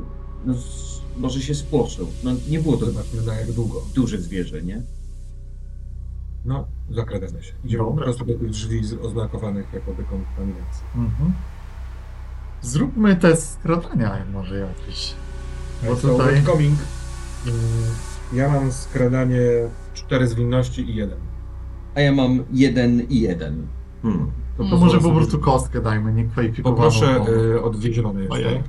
[SPEAKER 4] no, z- może się spłoszył. No nie było to
[SPEAKER 3] Zobaczmy na jak długo.
[SPEAKER 4] duże zwierzę, nie?
[SPEAKER 3] No, zakradamy się. Idziemy po
[SPEAKER 1] Dobra.
[SPEAKER 3] prostu do tych drzwi z- oznakowanych jako dekontaminacja.
[SPEAKER 1] Mhm. Zróbmy test skradania może jakieś. Bo
[SPEAKER 3] So,
[SPEAKER 1] tutaj-
[SPEAKER 3] what's coming? Mm, Ja mam skradanie cztery zwinności i jeden.
[SPEAKER 4] A ja mam jeden i jeden.
[SPEAKER 6] Hmm.
[SPEAKER 1] To
[SPEAKER 2] Mm.
[SPEAKER 1] może po
[SPEAKER 3] sobie-
[SPEAKER 1] prostu kostkę dajmy, nie kwalifikowaną.
[SPEAKER 3] Poproszę
[SPEAKER 1] bo-
[SPEAKER 3] y, od dwie zielone jeszcze.
[SPEAKER 1] Ojej.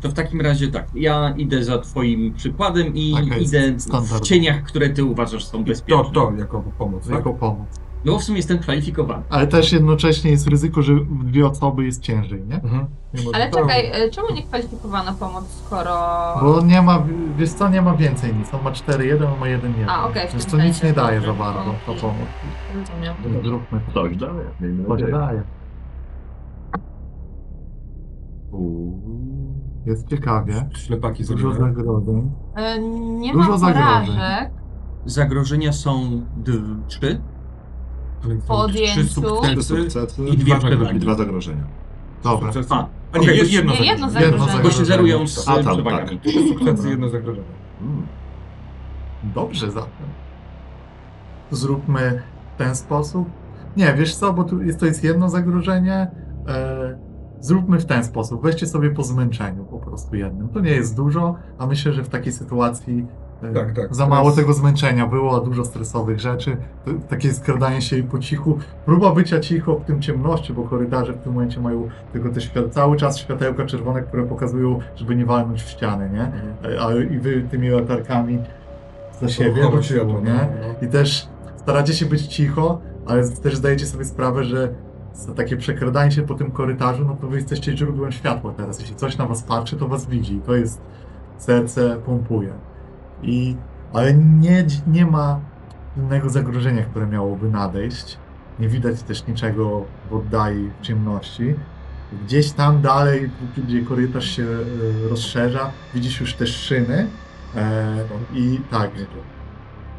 [SPEAKER 4] To w takim razie tak, ja idę za twoim przykładem i
[SPEAKER 1] Taka jest
[SPEAKER 4] idę w
[SPEAKER 1] standard.
[SPEAKER 4] cieniach, które ty uważasz są
[SPEAKER 3] To,
[SPEAKER 4] bezpieczne.
[SPEAKER 3] to jako pomoc. Tak?
[SPEAKER 1] Jako pomoc.
[SPEAKER 4] No bo w sumie jestem kwalifikowany.
[SPEAKER 1] Ale też jednocześnie jest ryzyko, że w dwie osoby jest ciężej, nie?
[SPEAKER 3] Mhm.
[SPEAKER 2] Ale czekaj, e, czemu niekwalifikowana pomoc, skoro...
[SPEAKER 1] Bo nie ma, wiesz co, nie ma więcej nic. On ma 4-1, on ma 1-1.
[SPEAKER 2] A, okej, w
[SPEAKER 1] Więc
[SPEAKER 2] tym
[SPEAKER 1] to nic
[SPEAKER 2] sensie,
[SPEAKER 1] nie daje za
[SPEAKER 2] dobrze.
[SPEAKER 1] bardzo, to
[SPEAKER 2] Okej.
[SPEAKER 1] pomoc.
[SPEAKER 2] Rozumiem.
[SPEAKER 1] Zróbmy to.
[SPEAKER 6] Ktoś daje.
[SPEAKER 1] To
[SPEAKER 6] Miejmy
[SPEAKER 1] się
[SPEAKER 6] nadzieję.
[SPEAKER 1] daje.
[SPEAKER 6] Uuu.
[SPEAKER 1] Jest ciekawie.
[SPEAKER 3] Ślepaki tak? z
[SPEAKER 1] Dużo zagrożeń.
[SPEAKER 2] E, Nie
[SPEAKER 1] Dużo
[SPEAKER 2] ma
[SPEAKER 1] zagrożeń.
[SPEAKER 2] porażek.
[SPEAKER 4] Zagrożenia są d- trzy.
[SPEAKER 2] Po
[SPEAKER 3] Trzy
[SPEAKER 2] odjęciu.
[SPEAKER 6] Trzy
[SPEAKER 3] sukcesy
[SPEAKER 6] sukcesy
[SPEAKER 4] i dwie
[SPEAKER 6] i
[SPEAKER 4] przewagi.
[SPEAKER 6] dwa zagrożenia.
[SPEAKER 1] Dobra.
[SPEAKER 3] Sukcesy.
[SPEAKER 4] A,
[SPEAKER 3] A nie,
[SPEAKER 4] okej,
[SPEAKER 3] jest jedno
[SPEAKER 2] Nie,
[SPEAKER 3] zagrożenie.
[SPEAKER 2] jedno
[SPEAKER 1] Jedno
[SPEAKER 2] zagrożenie.
[SPEAKER 4] Bo się zerują z
[SPEAKER 6] A, tam,
[SPEAKER 4] przewagami.
[SPEAKER 3] Trzy sukcesy, jedno zagrożenie.
[SPEAKER 6] Hmm.
[SPEAKER 1] Dobrze zatem. Zróbmy w ten sposób. Nie, wiesz co, bo tu jest, to jest jedno zagrożenie. E, zróbmy w ten sposób. Weźcie sobie po zmęczeniu po prostu jednym. To nie jest dużo, a myślę, że w takiej sytuacji e,
[SPEAKER 3] Tak, tak.
[SPEAKER 1] za mało
[SPEAKER 3] Teraz-
[SPEAKER 1] tego zmęczenia było, dużo stresowych rzeczy. To, takie skradanie się po cichu. Próba bycia cicho w tym ciemności, bo korytarze w tym momencie mają tylko te świat, cały czas światełka czerwone, które pokazują, żeby nie walnąć w ściany, nie?
[SPEAKER 3] Mhm.
[SPEAKER 1] E, a i wy tymi latarkami za siebie
[SPEAKER 3] Kogo
[SPEAKER 1] do
[SPEAKER 3] się
[SPEAKER 1] tyłu,
[SPEAKER 3] jadło,
[SPEAKER 1] nie?
[SPEAKER 3] no, no.
[SPEAKER 1] I też staracie się być cicho, ale też zdajecie sobie sprawę, że za takie przekradanie się po tym korytarzu, no to wy jesteście źródłem światła teraz. Jeśli coś na was patrzy, to was widzi. To jest serce pompuje. I, ale nie, nie ma innego zagrożenia, które miałoby nadejść. Nie widać też niczego w oddali, w ciemności. Gdzieś tam dalej, gdzie korytarz się e, rozszerza, widzisz już te szyny. E, I tak.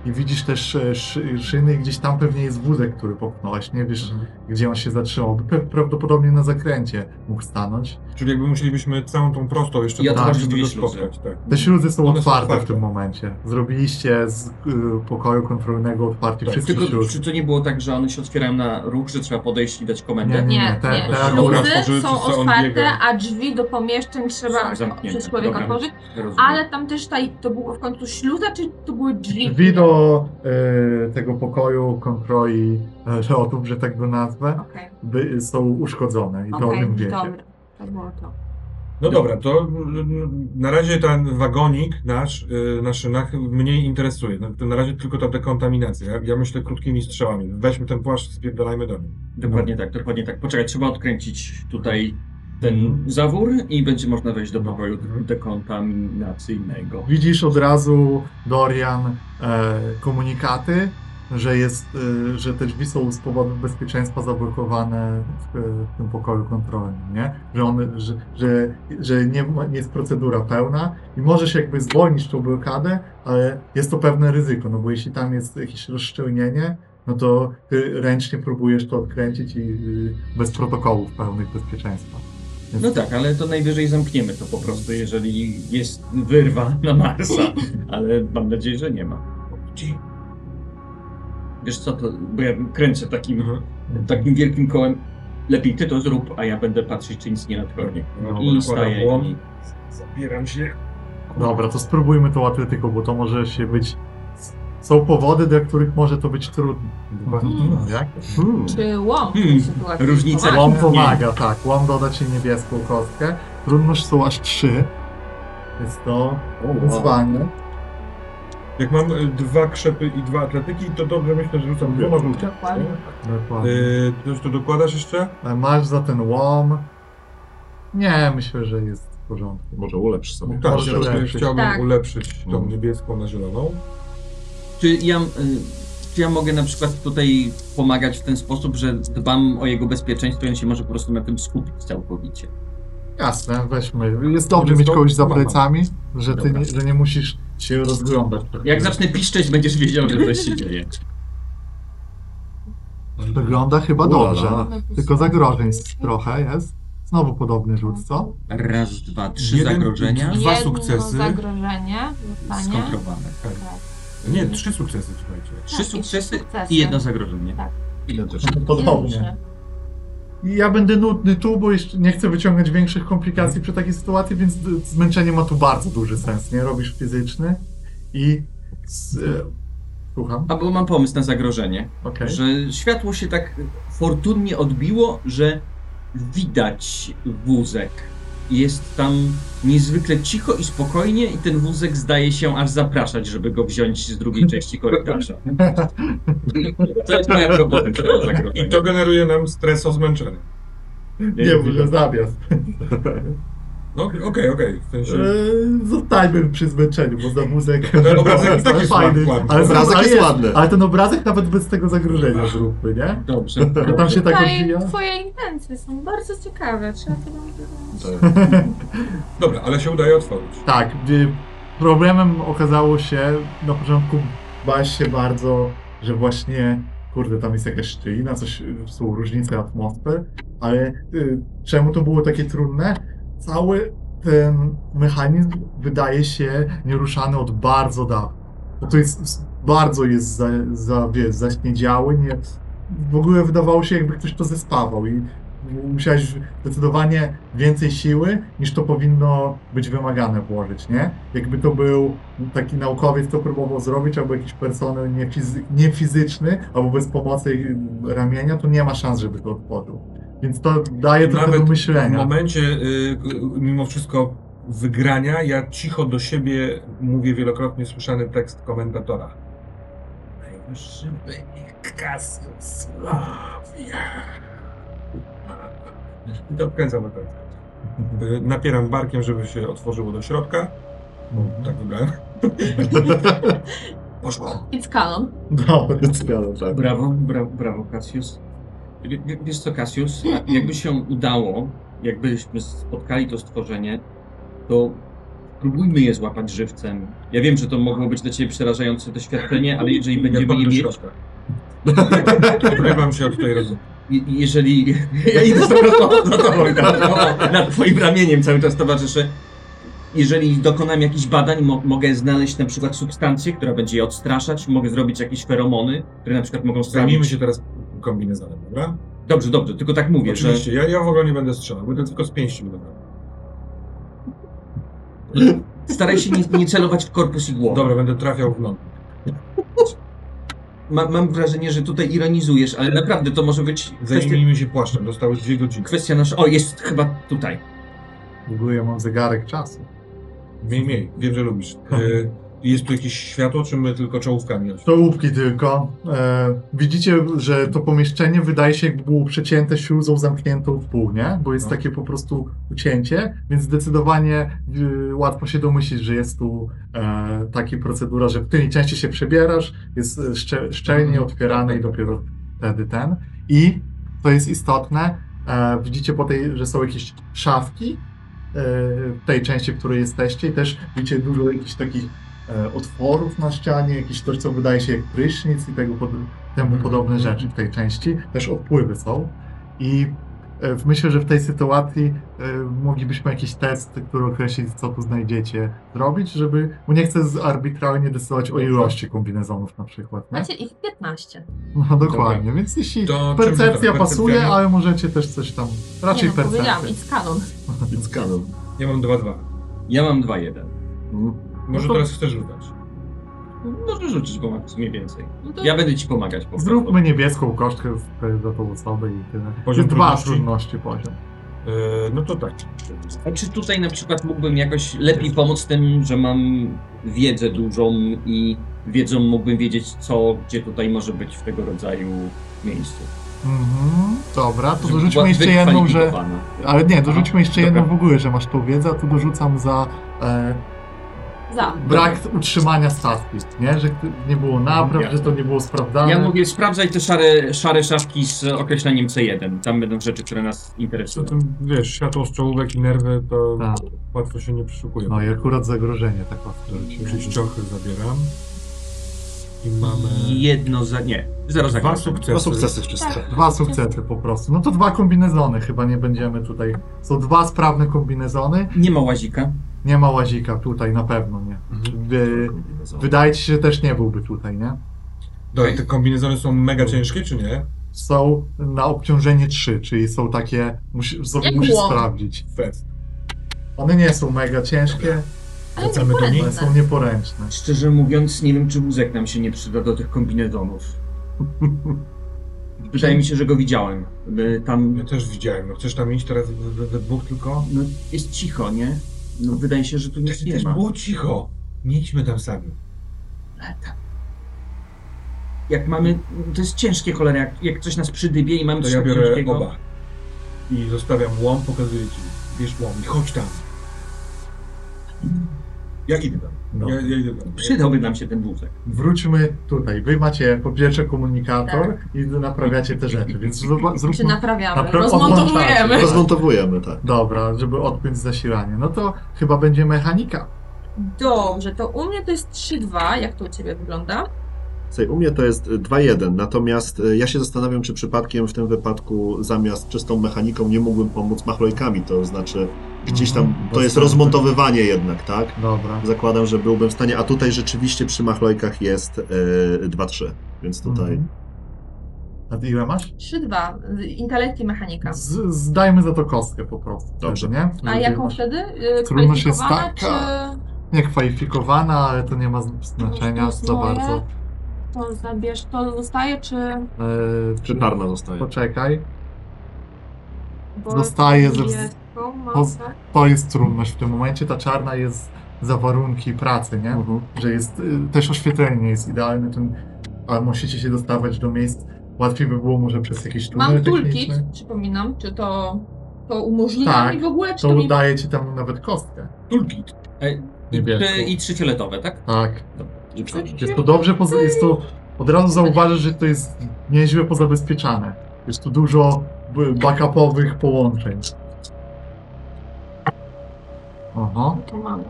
[SPEAKER 1] I widzisz też e, szy, szyny i gdzieś tam pewnie jest wózek, który popchnąłeś. Nie wiesz, gdzie on się zatrzymał. Pe- Prawdopodobnie na zakręcie mógł stanąć.
[SPEAKER 3] Czyli jakby musielibyśmy całą tą prostą jeszcze
[SPEAKER 4] Ja
[SPEAKER 3] poprawić,
[SPEAKER 4] otworzę
[SPEAKER 3] żeby
[SPEAKER 4] dwie
[SPEAKER 3] spotkać,
[SPEAKER 4] śluzy.
[SPEAKER 3] tak.
[SPEAKER 1] Te śluzy są
[SPEAKER 3] One są
[SPEAKER 1] otwarte w
[SPEAKER 3] otwarte.
[SPEAKER 1] tym momencie. Zrobiliście z y, pokoju kontrolnego otwarcie
[SPEAKER 3] Tak,
[SPEAKER 1] wszystkie
[SPEAKER 4] Tylko
[SPEAKER 1] śluzy.
[SPEAKER 4] czy to nie było tak, że one się otwierają na ruch, że trzeba podejść i dać komendę?
[SPEAKER 1] Nie,
[SPEAKER 2] Nie,
[SPEAKER 1] te-
[SPEAKER 2] nie.
[SPEAKER 1] te
[SPEAKER 3] akurat
[SPEAKER 2] Śluzy
[SPEAKER 3] otworzyły,
[SPEAKER 2] są
[SPEAKER 3] wszyscy on
[SPEAKER 2] otwarte,
[SPEAKER 3] biega.
[SPEAKER 2] a drzwi do pomieszczeń trzeba
[SPEAKER 4] Są zamknięte.
[SPEAKER 2] przez człowieka
[SPEAKER 4] Dobra.
[SPEAKER 2] otworzyć.
[SPEAKER 4] Rozumiem.
[SPEAKER 2] Ale tam też ta, to było w końcu śluza, czy to były drzwi?
[SPEAKER 1] Drzwi do y, tego pokoju kontroli e, lotów, że tak go nazwę,
[SPEAKER 2] Okej,
[SPEAKER 1] by, są uszkodzone i to o
[SPEAKER 2] okej,
[SPEAKER 1] tym wiecie.
[SPEAKER 2] dobra. To było to.
[SPEAKER 3] No dobra, to mm, na razie ten wagonik nasz y, na szynach mnie interesuje. No, to na razie tylko ta dekontaminacja. Ja, ja myślę krótkimi strzałami. Weźmy ten płaszcz, spierdalajmy do niej.
[SPEAKER 4] Dokładnie tak, dokładnie tak. Poczekaj, trzeba odkręcić tutaj ten zawór i będzie można wejść do pokoju dekontaminacyjnego.
[SPEAKER 1] Widzisz od razu, Dorian, e, komunikaty, że, jest, e, że te drzwi są z powodów bezpieczeństwa zablokowane w, e, w tym pokoju kontrolnym, nie? Że, on, że, że, że nie, ma, nie jest procedura pełna i możesz jakby zwolnić tą blokadę, ale jest to pewne ryzyko, no bo jeśli tam jest jakieś rozszczelnienie, no to ty ręcznie próbujesz to odkręcić i y, bez protokołów pełnych bezpieczeństwa. Więc
[SPEAKER 4] No tak, ale to najwyżej zamkniemy to po prostu, jeżeli jest wyrwa na Marsa. Ale mam nadzieję, że nie ma.
[SPEAKER 3] Mhm.
[SPEAKER 4] Wiesz co, to, bo ja kręcę takim, takim wielkim kołem. Lepiej ty to zrób, a ja będę patrzeć, czy nic nie nadchodzi.
[SPEAKER 3] No,
[SPEAKER 4] I
[SPEAKER 3] nakładam
[SPEAKER 4] staję.
[SPEAKER 3] błąd.
[SPEAKER 4] I...
[SPEAKER 3] Zabieram się.
[SPEAKER 1] Dobra, to spróbujmy tą atletyką, bo to może się być... Są powody, dla których może to być trudne.
[SPEAKER 4] Mm.
[SPEAKER 3] Mhm.
[SPEAKER 1] Jak? Hmm.
[SPEAKER 2] Czy łom w
[SPEAKER 4] Hmm,
[SPEAKER 2] tej sytuacji?
[SPEAKER 4] różnica-
[SPEAKER 2] pomaga?
[SPEAKER 1] Łom pomaga, tak. Łom doda ci niebieską kostkę. Trudność są aż trzy. Jest to wyzwanie.
[SPEAKER 3] Jak mam y, dwa krzepy i dwa atletyki, to dobrze myślę, że rzucam dwoma żółtymi.
[SPEAKER 2] Dokładnie.
[SPEAKER 1] Dokładnie.
[SPEAKER 3] Yy, coś tu dokładasz jeszcze?
[SPEAKER 1] Y- Ale Masz za ten łom. Nie, myślę, że jest w porządku.
[SPEAKER 6] Może ulepsz sobie.
[SPEAKER 3] Tak,
[SPEAKER 1] Może
[SPEAKER 3] żeby
[SPEAKER 1] ulepszyć. No.
[SPEAKER 3] chciałbym
[SPEAKER 2] Tak.
[SPEAKER 3] ulepszyć tą
[SPEAKER 6] Mhm.
[SPEAKER 3] niebieską na zieloną.
[SPEAKER 4] Czy ja, y, czy ja mogę na przykład tutaj pomagać w ten sposób, że dbam o jego bezpieczeństwo i on się może po prostu na tym skupić całkowicie?
[SPEAKER 1] Jasne, weźmy. Jest dobrze mieć
[SPEAKER 3] to-
[SPEAKER 1] kogoś za
[SPEAKER 3] Mama.
[SPEAKER 1] plecami, że ty
[SPEAKER 4] Dobra.
[SPEAKER 1] nie, że nie musisz się rozglądać.
[SPEAKER 4] Jak zacznę piszczeć, będziesz wiedział, że coś się dzieje.
[SPEAKER 1] Wygląda chyba
[SPEAKER 6] Ulala.
[SPEAKER 1] dobrze. Tylko zagrożeń jest trochę jest. Znowu podobny rzut, co?
[SPEAKER 4] Raz, dwa, trzy
[SPEAKER 3] Jeden,
[SPEAKER 4] zagrożenia.
[SPEAKER 3] Dwa
[SPEAKER 2] Jedno
[SPEAKER 3] sukcesy.
[SPEAKER 2] zagrożenie zostanie.
[SPEAKER 4] Skontrowane.
[SPEAKER 3] Tak.
[SPEAKER 2] Tak.
[SPEAKER 3] Nie, trzy sukcesy, słuchajcie.
[SPEAKER 4] Trzy
[SPEAKER 2] Tak, i trzy
[SPEAKER 4] sukcesy
[SPEAKER 2] sukcesy.
[SPEAKER 4] i jedno zagrożenie.
[SPEAKER 2] Tak.
[SPEAKER 6] Identyczne.
[SPEAKER 1] Podobnie. I ja będę nudny tu, bo jeszcze nie chcę wyciągać większych komplikacji przy takiej sytuacji, więc d- zmęczenie ma tu bardzo duży sens, nie? Robisz fizyczny i... Z, e, słucham,
[SPEAKER 4] Albo mam pomysł na zagrożenie,
[SPEAKER 1] okej.
[SPEAKER 4] że światło się tak fortunnie odbiło, że widać wózek. Jest tam niezwykle cicho i spokojnie i ten wózek zdaje się aż zapraszać, żeby go wziąć z drugiej części korytarza. To jest moja tak propozycja na zagrożenie.
[SPEAKER 3] I to generuje nam stres o zmęczenie.
[SPEAKER 1] Nie, może zamiast.
[SPEAKER 3] No okej, okej, okej. W sensie...
[SPEAKER 4] Y-
[SPEAKER 1] E, Zostańmy przy zmęczeniu, bo za muzyk
[SPEAKER 3] Ten obrazek i tak
[SPEAKER 1] Ale
[SPEAKER 3] jest
[SPEAKER 1] fajny.
[SPEAKER 3] ładny.
[SPEAKER 1] Ale,
[SPEAKER 6] Obrazek
[SPEAKER 1] ale
[SPEAKER 6] No, jest
[SPEAKER 1] jest-
[SPEAKER 6] ładny.
[SPEAKER 1] Ale ten obrazek nawet bez tego zagrożenia zróbmy, nie?
[SPEAKER 4] Dobrze.
[SPEAKER 1] Bo tam się tak
[SPEAKER 2] Tutaj
[SPEAKER 1] odbija.
[SPEAKER 2] twoje intencje są bardzo ciekawe. Trzeba to robić.
[SPEAKER 3] Dobra, ale się udaje otworzyć.
[SPEAKER 1] Tak, y, problemem okazało się, na początku bałeś się bardzo, że właśnie, kurde, tam jest jakaś szczelina, coś, y, są różnice atmosfer, ale y, czemu to było takie trudne? Cały ten mechanizm wydaje się nieruszany od bardzo dawna. Bo to jest, s- bardzo jest za, za, wiesz, zaśniedziały, nie, w ogóle wydawało się, jakby ktoś to zespawał i musiałeś zdecydowanie więcej siły niż to powinno być wymagane włożyć, nie? Jakby to był taki naukowiec, co próbował zrobić, albo jakiś personel niefizy- niefizyczny, albo bez pomocy ramienia, to nie ma szans, żeby to otworzył. Więc to daje trochę do
[SPEAKER 3] Nawet W
[SPEAKER 1] myślenia.
[SPEAKER 3] momencie, y, k- mimo wszystko, wygrania, ja cicho do siebie mówię wielokrotnie słyszany tekst komentatora. Najwyższy wynik Cassius Slavia. I dokręcam do końca. Y, Napieram barkiem, żeby się otworzyło do środka.
[SPEAKER 1] Mhm.
[SPEAKER 3] Tak wybrałem. Poszło.
[SPEAKER 2] It's canon.
[SPEAKER 1] No. Dobra.
[SPEAKER 6] Zgadza, tak.
[SPEAKER 4] Brawo, brawo, brawo Cassius. Wie- wie- Wiesz co, Cassius, jakby się udało, jakbyśmy spotkali to stworzenie, to próbujmy je złapać żywcem. Ja wiem, że to mogło być dla ciebie przerażające doświadczenie, ale jeżeli
[SPEAKER 3] Ja
[SPEAKER 4] będziemy
[SPEAKER 3] padłem
[SPEAKER 4] je
[SPEAKER 3] do
[SPEAKER 4] mieć...
[SPEAKER 3] środka. Wyrywam się od tej rodziny.
[SPEAKER 4] je- Jeżeli... Ja idę za tobą, za tobą, za tobą, nad twoim ramieniem cały czas towarzyszy. Jeżeli dokonam jakichś badań, mo mogę znaleźć na przykład substancję, która będzie je odstraszać, mogę zrobić jakieś feromony, które na przykład mogą
[SPEAKER 3] Zajmijmy
[SPEAKER 4] sprawić...
[SPEAKER 3] się teraz kombinezonem, dobra?
[SPEAKER 4] Dobrze, dobrze, tylko tak mówię, że...
[SPEAKER 3] Oczywiście, ja, ja w ogóle nie będę strzelał, będę tylko z pięści będę miał.
[SPEAKER 4] Staraj się nie, nie celować w korpus i głowę.
[SPEAKER 3] Dobra, będę trafiał w ląd.
[SPEAKER 4] Ma, mam wrażenie, że tutaj ironizujesz, ale naprawdę to może być kwestia,
[SPEAKER 3] Zajmijmy się płaszczem, dostałeś dwie godziny.
[SPEAKER 4] kwestia nasza... O, jest chyba tutaj.
[SPEAKER 1] W ogóle ja mam zegarek czasu.
[SPEAKER 3] Miej, miej, wiem, że lubisz. Y, jest tu jakieś światło, czy my tylko czołówkami?
[SPEAKER 1] To łupki tylko. E, widzicie, że to pomieszczenie wydaje się jakby było przecięte śluzą zamkniętą w pół, nie? Bo jest
[SPEAKER 3] No.
[SPEAKER 1] takie po prostu ucięcie, więc zdecydowanie y, łatwo się domyślić, że jest tu e, taka procedura, że w której części się przebierasz, jest e, szczel, szczelnie otwierane i dopiero wtedy ten. I to jest istotne, e, widzicie po tej, że są jakieś szafki e, w tej części, w której jesteście i też widzicie dużo jakichś takich e, otworów na ścianie, jakieś coś, co wydaje się jak prysznic i tego pod, temu podobne rzeczy w tej części. Też odpływy są. I E, w- Myślę, że w tej sytuacji e, moglibyśmy jakiś test, który określi, co tu znajdziecie, zrobić, żeby. Bo nie chcę z- arbitralnie decydować o ilości kombinezonów na przykład. Nie?
[SPEAKER 2] Macie ich 15.
[SPEAKER 1] No dokładnie, więc jeśli
[SPEAKER 3] To czym to
[SPEAKER 1] percepcja
[SPEAKER 3] tak?
[SPEAKER 1] pasuje,
[SPEAKER 3] Percepcja?
[SPEAKER 1] ale możecie też coś tam. Raczej
[SPEAKER 2] nie no,
[SPEAKER 1] percepcja.
[SPEAKER 2] powiedziałam, it's canon.
[SPEAKER 6] It's canon.
[SPEAKER 3] Ja mam 2-2.
[SPEAKER 4] Ja mam 2-1.
[SPEAKER 6] Mhm.
[SPEAKER 3] Może
[SPEAKER 7] No to-
[SPEAKER 3] teraz chcesz rzucać.
[SPEAKER 4] Możesz rzucić, bo mam w sumie więcej.
[SPEAKER 8] No to
[SPEAKER 4] Ja będę ci pomagać. Po prostu.
[SPEAKER 1] Zróbmy niebieską kosztkę z- dla tą osobę i tyle.
[SPEAKER 3] Poziom
[SPEAKER 1] Jest dwa
[SPEAKER 3] trudności?
[SPEAKER 1] trudności poziom.
[SPEAKER 3] Yy, no to tak.
[SPEAKER 4] A czy tutaj na przykład mógłbym jakoś lepiej pomóc tym, że mam wiedzę dużą i wiedzą mógłbym wiedzieć, co, gdzie tutaj może być w tego rodzaju miejscu?
[SPEAKER 1] Mhm, dobra, to
[SPEAKER 4] Żeby
[SPEAKER 1] dorzućmy
[SPEAKER 4] była
[SPEAKER 1] jeszcze jedną, że.
[SPEAKER 4] wykwalifikowana.
[SPEAKER 1] Ale nie, dorzućmy jeszcze
[SPEAKER 4] Dobra.
[SPEAKER 1] jedną w ogóle, że masz tą wiedzę, a tu dorzucam za e,
[SPEAKER 2] Za.
[SPEAKER 1] brak utrzymania statki, nie? Że ty- nie było napraw,
[SPEAKER 4] Ja-
[SPEAKER 1] że to nie było sprawdzane.
[SPEAKER 4] Ja mówię, sprawdzaj te szare, szare szafki z określeniem C1. Tam będą rzeczy, które nas
[SPEAKER 3] Przy
[SPEAKER 4] interesują.
[SPEAKER 3] tym, wiesz, światło z czołówek i nerwy to
[SPEAKER 1] Tak.
[SPEAKER 3] łatwo się nie przyszukują.
[SPEAKER 1] No i akurat zagrożenie tak ostro.
[SPEAKER 3] Czyli ciochy zabieram. I mamy
[SPEAKER 4] Jedno za... nie. Zero
[SPEAKER 3] dwa
[SPEAKER 4] zagrożeń.
[SPEAKER 3] sukcesy.
[SPEAKER 6] Dwa sukcesy wszystkie.
[SPEAKER 1] Dwa sukcesy po prostu. No to dwa kombinezony chyba nie będziemy tutaj. Są dwa sprawne kombinezony.
[SPEAKER 4] Nie ma łazika.
[SPEAKER 1] Nie ma łazika tutaj na pewno, nie?
[SPEAKER 3] Mhm.
[SPEAKER 6] Tak.
[SPEAKER 1] Wy, wydaje ci się, że też nie byłby tutaj, nie?
[SPEAKER 3] Dobra, te kombinezony są mega ciężkie, czy nie?
[SPEAKER 1] Są na obciążenie trzy, czyli są takie. Musi, sobie
[SPEAKER 2] Jak
[SPEAKER 1] musisz
[SPEAKER 2] łom.
[SPEAKER 1] sprawdzić.
[SPEAKER 3] Fest.
[SPEAKER 1] One nie są mega ciężkie,
[SPEAKER 2] Ale
[SPEAKER 3] Wracamy do
[SPEAKER 2] nieporęczne.
[SPEAKER 1] ale są nieporęczne.
[SPEAKER 4] Szczerze mówiąc, nie wiem, czy wózek nam się nie przyda do tych kombinezonów. Wydaje mi się, że go widziałem. By
[SPEAKER 3] Ja
[SPEAKER 4] Tam
[SPEAKER 3] też widziałem. No, chcesz tam iść teraz we- we we dwóch tylko?
[SPEAKER 4] no, jest cicho, nie? No, wydaje się, że tu nic
[SPEAKER 3] Wtedy
[SPEAKER 4] nie
[SPEAKER 3] też
[SPEAKER 4] ma.
[SPEAKER 3] było cicho. Nie idźmy tam sami.
[SPEAKER 4] Ale tak. Jak mamy... To jest ciężkie, cholera. Jak, jak coś nas przydybie i mamy
[SPEAKER 3] To
[SPEAKER 4] coś
[SPEAKER 3] ja
[SPEAKER 4] tak
[SPEAKER 3] biorę
[SPEAKER 4] ciężkiego...
[SPEAKER 3] oba. I zostawiam łom, pokazuję ci. Bierz łom i chodź tam. Ja idę tam.
[SPEAKER 1] No.
[SPEAKER 3] Ja, ja idę tam.
[SPEAKER 4] Przydałby nam się ten wózek.
[SPEAKER 1] Wróćmy tutaj. Wy macie po pierwsze komunikator i naprawiacie te rzeczy, więc zro-
[SPEAKER 2] Czy
[SPEAKER 1] zróbmy...
[SPEAKER 2] Tak naprawiamy?
[SPEAKER 1] Napra-
[SPEAKER 2] Rozmontowujemy.
[SPEAKER 6] Rozmontowujemy, tak.
[SPEAKER 1] Dobra, żeby odpiąć zasilanie. No to chyba będzie mechanika.
[SPEAKER 2] Dobrze, to u mnie to jest 3-2. Jak to u ciebie wygląda?
[SPEAKER 6] Słuchaj, u mnie to jest y, 2-1, natomiast y, ja się zastanawiam, czy przypadkiem w tym wypadku zamiast czystą mechaniką nie mógłbym pomóc machlojkami, to znaczy gdzieś tam
[SPEAKER 1] Mhm,
[SPEAKER 6] to jest
[SPEAKER 1] bez-
[SPEAKER 6] rozmontowywanie jednak, tak?
[SPEAKER 1] Dobra.
[SPEAKER 6] Zakładam, że byłbym w stanie, a tutaj rzeczywiście przy machlojkach jest y, 2-3, więc tutaj
[SPEAKER 1] Mhm. A ty Mhm. ile masz?
[SPEAKER 2] 3-2. Intelekt i Y, mechanika.
[SPEAKER 1] Z, zdajmy za to kostkę po prostu.
[SPEAKER 6] Dobrze.
[SPEAKER 1] Nie?
[SPEAKER 2] A
[SPEAKER 1] Ile
[SPEAKER 2] jaką
[SPEAKER 1] masz?
[SPEAKER 2] wtedy? Y,
[SPEAKER 1] Trudność jest
[SPEAKER 2] kwalifikowana,
[SPEAKER 1] taka. Nie kwalifikowana, ale to nie ma znaczenia
[SPEAKER 2] Plus
[SPEAKER 1] za
[SPEAKER 2] moje.
[SPEAKER 1] bardzo.
[SPEAKER 2] Czy to zabierz, to zostaje, czy...
[SPEAKER 1] Eee,
[SPEAKER 6] przytarna zostaje.
[SPEAKER 1] Poczekaj.
[SPEAKER 2] Bo
[SPEAKER 1] Zostaje ze wz-
[SPEAKER 2] Niebieską mam,
[SPEAKER 1] poz-
[SPEAKER 2] tak?
[SPEAKER 1] To jest trudność w tym momencie. Ta czarna jest za warunki pracy, nie?
[SPEAKER 6] Mhm.
[SPEAKER 1] że jest y, też oświetlenie nie jest idealne, ten, ale musicie się dostawać do miejsc. Łatwiej by było może przez jakieś tunele
[SPEAKER 8] mam toolkit,
[SPEAKER 1] techniczne.
[SPEAKER 8] przypominam, czy to, to umożliwia
[SPEAKER 1] Tak,
[SPEAKER 8] mi w ogóle, czy
[SPEAKER 1] To
[SPEAKER 8] to, mi...
[SPEAKER 1] udaje ci tam nawet kostkę.
[SPEAKER 3] Toolkit.
[SPEAKER 4] E, I,
[SPEAKER 1] Niebieską.
[SPEAKER 4] trzy- I trzy fioletowe, tak?
[SPEAKER 1] Tak.
[SPEAKER 4] I
[SPEAKER 1] Jest to dobrze, poza, jest to, od razu zauważysz, że to jest nieźle pozabezpieczane. Jest tu dużo b- backupowych połączeń. Aha.
[SPEAKER 2] To mam.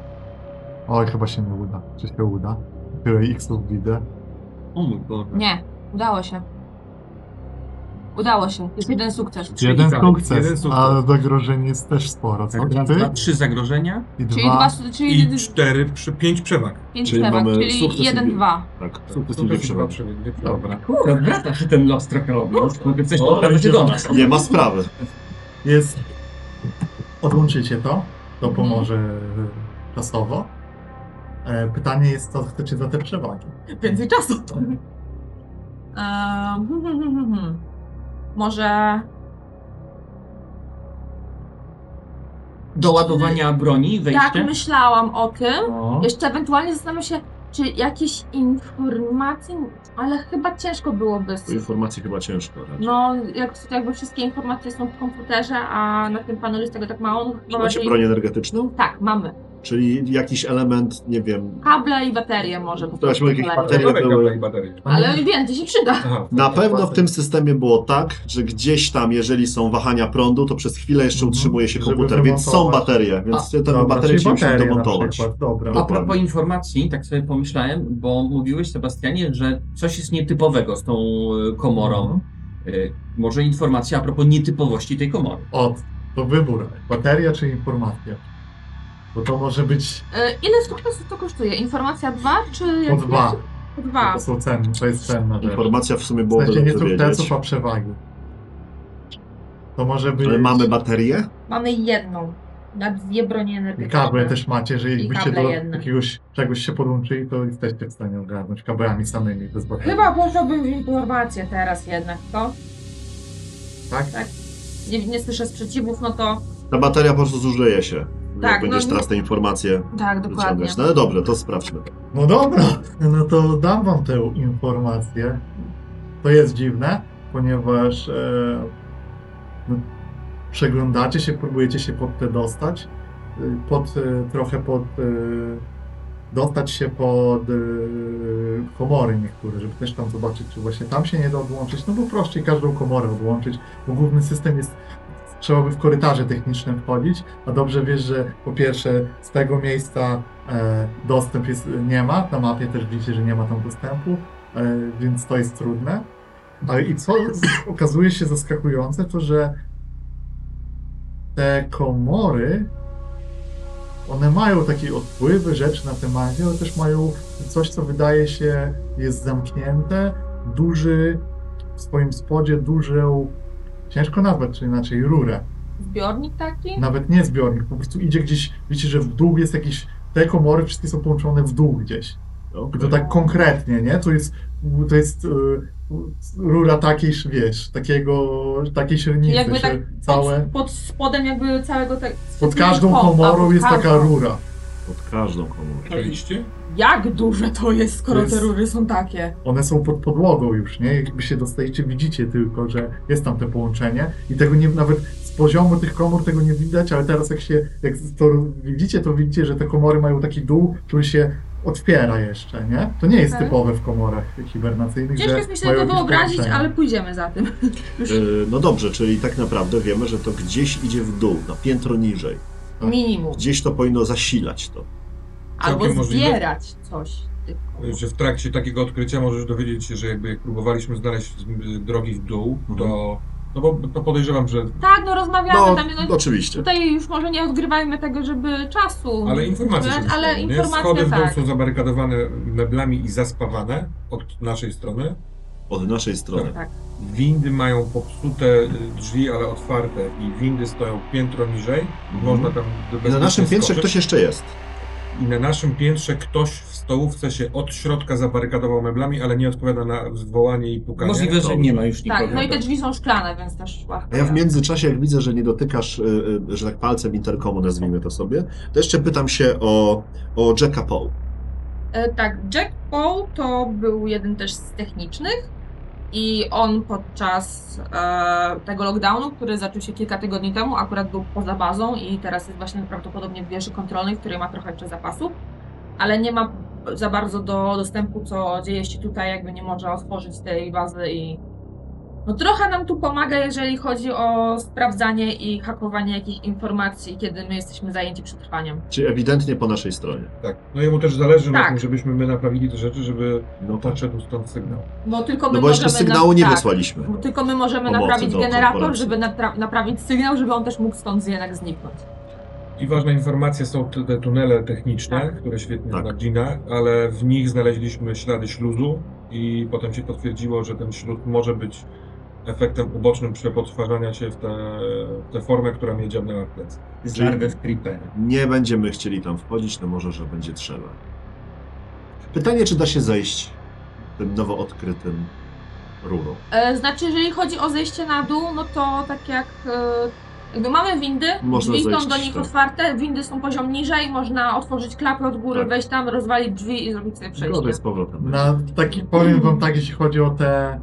[SPEAKER 1] Oj, chyba się nie uda. Czy się uda? Tyle X-ów widzę.
[SPEAKER 4] O mój Boże.
[SPEAKER 2] Nie, udało się. Udało się, jest jeden sukces.
[SPEAKER 3] Czyli
[SPEAKER 1] Jeden
[SPEAKER 3] tak,
[SPEAKER 1] sukces,
[SPEAKER 3] jeden sukces.
[SPEAKER 1] ale zagrożeń jest też sporo, co?
[SPEAKER 4] Tak, raz,
[SPEAKER 1] Ty
[SPEAKER 4] dwa, trzy zagrożenia.
[SPEAKER 1] i
[SPEAKER 2] Czyli
[SPEAKER 1] dwa.
[SPEAKER 2] dwa, su- czyli
[SPEAKER 3] I
[SPEAKER 2] d-
[SPEAKER 3] cztery, przy, pięć przewag.
[SPEAKER 2] pięć
[SPEAKER 6] czyli
[SPEAKER 2] czyli
[SPEAKER 6] mamy
[SPEAKER 2] czyli
[SPEAKER 6] sukces i
[SPEAKER 2] jeden,
[SPEAKER 6] wy-
[SPEAKER 2] dwa.
[SPEAKER 6] Tak,
[SPEAKER 3] To
[SPEAKER 6] sukcesywnie
[SPEAKER 3] jest chyba
[SPEAKER 6] przebieg.
[SPEAKER 3] przebieg.
[SPEAKER 1] Dobra.
[SPEAKER 4] Kurde, wraca się ten los trochę obrót. Mogę coś
[SPEAKER 1] O,
[SPEAKER 4] poprawić
[SPEAKER 1] idzie
[SPEAKER 4] do
[SPEAKER 1] za-
[SPEAKER 4] nas.
[SPEAKER 6] Nie ma sprawy.
[SPEAKER 1] jest. Odłączycie to, to pomoże e, czasowo. E, Pytanie jest, co chcecie za te przewagi.
[SPEAKER 2] Więcej czasu. Ehm, hmm, hmm, hmm, hmm. Może
[SPEAKER 4] Do ładowania broni,
[SPEAKER 2] tak
[SPEAKER 4] wejście.
[SPEAKER 2] myślałam o tym.
[SPEAKER 1] No.
[SPEAKER 2] Jeszcze ewentualnie zastanawiam się, czy jakieś informacje, ale chyba ciężko byłoby.
[SPEAKER 6] Tu
[SPEAKER 2] s-
[SPEAKER 6] informacji chyba ciężko. tak. raczej.
[SPEAKER 2] No, jak, jakby wszystkie informacje są w komputerze, a na tym panelu jest tego tak mało, no chyba
[SPEAKER 6] Macie
[SPEAKER 2] bardziej-
[SPEAKER 6] broń energetyczną?
[SPEAKER 2] Tak, mamy.
[SPEAKER 6] Czyli jakiś element, nie wiem,
[SPEAKER 2] Kable i baterie może. po
[SPEAKER 6] Teraz
[SPEAKER 2] prostu
[SPEAKER 6] jakieś
[SPEAKER 2] kolejne.
[SPEAKER 6] baterie.
[SPEAKER 3] Dobra,
[SPEAKER 6] były. No.
[SPEAKER 3] dobra, i baterie.
[SPEAKER 2] Ale więcej się przyda.
[SPEAKER 3] Aha.
[SPEAKER 6] Na pewno w tym systemie było tak, że gdzieś tam, jeżeli są wahania prądu, to przez chwilę jeszcze
[SPEAKER 1] Mhm.
[SPEAKER 6] utrzymuje się
[SPEAKER 1] Żeby
[SPEAKER 6] komputer, więc są
[SPEAKER 1] wymontować.
[SPEAKER 6] baterie, więc te
[SPEAKER 1] Dobra,
[SPEAKER 6] baterie
[SPEAKER 1] czyli
[SPEAKER 6] się muszą
[SPEAKER 1] baterie na
[SPEAKER 6] domontować.
[SPEAKER 1] przykład, Dobra.
[SPEAKER 4] A
[SPEAKER 6] Dokładnie.
[SPEAKER 4] propos informacji, tak sobie pomyślałem, bo mówiłeś Sebastianie, że coś jest nietypowego z tą y, e, komorą. Y, Może informacja a propos nietypowości tej komory.
[SPEAKER 1] Od, to wybór. Bateria czy informacja? Bo to może być
[SPEAKER 2] E, ile sukcesów to kosztuje? Informacja 2 czy...
[SPEAKER 1] po
[SPEAKER 2] jak-
[SPEAKER 1] dwa.
[SPEAKER 2] Po dwa.
[SPEAKER 1] To są ceny, to jest cenna rzecz.
[SPEAKER 6] Informacja w sumie
[SPEAKER 1] W
[SPEAKER 6] byłoby
[SPEAKER 1] sensie Znaczy, nie
[SPEAKER 6] dobrze
[SPEAKER 1] sukcesów,
[SPEAKER 6] wiedzieć.
[SPEAKER 1] a przewagi. To może być...
[SPEAKER 6] Ale mamy baterię?
[SPEAKER 5] Mamy jedną. Na dwie bronie
[SPEAKER 1] I
[SPEAKER 5] energetyczne.
[SPEAKER 1] kable też macie, że jakbyście
[SPEAKER 5] kable
[SPEAKER 1] do
[SPEAKER 5] jedne.
[SPEAKER 1] jakiegoś czegoś się podłączyli, to jesteście w stanie ogarnąć kablami samymi, bez baterii.
[SPEAKER 2] Chyba poszłabym w informację teraz jednak, to?
[SPEAKER 1] Tak?
[SPEAKER 2] Tak. Nie, nie słyszę sprzeciwów, no to...
[SPEAKER 6] Ta bateria po prostu zużyje się.
[SPEAKER 2] Tak,
[SPEAKER 6] jak
[SPEAKER 2] no
[SPEAKER 6] będziesz
[SPEAKER 2] nie-
[SPEAKER 6] teraz te informacje
[SPEAKER 2] Tak, dokładnie.
[SPEAKER 6] wyciągać. No ale dobrze, to sprawdźmy.
[SPEAKER 1] No dobra, no to dam wam tę informację. To jest dziwne, ponieważ e, no, przeglądacie się, próbujecie się pod te dostać, y, pod, e, trochę pod, e, dostać się pod e, komory niektóre, żeby też tam zobaczyć, czy właśnie tam się nie da odłączyć, no bo prościej każdą komorę odłączyć, bo główny system jest trzeba by w korytarze technicznym wchodzić, a dobrze wiesz, że po pierwsze z tego miejsca e, dostęp jest, nie ma, na mapie też widzicie, że nie ma tam dostępu, e, więc to jest trudne. Ale i co z, okazuje się zaskakujące, to że te komory, one mają takie odpływy rzeczy na temacie, ale też mają coś, co wydaje się jest zamknięte, duży, w swoim spodzie dużą, ciężko nazwać, czy inaczej, rurę
[SPEAKER 2] Zbiornik taki?
[SPEAKER 1] nawet nie zbiornik, po prostu idzie gdzieś, wiecie, że w dół jest jakiś, te komory wszystkie są połączone w dół gdzieś.
[SPEAKER 6] Okej.
[SPEAKER 1] To tak konkretnie, nie? To jest, to jest y, rura takiej, wiesz, takiego, takiej średnicy,
[SPEAKER 2] Jakby
[SPEAKER 1] że
[SPEAKER 2] tak
[SPEAKER 1] całe,
[SPEAKER 2] Pod, pod spodem jakby całego tego...
[SPEAKER 1] pod każdą
[SPEAKER 2] pod- a,
[SPEAKER 1] komorą
[SPEAKER 2] pod
[SPEAKER 1] jest taka
[SPEAKER 2] każdą.
[SPEAKER 1] rura.
[SPEAKER 6] Pod każdą komórkę.
[SPEAKER 3] Oczywiście.
[SPEAKER 2] Jak duże to jest, skoro
[SPEAKER 1] To jest-
[SPEAKER 2] te rury są takie?
[SPEAKER 1] One są pod podłogą już, nie? Jakby się dostajecie, widzicie tylko, że jest tam to połączenie i tego nie, nawet z poziomu tych komór tego nie widać, ale teraz jak się, jak to widzicie, to widzicie, że te komory mają taki dół, który się otwiera jeszcze, nie? To nie jest
[SPEAKER 2] Okej.
[SPEAKER 1] typowe w komorach hibernacyjnych,
[SPEAKER 2] Tak. Ciężko
[SPEAKER 1] że
[SPEAKER 2] jest mi sobie
[SPEAKER 1] mają
[SPEAKER 2] to
[SPEAKER 1] jakieś
[SPEAKER 2] wyobrazić,
[SPEAKER 1] połączenie.
[SPEAKER 2] ale pójdziemy za tym.
[SPEAKER 6] Yy, No dobrze, czyli tak naprawdę wiemy, że to gdzieś idzie w dół, na piętro niżej.
[SPEAKER 1] Tak.
[SPEAKER 2] Minimum.
[SPEAKER 6] Gdzieś to powinno zasilać to.
[SPEAKER 2] Albo
[SPEAKER 3] No. Całkiem możliwe.
[SPEAKER 2] zbierać coś. tylko.
[SPEAKER 3] że w trakcie takiego odkrycia możesz dowiedzieć się, że jakby jak próbowaliśmy znaleźć y, drogi w dół, to. No bo to podejrzewam, że.
[SPEAKER 2] Tak, no rozmawiamy
[SPEAKER 6] No,
[SPEAKER 2] tam. No,
[SPEAKER 6] oczywiście.
[SPEAKER 2] tutaj już może nie odgrywajmy tego, żeby czasu.
[SPEAKER 3] Ale informacje się
[SPEAKER 2] Ale- ale
[SPEAKER 3] wyświetlają, nie?
[SPEAKER 2] informacje,
[SPEAKER 3] Schody w dół
[SPEAKER 2] tak.
[SPEAKER 3] są zabarykadowane meblami i zaspawane od naszej strony.
[SPEAKER 6] Od naszej strony.
[SPEAKER 2] Tak.
[SPEAKER 3] Windy mają popsute y, drzwi, ale otwarte i windy stoją piętro niżej.
[SPEAKER 6] Mhm.
[SPEAKER 3] Można tam
[SPEAKER 6] I na naszym piętrze
[SPEAKER 3] skoczyć.
[SPEAKER 6] ktoś jeszcze jest.
[SPEAKER 3] I na naszym piętrze ktoś w stołówce się od środka zabarykadował meblami, ale nie odpowiada na wołanie i pukanie.
[SPEAKER 4] Możliwe, że
[SPEAKER 6] dobrze.
[SPEAKER 4] nie ma już nikogo.
[SPEAKER 2] Tak, no i te drzwi są szklane, więc też łatwo.
[SPEAKER 6] A ja w międzyczasie, jak widzę, że nie dotykasz, y, y, że tak palcem interkomu, nazwijmy to sobie, to jeszcze pytam się o, o Jacka Paul.
[SPEAKER 2] E, tak, Jack Paul to był jeden też z technicznych i on podczas e, tego lockdownu, który zaczął się kilka tygodni temu, akurat był poza bazą i teraz jest właśnie prawdopodobnie w wieży kontrolnej, w której ma trochę jeszcze zapasów, ale nie ma za bardzo do dostępu, co dzieje się tutaj, jakby nie może otworzyć tej bazy i no trochę nam tu pomaga, jeżeli chodzi o sprawdzanie i hakowanie jakichś informacji, kiedy my jesteśmy zajęci przetrwaniem.
[SPEAKER 6] Czyli ewidentnie po naszej stronie.
[SPEAKER 3] Tak. No jemu też zależy na
[SPEAKER 2] Tak.
[SPEAKER 3] tym, żebyśmy my naprawili te rzeczy, żeby
[SPEAKER 6] No, tak.
[SPEAKER 3] podszedł stąd sygnał.
[SPEAKER 2] Bo tylko my
[SPEAKER 6] no bo jeszcze
[SPEAKER 2] możemy na-
[SPEAKER 6] sygnału nie
[SPEAKER 2] tak.
[SPEAKER 6] wysłaliśmy.
[SPEAKER 2] Bo Tylko my możemy
[SPEAKER 6] Pomocy
[SPEAKER 2] naprawić
[SPEAKER 6] do
[SPEAKER 2] generator,
[SPEAKER 6] korporacji.
[SPEAKER 2] żeby napra- naprawić sygnał, żeby on też mógł stąd jednak zniknąć.
[SPEAKER 3] I ważna informacja są te, te tunele techniczne,
[SPEAKER 2] Tak.
[SPEAKER 3] które świetnie
[SPEAKER 6] Tak.
[SPEAKER 3] zna Gina, ale w nich znaleźliśmy ślady śluzu i potem się potwierdziło, że ten śluz może być efektem ubocznym przepotwarzania się w tę w tę formę, która mnie dziabnęła w plecy.
[SPEAKER 4] Z larwy w creeper.
[SPEAKER 6] Nie będziemy chcieli tam wchodzić, no może, że będzie trzeba. Pytanie, czy da się zejść tym nowo odkrytym rurą.
[SPEAKER 2] E, znaczy, jeżeli chodzi o zejście na dół, no to tak jak e, jakby mamy windy,
[SPEAKER 6] Można
[SPEAKER 2] drzwi są
[SPEAKER 6] zejść,
[SPEAKER 2] do nich
[SPEAKER 6] tak.
[SPEAKER 2] otwarte, windy są poziom niżej, można otworzyć klapę od góry,
[SPEAKER 6] Tak.
[SPEAKER 2] wejść tam, rozwalić drzwi i zrobić sobie przejście.
[SPEAKER 6] Zgoda No, z powrotem.
[SPEAKER 1] Na taki, powiem wam tak, jeśli chodzi o te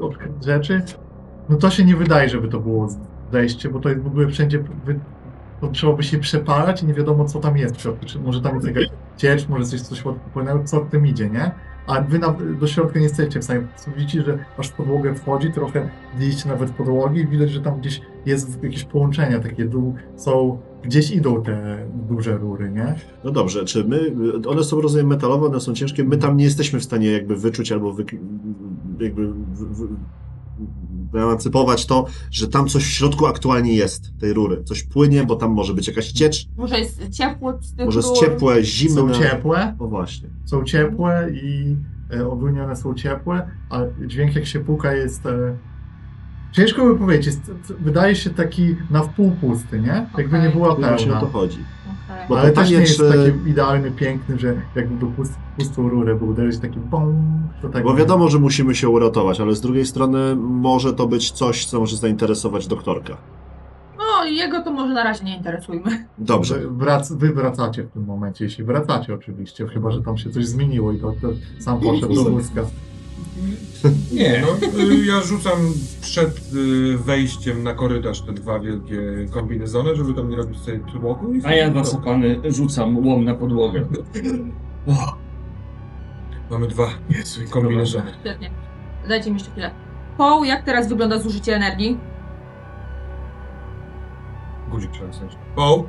[SPEAKER 1] odkryte rzeczy, no to się nie wydaje, żeby to było zejście, bo to jest w ogóle wszędzie, wy- to trzeba by się przepalać i nie wiadomo co tam jest w środku, czy może tam jest jakaś ciecz, może coś coś popłynęło, co w tym idzie, nie? A wy na, do środka nie jesteście w stanie, po prostu widzicie, że aż w podłogę wchodzi, trochę widzicie nawet podłogi i widać, że tam gdzieś jest jakieś połączenia takie, dół, są, gdzieś idą te duże rury, nie?
[SPEAKER 6] No dobrze, czy my, one są rozumiem metalowe, one są ciężkie, my tam nie jesteśmy w stanie jakby wyczuć albo wy, jakby w, w, wyemancypować to, że tam coś w środku aktualnie jest, tej rury. Coś płynie, bo tam może być jakaś ciecz,
[SPEAKER 2] Może jest ciepło z tych
[SPEAKER 6] może jest
[SPEAKER 2] rur.
[SPEAKER 6] ciepłe,
[SPEAKER 1] Są
[SPEAKER 6] zimne.
[SPEAKER 1] ciepłe,
[SPEAKER 6] O właśnie.
[SPEAKER 1] są ciepłe i e, ogólnie one są ciepłe, a dźwięk jak się puka jest... E, ciężko by powiedzieć, jest, wydaje się taki na wpół pusty, nie? Jakby nie
[SPEAKER 2] Okej.
[SPEAKER 1] była
[SPEAKER 6] No Właśnie o
[SPEAKER 1] pełna.
[SPEAKER 6] to chodzi.
[SPEAKER 2] Okej.
[SPEAKER 6] Bo
[SPEAKER 1] Ale też nie
[SPEAKER 6] pytanie,
[SPEAKER 1] jest
[SPEAKER 6] czy-
[SPEAKER 1] taki idealny, piękny, że jakby był pust, pustą rurę, by uderzyć taki bum, to tak...
[SPEAKER 6] Bo wiadomo, że musimy się uratować, ale z drugiej strony może to być coś, co może zainteresować doktorka.
[SPEAKER 2] No, jego to może na razie nie interesujmy.
[SPEAKER 6] Dobrze.
[SPEAKER 1] Wy, wrac, wy wracacie w tym momencie, jeśli wracacie oczywiście, chyba że tam się coś zmieniło i to, to sam poszedł do wózka.
[SPEAKER 3] Nie, no, y, ja rzucam przed y, wejściem na korytarz te dwa wielkie kombinezony, żeby tam nie robić sobie tłoku. i-
[SPEAKER 4] A ja was opany rzucam łom na podłogę. O,
[SPEAKER 3] Mamy dwa
[SPEAKER 4] Jezu,
[SPEAKER 3] kombinezony.
[SPEAKER 2] Świetnie. Dajcie mi jeszcze chwilę. Paul, jak teraz wygląda zużycie energii?
[SPEAKER 3] Guzik trzeba wstać. O!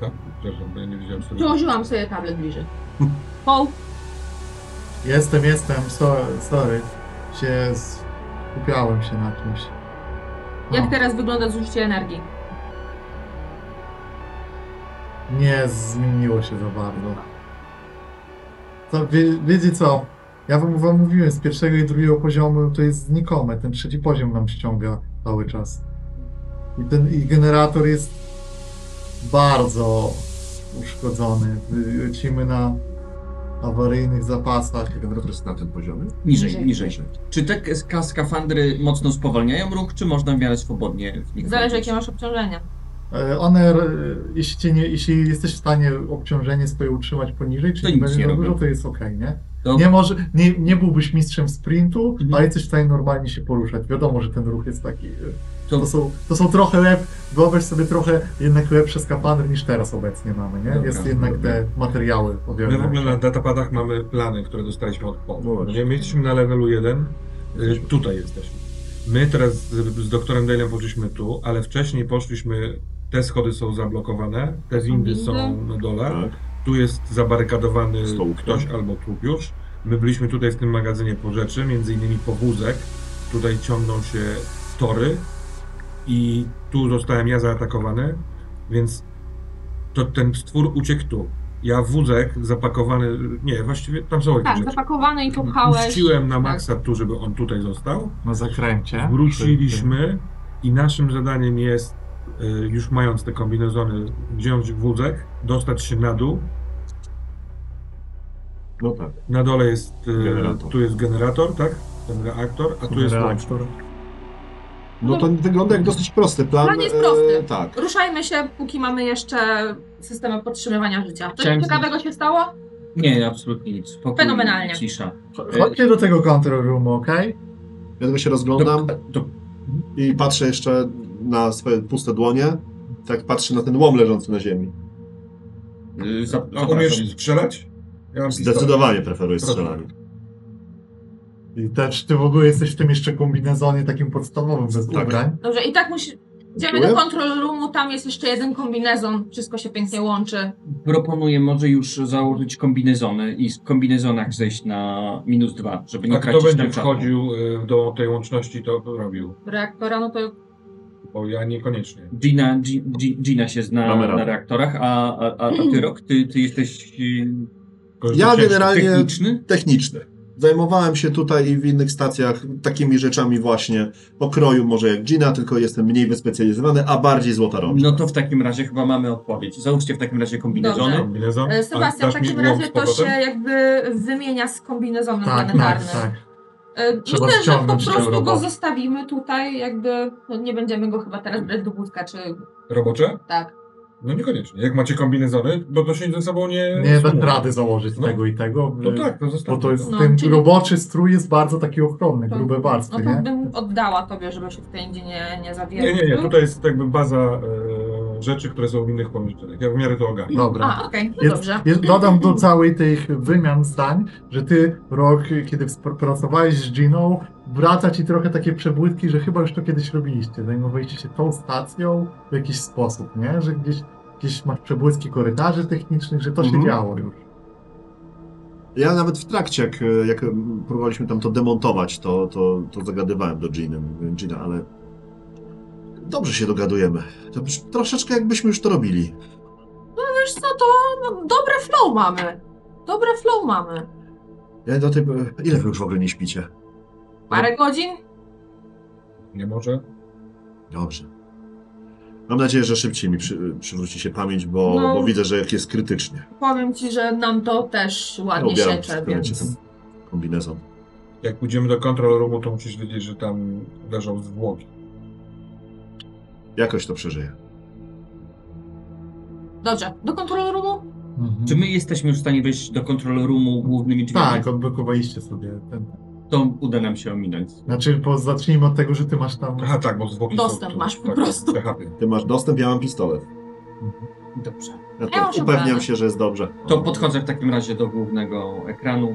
[SPEAKER 3] Tak, przepraszam, bo ja nie widziałem
[SPEAKER 4] No,
[SPEAKER 3] sobie.
[SPEAKER 2] Przyłożyłam sobie tablet bliżej. Paul,
[SPEAKER 1] Jestem, jestem, sorry, sorry. Się skupiałem się na czymś.
[SPEAKER 2] jak
[SPEAKER 6] No.
[SPEAKER 1] O,
[SPEAKER 2] teraz wygląda zużycie energii?
[SPEAKER 1] Nie zmieniło się za bardzo. To, wie, wiecie co, ja wam, wam mówiłem, z pierwszego i drugiego poziomu to jest znikome, ten trzeci poziom nam ściąga cały czas. I ten i generator jest bardzo uszkodzony. Lecimy na awaryjnych zapasach.
[SPEAKER 6] Generator jest na tym poziomie?
[SPEAKER 4] Niżej, niżej. Czy te k- skafandry mocno spowalniają ruch, czy można w miarę swobodnie w nich
[SPEAKER 2] Zależy
[SPEAKER 4] chodzić?
[SPEAKER 2] jakie masz obciążenie.
[SPEAKER 1] E, One, e, jeśli, cię nie, jeśli jesteś w stanie obciążenie swoje utrzymać poniżej,
[SPEAKER 4] To
[SPEAKER 1] czyli
[SPEAKER 4] No nic
[SPEAKER 1] będzie
[SPEAKER 4] nie
[SPEAKER 1] za
[SPEAKER 4] robią.
[SPEAKER 1] dużo, to jest ok, nie?
[SPEAKER 4] To-
[SPEAKER 1] Nie, może, nie, nie byłbyś mistrzem sprintu,
[SPEAKER 4] Mhm.
[SPEAKER 1] ale jesteś w stanie normalnie się poruszać. Wiadomo, że ten ruch jest taki. e,
[SPEAKER 4] To-
[SPEAKER 1] To są, to są trochę lep, wyobraź sobie trochę jednak lepsze skafandry niż teraz obecnie mamy, nie?
[SPEAKER 4] Dobra,
[SPEAKER 1] jest jednak
[SPEAKER 4] dobra.
[SPEAKER 1] te materiały
[SPEAKER 3] My w ogóle
[SPEAKER 1] owiewne.
[SPEAKER 3] na datapadach mamy plany, które dostaliśmy od POP.
[SPEAKER 6] No właśnie.
[SPEAKER 3] Nie mieliśmy na levelu 1, y, tutaj jesteśmy. My teraz z, z doktorem Dale'em poszliśmy tu, ale wcześniej poszliśmy, te schody są zablokowane, te windy
[SPEAKER 9] windy?
[SPEAKER 3] są na dole,
[SPEAKER 6] Tak.
[SPEAKER 3] tu jest zabarykadowany
[SPEAKER 6] Stołówka.
[SPEAKER 3] ktoś albo trup już. My byliśmy tutaj w tym magazynie po rzeczy, między innymi po wózek, tutaj ciągną się tory i tu zostałem ja zaatakowany, więc to ten stwór uciekł tu. Ja wózek zapakowany, nie, właściwie tam są jakieś
[SPEAKER 2] Tak,
[SPEAKER 3] rzeczy.
[SPEAKER 2] zapakowany i popchałeś. Tak.
[SPEAKER 3] Puściłem na maksa tu, żeby on tutaj został.
[SPEAKER 1] Na zakręcie.
[SPEAKER 6] Tak,
[SPEAKER 3] Wróciliśmy i naszym zadaniem jest, y, już mając te kombinezony, wziąć wózek, dostać się na dół.
[SPEAKER 6] No tak.
[SPEAKER 3] Na dole jest, y,
[SPEAKER 6] Generator.
[SPEAKER 3] tu jest generator, tak? Ten reaktor, a tu jest łącz.
[SPEAKER 1] reaktor.
[SPEAKER 6] No to wygląda jak dosyć prosty plan.
[SPEAKER 2] Plan jest prosty.
[SPEAKER 6] E, tak.
[SPEAKER 2] Ruszajmy się, póki mamy jeszcze systemy podtrzymywania życia. Coś
[SPEAKER 10] Chciałem-
[SPEAKER 2] ciekawego się stało?
[SPEAKER 4] Nie, absolutnie nic. Spokój,
[SPEAKER 2] Fenomenalnie.
[SPEAKER 4] Cisza.
[SPEAKER 1] Chodźcie do tego control roomu, okej?
[SPEAKER 6] Ja tylko się rozglądam
[SPEAKER 4] Dok- dok-
[SPEAKER 6] i patrzę jeszcze na swoje puste dłonie. Tak patrzę na ten łom leżący na ziemi.
[SPEAKER 4] y, zap-
[SPEAKER 3] A umiesz strzelać? Ja mam pistolet.
[SPEAKER 6] Zdecydowanie preferuję
[SPEAKER 3] Proszę.
[SPEAKER 6] strzelanie.
[SPEAKER 1] I też ty w ogóle jesteś w tym jeszcze kombinezonie takim podstawowym, bez
[SPEAKER 6] Tak.
[SPEAKER 1] ubrań.
[SPEAKER 2] Dobrze, i tak musi... Idziemy do
[SPEAKER 6] Dziękuję.
[SPEAKER 2] control roomu, tam jest jeszcze jeden kombinezon, wszystko się pięknie łączy.
[SPEAKER 4] Proponuję może już założyć kombinezony i w kombinezonach zejść na minus dwa, żeby nie
[SPEAKER 3] A kto
[SPEAKER 4] tracić
[SPEAKER 3] będzie
[SPEAKER 4] tam czasu.
[SPEAKER 3] wchodził y, do tej łączności, to robił.
[SPEAKER 9] Reaktora, no to
[SPEAKER 2] e,
[SPEAKER 3] Bo ja niekoniecznie.
[SPEAKER 4] Gina, Gi- Gi- Gina się zna
[SPEAKER 6] Damy radę.
[SPEAKER 4] na reaktorach, a, a, a, a ty Rok, ty, ty jesteś y,
[SPEAKER 3] Tylko, że
[SPEAKER 6] Ja
[SPEAKER 3] to ciężko.
[SPEAKER 6] generalnie- Realnie-
[SPEAKER 4] techniczny?
[SPEAKER 6] Techniczny. Zajmowałem się tutaj i w innych stacjach takimi rzeczami właśnie pokroju może jak Gina, tylko jestem mniej wyspecjalizowany, a bardziej złota rączka.
[SPEAKER 4] No to w takim razie chyba mamy odpowiedź. Załóżcie w takim razie kombinezony.
[SPEAKER 2] Dobrze.
[SPEAKER 3] Kombinezon?
[SPEAKER 2] E, Sebastian,
[SPEAKER 3] Dasz
[SPEAKER 2] w
[SPEAKER 3] mi
[SPEAKER 2] takim
[SPEAKER 3] łom
[SPEAKER 2] razie
[SPEAKER 3] z
[SPEAKER 2] to się
[SPEAKER 3] powrotem?
[SPEAKER 2] jakby wymienia z kombinezonem
[SPEAKER 1] Tak, tak,
[SPEAKER 2] planetarnym.
[SPEAKER 1] tak.
[SPEAKER 2] E,
[SPEAKER 1] Trzeba
[SPEAKER 2] Myślę, że po
[SPEAKER 1] ściągnąć tę
[SPEAKER 2] prostu go
[SPEAKER 1] robotę.
[SPEAKER 2] zostawimy tutaj, jakby no nie będziemy go chyba teraz brać do wódka, czy
[SPEAKER 3] Robocze?
[SPEAKER 2] tak.
[SPEAKER 3] No niekoniecznie. Jak macie kombinezony, bo to się ze sobą nie...
[SPEAKER 1] Nie
[SPEAKER 3] sumuje.
[SPEAKER 1] dam rady założyć
[SPEAKER 3] No.
[SPEAKER 1] tego i tego.
[SPEAKER 3] No
[SPEAKER 1] y,
[SPEAKER 3] tak, to
[SPEAKER 1] Bo
[SPEAKER 3] zostało.
[SPEAKER 1] to jest
[SPEAKER 2] No,
[SPEAKER 1] ten
[SPEAKER 2] czyli-
[SPEAKER 1] roboczy strój jest bardzo taki ochronny,
[SPEAKER 2] To-
[SPEAKER 1] grube warstwy,
[SPEAKER 2] No to
[SPEAKER 1] nie?
[SPEAKER 2] bym oddała tobie, żeby się tutaj nigdzie nie, nie
[SPEAKER 3] Nie,
[SPEAKER 2] zawierzył.
[SPEAKER 3] nie, nie. Tutaj jest jakby baza e, rzeczy, które są w innych pomieszczeniach. Ja w miarę to ogarnię.
[SPEAKER 1] Dobra.
[SPEAKER 2] A, okej, no
[SPEAKER 1] Jest-
[SPEAKER 2] dobrze.
[SPEAKER 1] Jest, dodam do całej tych wymian zdań, że ty, Rok, kiedy wspr- pracowałeś z Giną, wraca ci trochę takie przebłyski, że chyba już to kiedyś robiliście. Zajmowaliście się tą stacją w jakiś sposób, nie? Że gdzieś, gdzieś masz przebłyski korytarzy technicznych, że to się
[SPEAKER 6] Mhm.
[SPEAKER 1] działo już.
[SPEAKER 6] Ja nawet w trakcie, jak, jak próbowaliśmy tam to demontować, to, to, to zagadywałem do Gina, Gina, ale dobrze się dogadujemy. To już troszeczkę jakbyśmy już to robili.
[SPEAKER 2] Wiesz co, to no, dobre flow mamy. Dobre flow mamy.
[SPEAKER 6] Ja do tej... Ile wy już w ogóle nie śpicie?
[SPEAKER 2] Parę godzin?
[SPEAKER 3] Nie może?
[SPEAKER 6] Dobrze. Mam nadzieję, że szybciej mi przy, przywróci się pamięć, bo,
[SPEAKER 2] No.
[SPEAKER 6] bo widzę, że jak jest krytycznie.
[SPEAKER 2] Powiem ci, że nam to też ładnie
[SPEAKER 6] ubieram
[SPEAKER 2] się
[SPEAKER 6] się w tym
[SPEAKER 2] czerpie.
[SPEAKER 6] momencie ten kombinezon.
[SPEAKER 3] Jak pójdziemy do control roomu, to musisz wiedzieć, że tam leżą zwłoki.
[SPEAKER 6] Jakoś to przeżyję.
[SPEAKER 2] Dobrze, do kontrolu roomu?
[SPEAKER 3] Mhm.
[SPEAKER 4] Czy my jesteśmy już w stanie wejść do kontrol roomu głównymi drzwiami?
[SPEAKER 1] Tak, odblokowaliście sobie ten.
[SPEAKER 4] To uda nam się ominąć.
[SPEAKER 1] Znaczy, po, zacznijmy od tego, że ty masz tam.
[SPEAKER 3] Aha, tak, bo zwłoki są
[SPEAKER 2] Dostęp
[SPEAKER 3] tu.
[SPEAKER 2] masz po
[SPEAKER 3] tak,
[SPEAKER 2] prostu.
[SPEAKER 3] PHP.
[SPEAKER 6] Ty masz dostęp, ja mam pistolet.
[SPEAKER 4] Dobrze.
[SPEAKER 6] Ja to
[SPEAKER 2] Ja mam
[SPEAKER 6] upewniam
[SPEAKER 2] szufladę.
[SPEAKER 6] się, że jest dobrze.
[SPEAKER 4] To podchodzę w takim razie do głównego ekranu.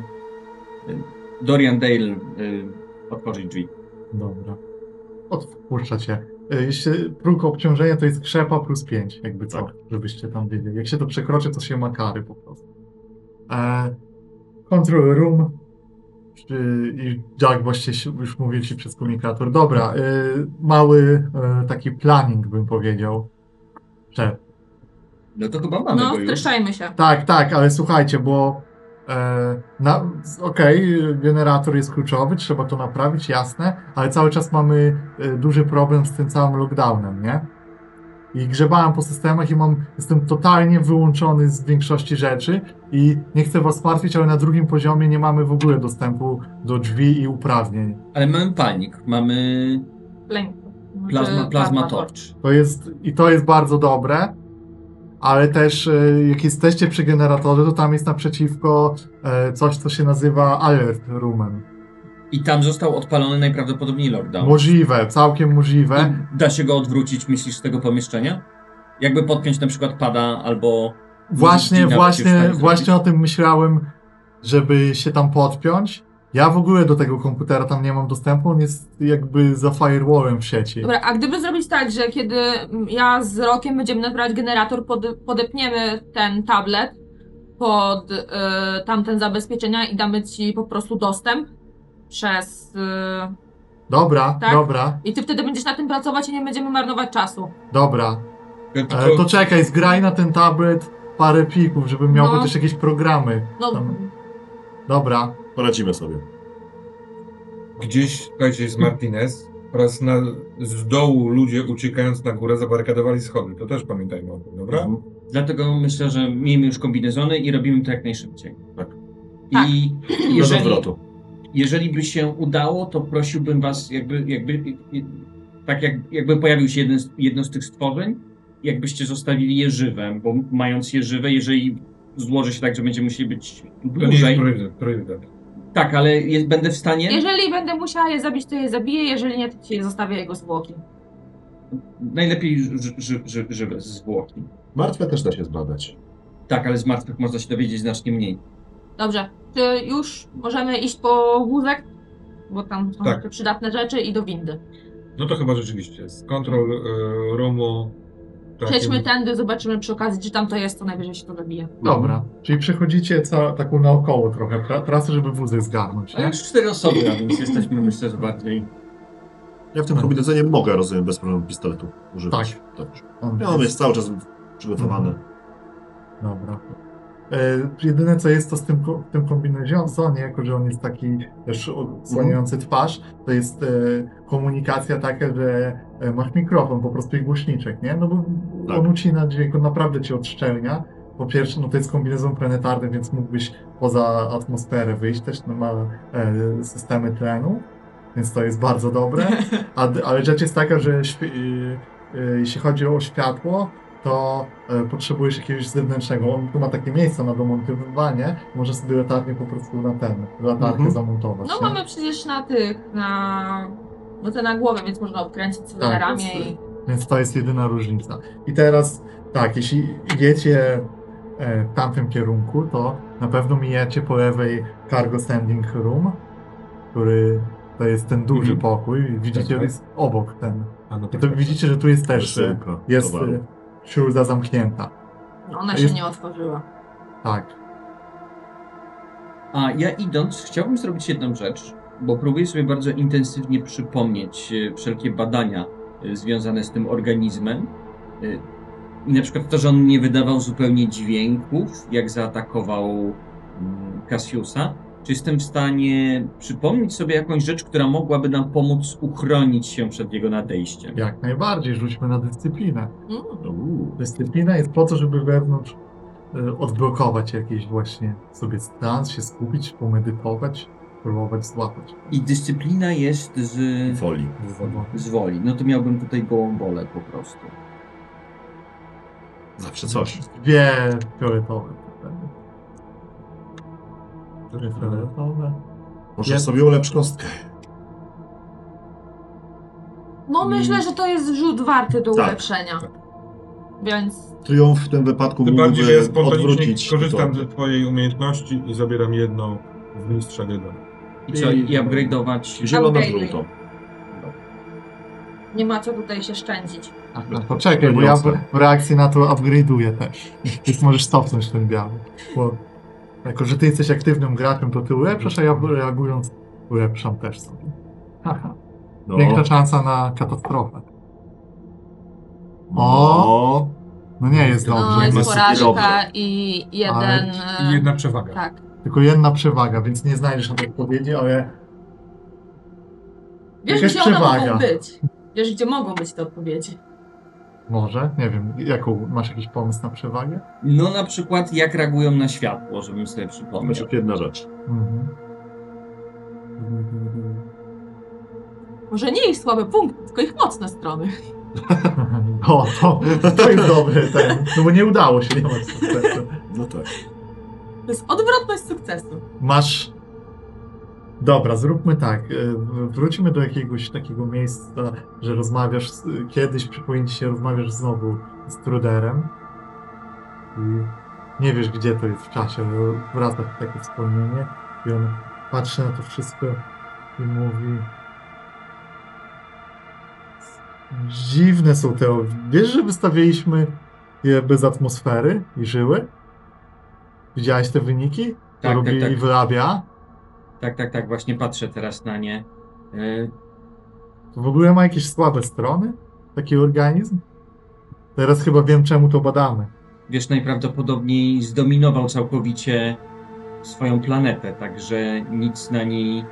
[SPEAKER 4] Y, Dorian Dale y, otworzyć drzwi.
[SPEAKER 1] Dobra. Odpuszcza cię. E, Jeśli próg obciążenia to jest krzepa plus 5, jakby co,
[SPEAKER 6] Tak.
[SPEAKER 1] żebyście tam wiedzieli. Jak się to przekroczy, to się ma kary po prostu. E, control room. Czy- I Jack właśnie się- już mówił ci przez komunikator. Dobra, e, mały e, taki planning bym powiedział. Że
[SPEAKER 4] No to chyba mamy
[SPEAKER 2] No,
[SPEAKER 4] go już.
[SPEAKER 2] streszczajmy się.
[SPEAKER 1] Tak, tak, ale słuchajcie, bo e, na- z- okej, generator jest kluczowy, trzeba to naprawić, jasne, ale cały czas mamy e, duży problem z tym całym lockdownem, nie? I grzebałem po systemach i mam, jestem totalnie wyłączony z większości rzeczy i nie chcę was martwić, ale na drugim poziomie nie mamy w ogóle dostępu do drzwi i uprawnień.
[SPEAKER 4] Ale mamy palnik, mamy
[SPEAKER 2] Lęk.
[SPEAKER 4] plazma,
[SPEAKER 2] Czy
[SPEAKER 4] plazma
[SPEAKER 2] Padma
[SPEAKER 4] torch.
[SPEAKER 1] To jest, I to jest bardzo dobre, ale też e, jak jesteście przy generatorze, to tam jest naprzeciwko e, coś, co się nazywa alert roomem.
[SPEAKER 4] I tam został odpalony najprawdopodobniej lockdown.
[SPEAKER 1] Możliwe, całkiem możliwe.
[SPEAKER 4] I da się go odwrócić, myślisz, z tego pomieszczenia? Jakby podpiąć na przykład pada albo...
[SPEAKER 1] Właśnie,
[SPEAKER 4] Dzień dobry,
[SPEAKER 1] właśnie,
[SPEAKER 4] no, już tak
[SPEAKER 1] właśnie o
[SPEAKER 4] zrobić.
[SPEAKER 1] tym myślałem, żeby się tam podpiąć. Ja w ogóle do tego komputera tam nie mam dostępu, on jest jakby za firewallem w sieci.
[SPEAKER 2] Dobra, a gdyby zrobić tak, że kiedy mm, ja z Rokiem będziemy naprawiać generator, pod, podepniemy ten tablet pod y, tamten zabezpieczenia i damy ci po prostu dostęp przez... Y,
[SPEAKER 1] Dobra,
[SPEAKER 2] Tak?
[SPEAKER 1] dobra,
[SPEAKER 2] I ty wtedy będziesz na tym pracować i nie będziemy marnować czasu.
[SPEAKER 1] dobra. E,
[SPEAKER 4] Tylko
[SPEAKER 1] to czekaj, zgraj na ten tablet parę plików, żebym miał
[SPEAKER 2] No.
[SPEAKER 1] też jakieś programy.
[SPEAKER 2] No,
[SPEAKER 1] Tam. Dobra.
[SPEAKER 6] Poradzimy sobie.
[SPEAKER 3] Gdzieś, słuchajcie, jest Martinez oraz na, z dołu ludzie uciekając na górę zabarykadowali schody. To też pamiętajmy o tym, dobra?
[SPEAKER 6] Mhm.
[SPEAKER 4] Dlatego myślę, że miejmy już kombinezony i robimy to jak najszybciej.
[SPEAKER 6] Tak.
[SPEAKER 2] Tak.
[SPEAKER 4] I
[SPEAKER 6] Bez
[SPEAKER 4] jeżeli,
[SPEAKER 6] odwrotu.
[SPEAKER 4] jeżeli by się udało, to prosiłbym was, jakby, jakby i- i- tak jak, jakby pojawił się jeden z, jedno z tych stworzeń, jakbyście zostawili je żywe, bo mając je żywe, jeżeli złoży się tak, że będziemy musieli być
[SPEAKER 3] To nie jest
[SPEAKER 4] dłużej.
[SPEAKER 3] priorytet, priorytet.
[SPEAKER 4] Tak, ale jest, będę w stanie.
[SPEAKER 2] jeżeli będę musiała je zabić, to je zabiję, jeżeli nie, to ci zostawię jego zwłoki.
[SPEAKER 4] Najlepiej ży, ży, ży, żywe zwłoki.
[SPEAKER 6] Martwe też da się zbadać.
[SPEAKER 4] Tak, ale z martwych można się dowiedzieć znacznie mniej.
[SPEAKER 2] Dobrze, czy już możemy iść po wózek? Bo tam są
[SPEAKER 3] Tak.
[SPEAKER 2] jeszcze przydatne rzeczy i do windy.
[SPEAKER 3] No to chyba rzeczywiście. Z kontrol tak, y, roomu... takim-
[SPEAKER 2] Przejdźmy tędy, zobaczymy przy okazji, czy tam to jest, to najwyżej się to dobije.
[SPEAKER 4] Mhm.
[SPEAKER 1] Dobra, czyli przechodzicie ca- taką naokoło trochę tra- trasę, żeby wózek zgarnąć,
[SPEAKER 4] A
[SPEAKER 1] nie?
[SPEAKER 4] już cztery osoby, więc jesteśmy myślę, że bardziej.
[SPEAKER 6] Ja w tym kombinezonie mogę, rozumiem, bez problemu pistoletu używać.
[SPEAKER 1] Tak. Mhm.
[SPEAKER 6] Dobrze.
[SPEAKER 1] On
[SPEAKER 4] No,
[SPEAKER 6] Ja on jest cały czas przygotowany.
[SPEAKER 1] Dobra. E, jedyne co jest to z tym, ko- w tym kombinezonie, jako że on jest taki też odsłaniający twarz, to jest e, komunikacja taka, że e, masz mikrofon po prostu i głośniczek, nie? No bo
[SPEAKER 6] Tak.
[SPEAKER 1] on ucina dźwięk, on naprawdę cię odszczelnia. Po pierwsze, no to jest kombinezon planetarny, więc mógłbyś poza atmosferę wyjść też, no ma e, systemy tlenu, więc to jest bardzo dobre. A, d- ale rzecz jest taka, że świ- y, y, jeśli chodzi o światło, to e, potrzebujesz jakiegoś zewnętrznego. On tu ma takie miejsce na domontowywanie, może sobie latarnię po prostu na ten, latarkę
[SPEAKER 6] Mhm.
[SPEAKER 1] zamontować.
[SPEAKER 2] No
[SPEAKER 1] nie?
[SPEAKER 2] mamy przecież na tych, na... No to na głowę, więc można obkręcić sobie
[SPEAKER 1] Tak,
[SPEAKER 2] na ramię
[SPEAKER 1] więc-
[SPEAKER 2] i...
[SPEAKER 1] Więc to jest jedyna różnica. I teraz tak, jeśli idziecie e, w tamtym kierunku, to na pewno mijacie po lewej cargo standing room, który to jest ten duży
[SPEAKER 3] Mhm.
[SPEAKER 1] pokój. Widzicie,
[SPEAKER 3] tak.
[SPEAKER 1] jest obok ten.
[SPEAKER 3] A, no
[SPEAKER 1] I
[SPEAKER 3] tak,
[SPEAKER 1] to
[SPEAKER 3] tak,
[SPEAKER 1] widzicie, że tu jest też e,
[SPEAKER 6] Wysyłka
[SPEAKER 1] jest
[SPEAKER 6] towaru.
[SPEAKER 1] e, śruza zamknięta. Tak,
[SPEAKER 2] no Ona
[SPEAKER 1] A
[SPEAKER 2] się
[SPEAKER 1] jest-
[SPEAKER 2] nie otworzyła.
[SPEAKER 1] Tak.
[SPEAKER 4] A ja idąc, chciałbym zrobić jedną rzecz, bo próbuję sobie bardzo intensywnie przypomnieć e, wszelkie badania e, związane z tym organizmem. E, I na przykład to, że on nie wydawał zupełnie dźwięków, jak zaatakował mm, Cassiusa. Czy jestem w stanie przypomnieć sobie jakąś rzecz, która mogłaby nam pomóc uchronić się przed jego nadejściem?
[SPEAKER 1] Jak najbardziej, rzućmy na dyscyplinę.
[SPEAKER 2] Mm.
[SPEAKER 6] No,
[SPEAKER 4] Uuu.
[SPEAKER 1] Dyscyplina jest po to, żeby wewnątrz y, odblokować jakiś właśnie sobie stan, się skupić, pomedytować, próbować złapać.
[SPEAKER 4] I dyscyplina jest z,
[SPEAKER 6] Woli.
[SPEAKER 4] z woli. No to miałbym tutaj gołą wolę po prostu.
[SPEAKER 6] Zawsze coś.
[SPEAKER 1] Dwie fioletowe. Dwie fioletowe.
[SPEAKER 6] Może
[SPEAKER 1] Ja-
[SPEAKER 6] sobie ulepsz kostkę.
[SPEAKER 2] No myślę, że to jest rzut warty do
[SPEAKER 6] Tak,
[SPEAKER 2] ulepszenia. Więc
[SPEAKER 6] Triumf w tym wypadku
[SPEAKER 3] Tym bardziej, że ja
[SPEAKER 6] mógłby
[SPEAKER 3] spontanicznie
[SPEAKER 6] odwrócić.
[SPEAKER 3] korzystam
[SPEAKER 6] to.
[SPEAKER 3] ze twojej umiejętności i zabieram jedną w mistrza Geda.
[SPEAKER 4] I co, i upgrade'ować
[SPEAKER 6] Zielone
[SPEAKER 2] Upgrade'uj.
[SPEAKER 6] żółto.
[SPEAKER 2] nie ma co tutaj się szczędzić.
[SPEAKER 1] Aha, poczekaj, bo ja w, w reakcji na to upgrade'uję też. Więc możesz stopnąć ten biały. Bo jako, że ty jesteś aktywnym graczem, to ty ulepszasz, a ja reagując ulepszam też sobie. Haha.
[SPEAKER 6] No.
[SPEAKER 1] Piękna szansa na katastrofę.
[SPEAKER 6] No.
[SPEAKER 1] No nie jest
[SPEAKER 2] No,
[SPEAKER 1] dobrze.
[SPEAKER 6] jest
[SPEAKER 2] jest
[SPEAKER 6] Dosyć
[SPEAKER 2] porażka
[SPEAKER 6] dobre.
[SPEAKER 2] i
[SPEAKER 1] Ale
[SPEAKER 2] jeden...
[SPEAKER 3] I
[SPEAKER 2] e,
[SPEAKER 3] jedna przewaga.
[SPEAKER 2] Tak.
[SPEAKER 1] Tylko jedna przewaga, więc nie znajdziesz odpowiedzi, ale
[SPEAKER 2] Wiesz,
[SPEAKER 1] Jakaś
[SPEAKER 2] gdzie one
[SPEAKER 1] przewaga.
[SPEAKER 2] mogą być. Wiesz, gdzie mogą być te odpowiedzi.
[SPEAKER 1] może, nie wiem, jaką, masz jakiś pomysł na przewagę?
[SPEAKER 4] No na przykład jak reagują na światło, żebym sobie przypomniał.
[SPEAKER 6] Znaczy jedna rzecz.
[SPEAKER 1] Mhm.
[SPEAKER 2] Może nie ich słabe punkty, tylko ich mocne strony.
[SPEAKER 1] O, to, to jest dobry ten, no bo nie udało się, nie masz sukcesu.
[SPEAKER 6] No tak.
[SPEAKER 2] To jest odwrotność sukcesu.
[SPEAKER 1] Masz. Dobra, zróbmy tak. y, Wróćmy do jakiegoś takiego miejsca, że rozmawiasz. z- Kiedyś przypomnij ci się, rozmawiasz znowu z Truderem. I nie wiesz, gdzie to jest w czasie, ale wraca ci takie wspomnienie. I on patrzy na to wszystko i mówi. Dziwne są te. o- Wiesz, że wystawiliśmy je bez atmosfery i żyły? Widziałeś te wyniki?
[SPEAKER 4] Tak,
[SPEAKER 1] robi
[SPEAKER 4] tak, tak.
[SPEAKER 1] wyrabia.
[SPEAKER 4] Tak, tak, tak, właśnie patrzę teraz na nie. E,
[SPEAKER 1] To w ogóle ma jakieś słabe strony? Taki organizm? Teraz chyba wiem, czemu to badamy.
[SPEAKER 4] Wiesz, najprawdopodobniej zdominował całkowicie swoją planetę, także nic na niej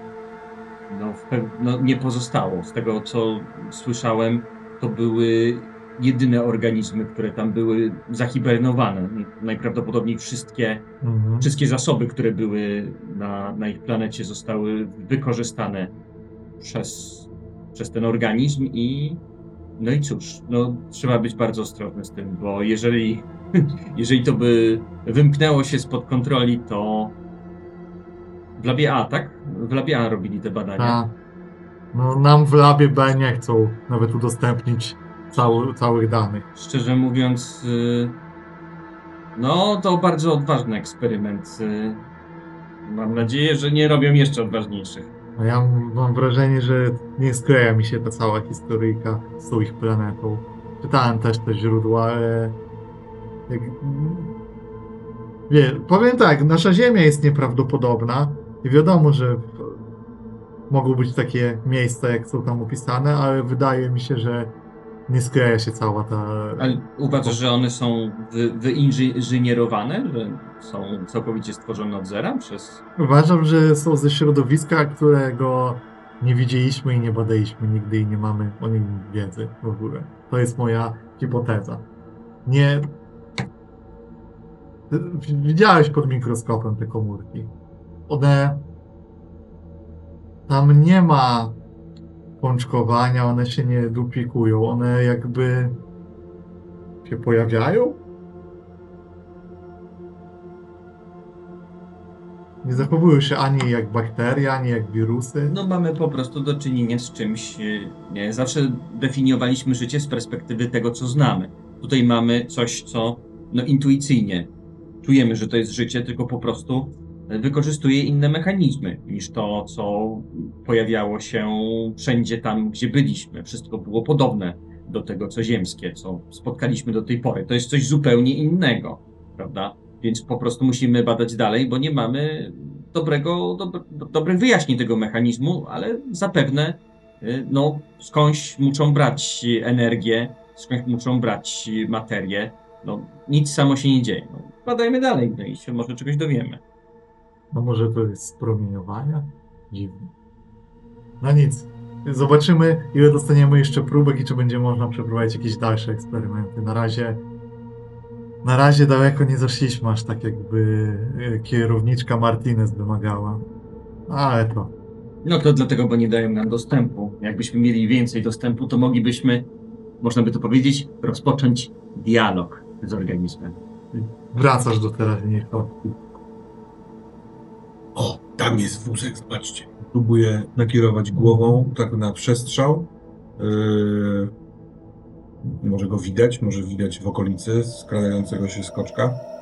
[SPEAKER 4] no, w pew- no, nie pozostało. Z tego co słyszałem, to były jedyne organizmy, które tam były zahibernowane. Najprawdopodobniej wszystkie
[SPEAKER 1] Mhm.
[SPEAKER 4] wszystkie zasoby, które były na, na ich planecie, zostały wykorzystane przez, przez ten organizm i no i cóż, no, trzeba być bardzo ostrożny z tym, bo jeżeli, jeżeli to by wymknęło się spod kontroli, to w labie A, tak? W labie A robili te badania.
[SPEAKER 1] Ta. No, nam w labie B nie chcą nawet udostępnić cały, całych danych.
[SPEAKER 4] Szczerze mówiąc, y, no to bardzo odważny eksperyment. y. Mam nadzieję, że nie robią jeszcze odważniejszych.
[SPEAKER 1] No ja m- mam wrażenie, że nie skleja mi się ta cała historyjka z tą ich planetą. Czytałem też te źródła, e, ale... Jak... Wie, powiem tak, nasza Ziemia jest nieprawdopodobna i wiadomo, że w- mogą być takie miejsca, jak są tam opisane, ale wydaje mi się, że nie skleja się cała ta...
[SPEAKER 4] Ale uważasz, że one są wy, wyinżynierowane, że są całkowicie stworzone od zera przez...
[SPEAKER 1] Uważam, że są ze środowiska, którego nie widzieliśmy i nie badaliśmy nigdy i nie mamy o nim wiedzy w ogóle. To jest moja hipoteza. Nie. W- Widziałeś pod mikroskopem te komórki. One. Tam nie ma pączkowania, one się nie duplikują, one jakby się pojawiają. Nie zachowują się ani jak bakterie, ani jak wirusy.
[SPEAKER 4] No mamy po prostu do czynienia z czymś... y, Nie, zawsze definiowaliśmy życie z perspektywy tego, co znamy. Tutaj mamy coś, co no, intuicyjnie czujemy, że to jest życie, tylko po prostu y, wykorzystuje inne mechanizmy niż to, co pojawiało się wszędzie tam, gdzie byliśmy. Wszystko było podobne do tego, co ziemskie, co spotkaliśmy do tej pory. To jest coś zupełnie innego, prawda? Więc po prostu musimy badać dalej, bo nie mamy dobrego, dob, dobrych wyjaśnień tego mechanizmu, ale zapewne y, no, skądś muszą brać y, energię, skądś muszą brać y, materię. No, nic samo się nie dzieje. No, badajmy dalej no i się może czegoś dowiemy.
[SPEAKER 5] No może to jest z promieniowania? Dziwne. No nic. Zobaczymy, ile dostaniemy jeszcze próbek i czy będzie można przeprowadzić jakieś dalsze eksperymenty. Na razie. Na razie daleko nie zaszliśmy, aż tak jakby e, kierowniczka Martinez wymagała. Ale to.
[SPEAKER 4] No to dlatego, bo nie dają nam dostępu. Jakbyśmy mieli więcej dostępu, to moglibyśmy, można by to powiedzieć, rozpocząć dialog z organizmem.
[SPEAKER 5] Wracasz do teraźniejszości.
[SPEAKER 3] O, tam jest wózek, zobaczcie. Próbuję nakierować głową tak na przestrzał. Yy, może go widać, może widać w okolicy skradającego się skoczka.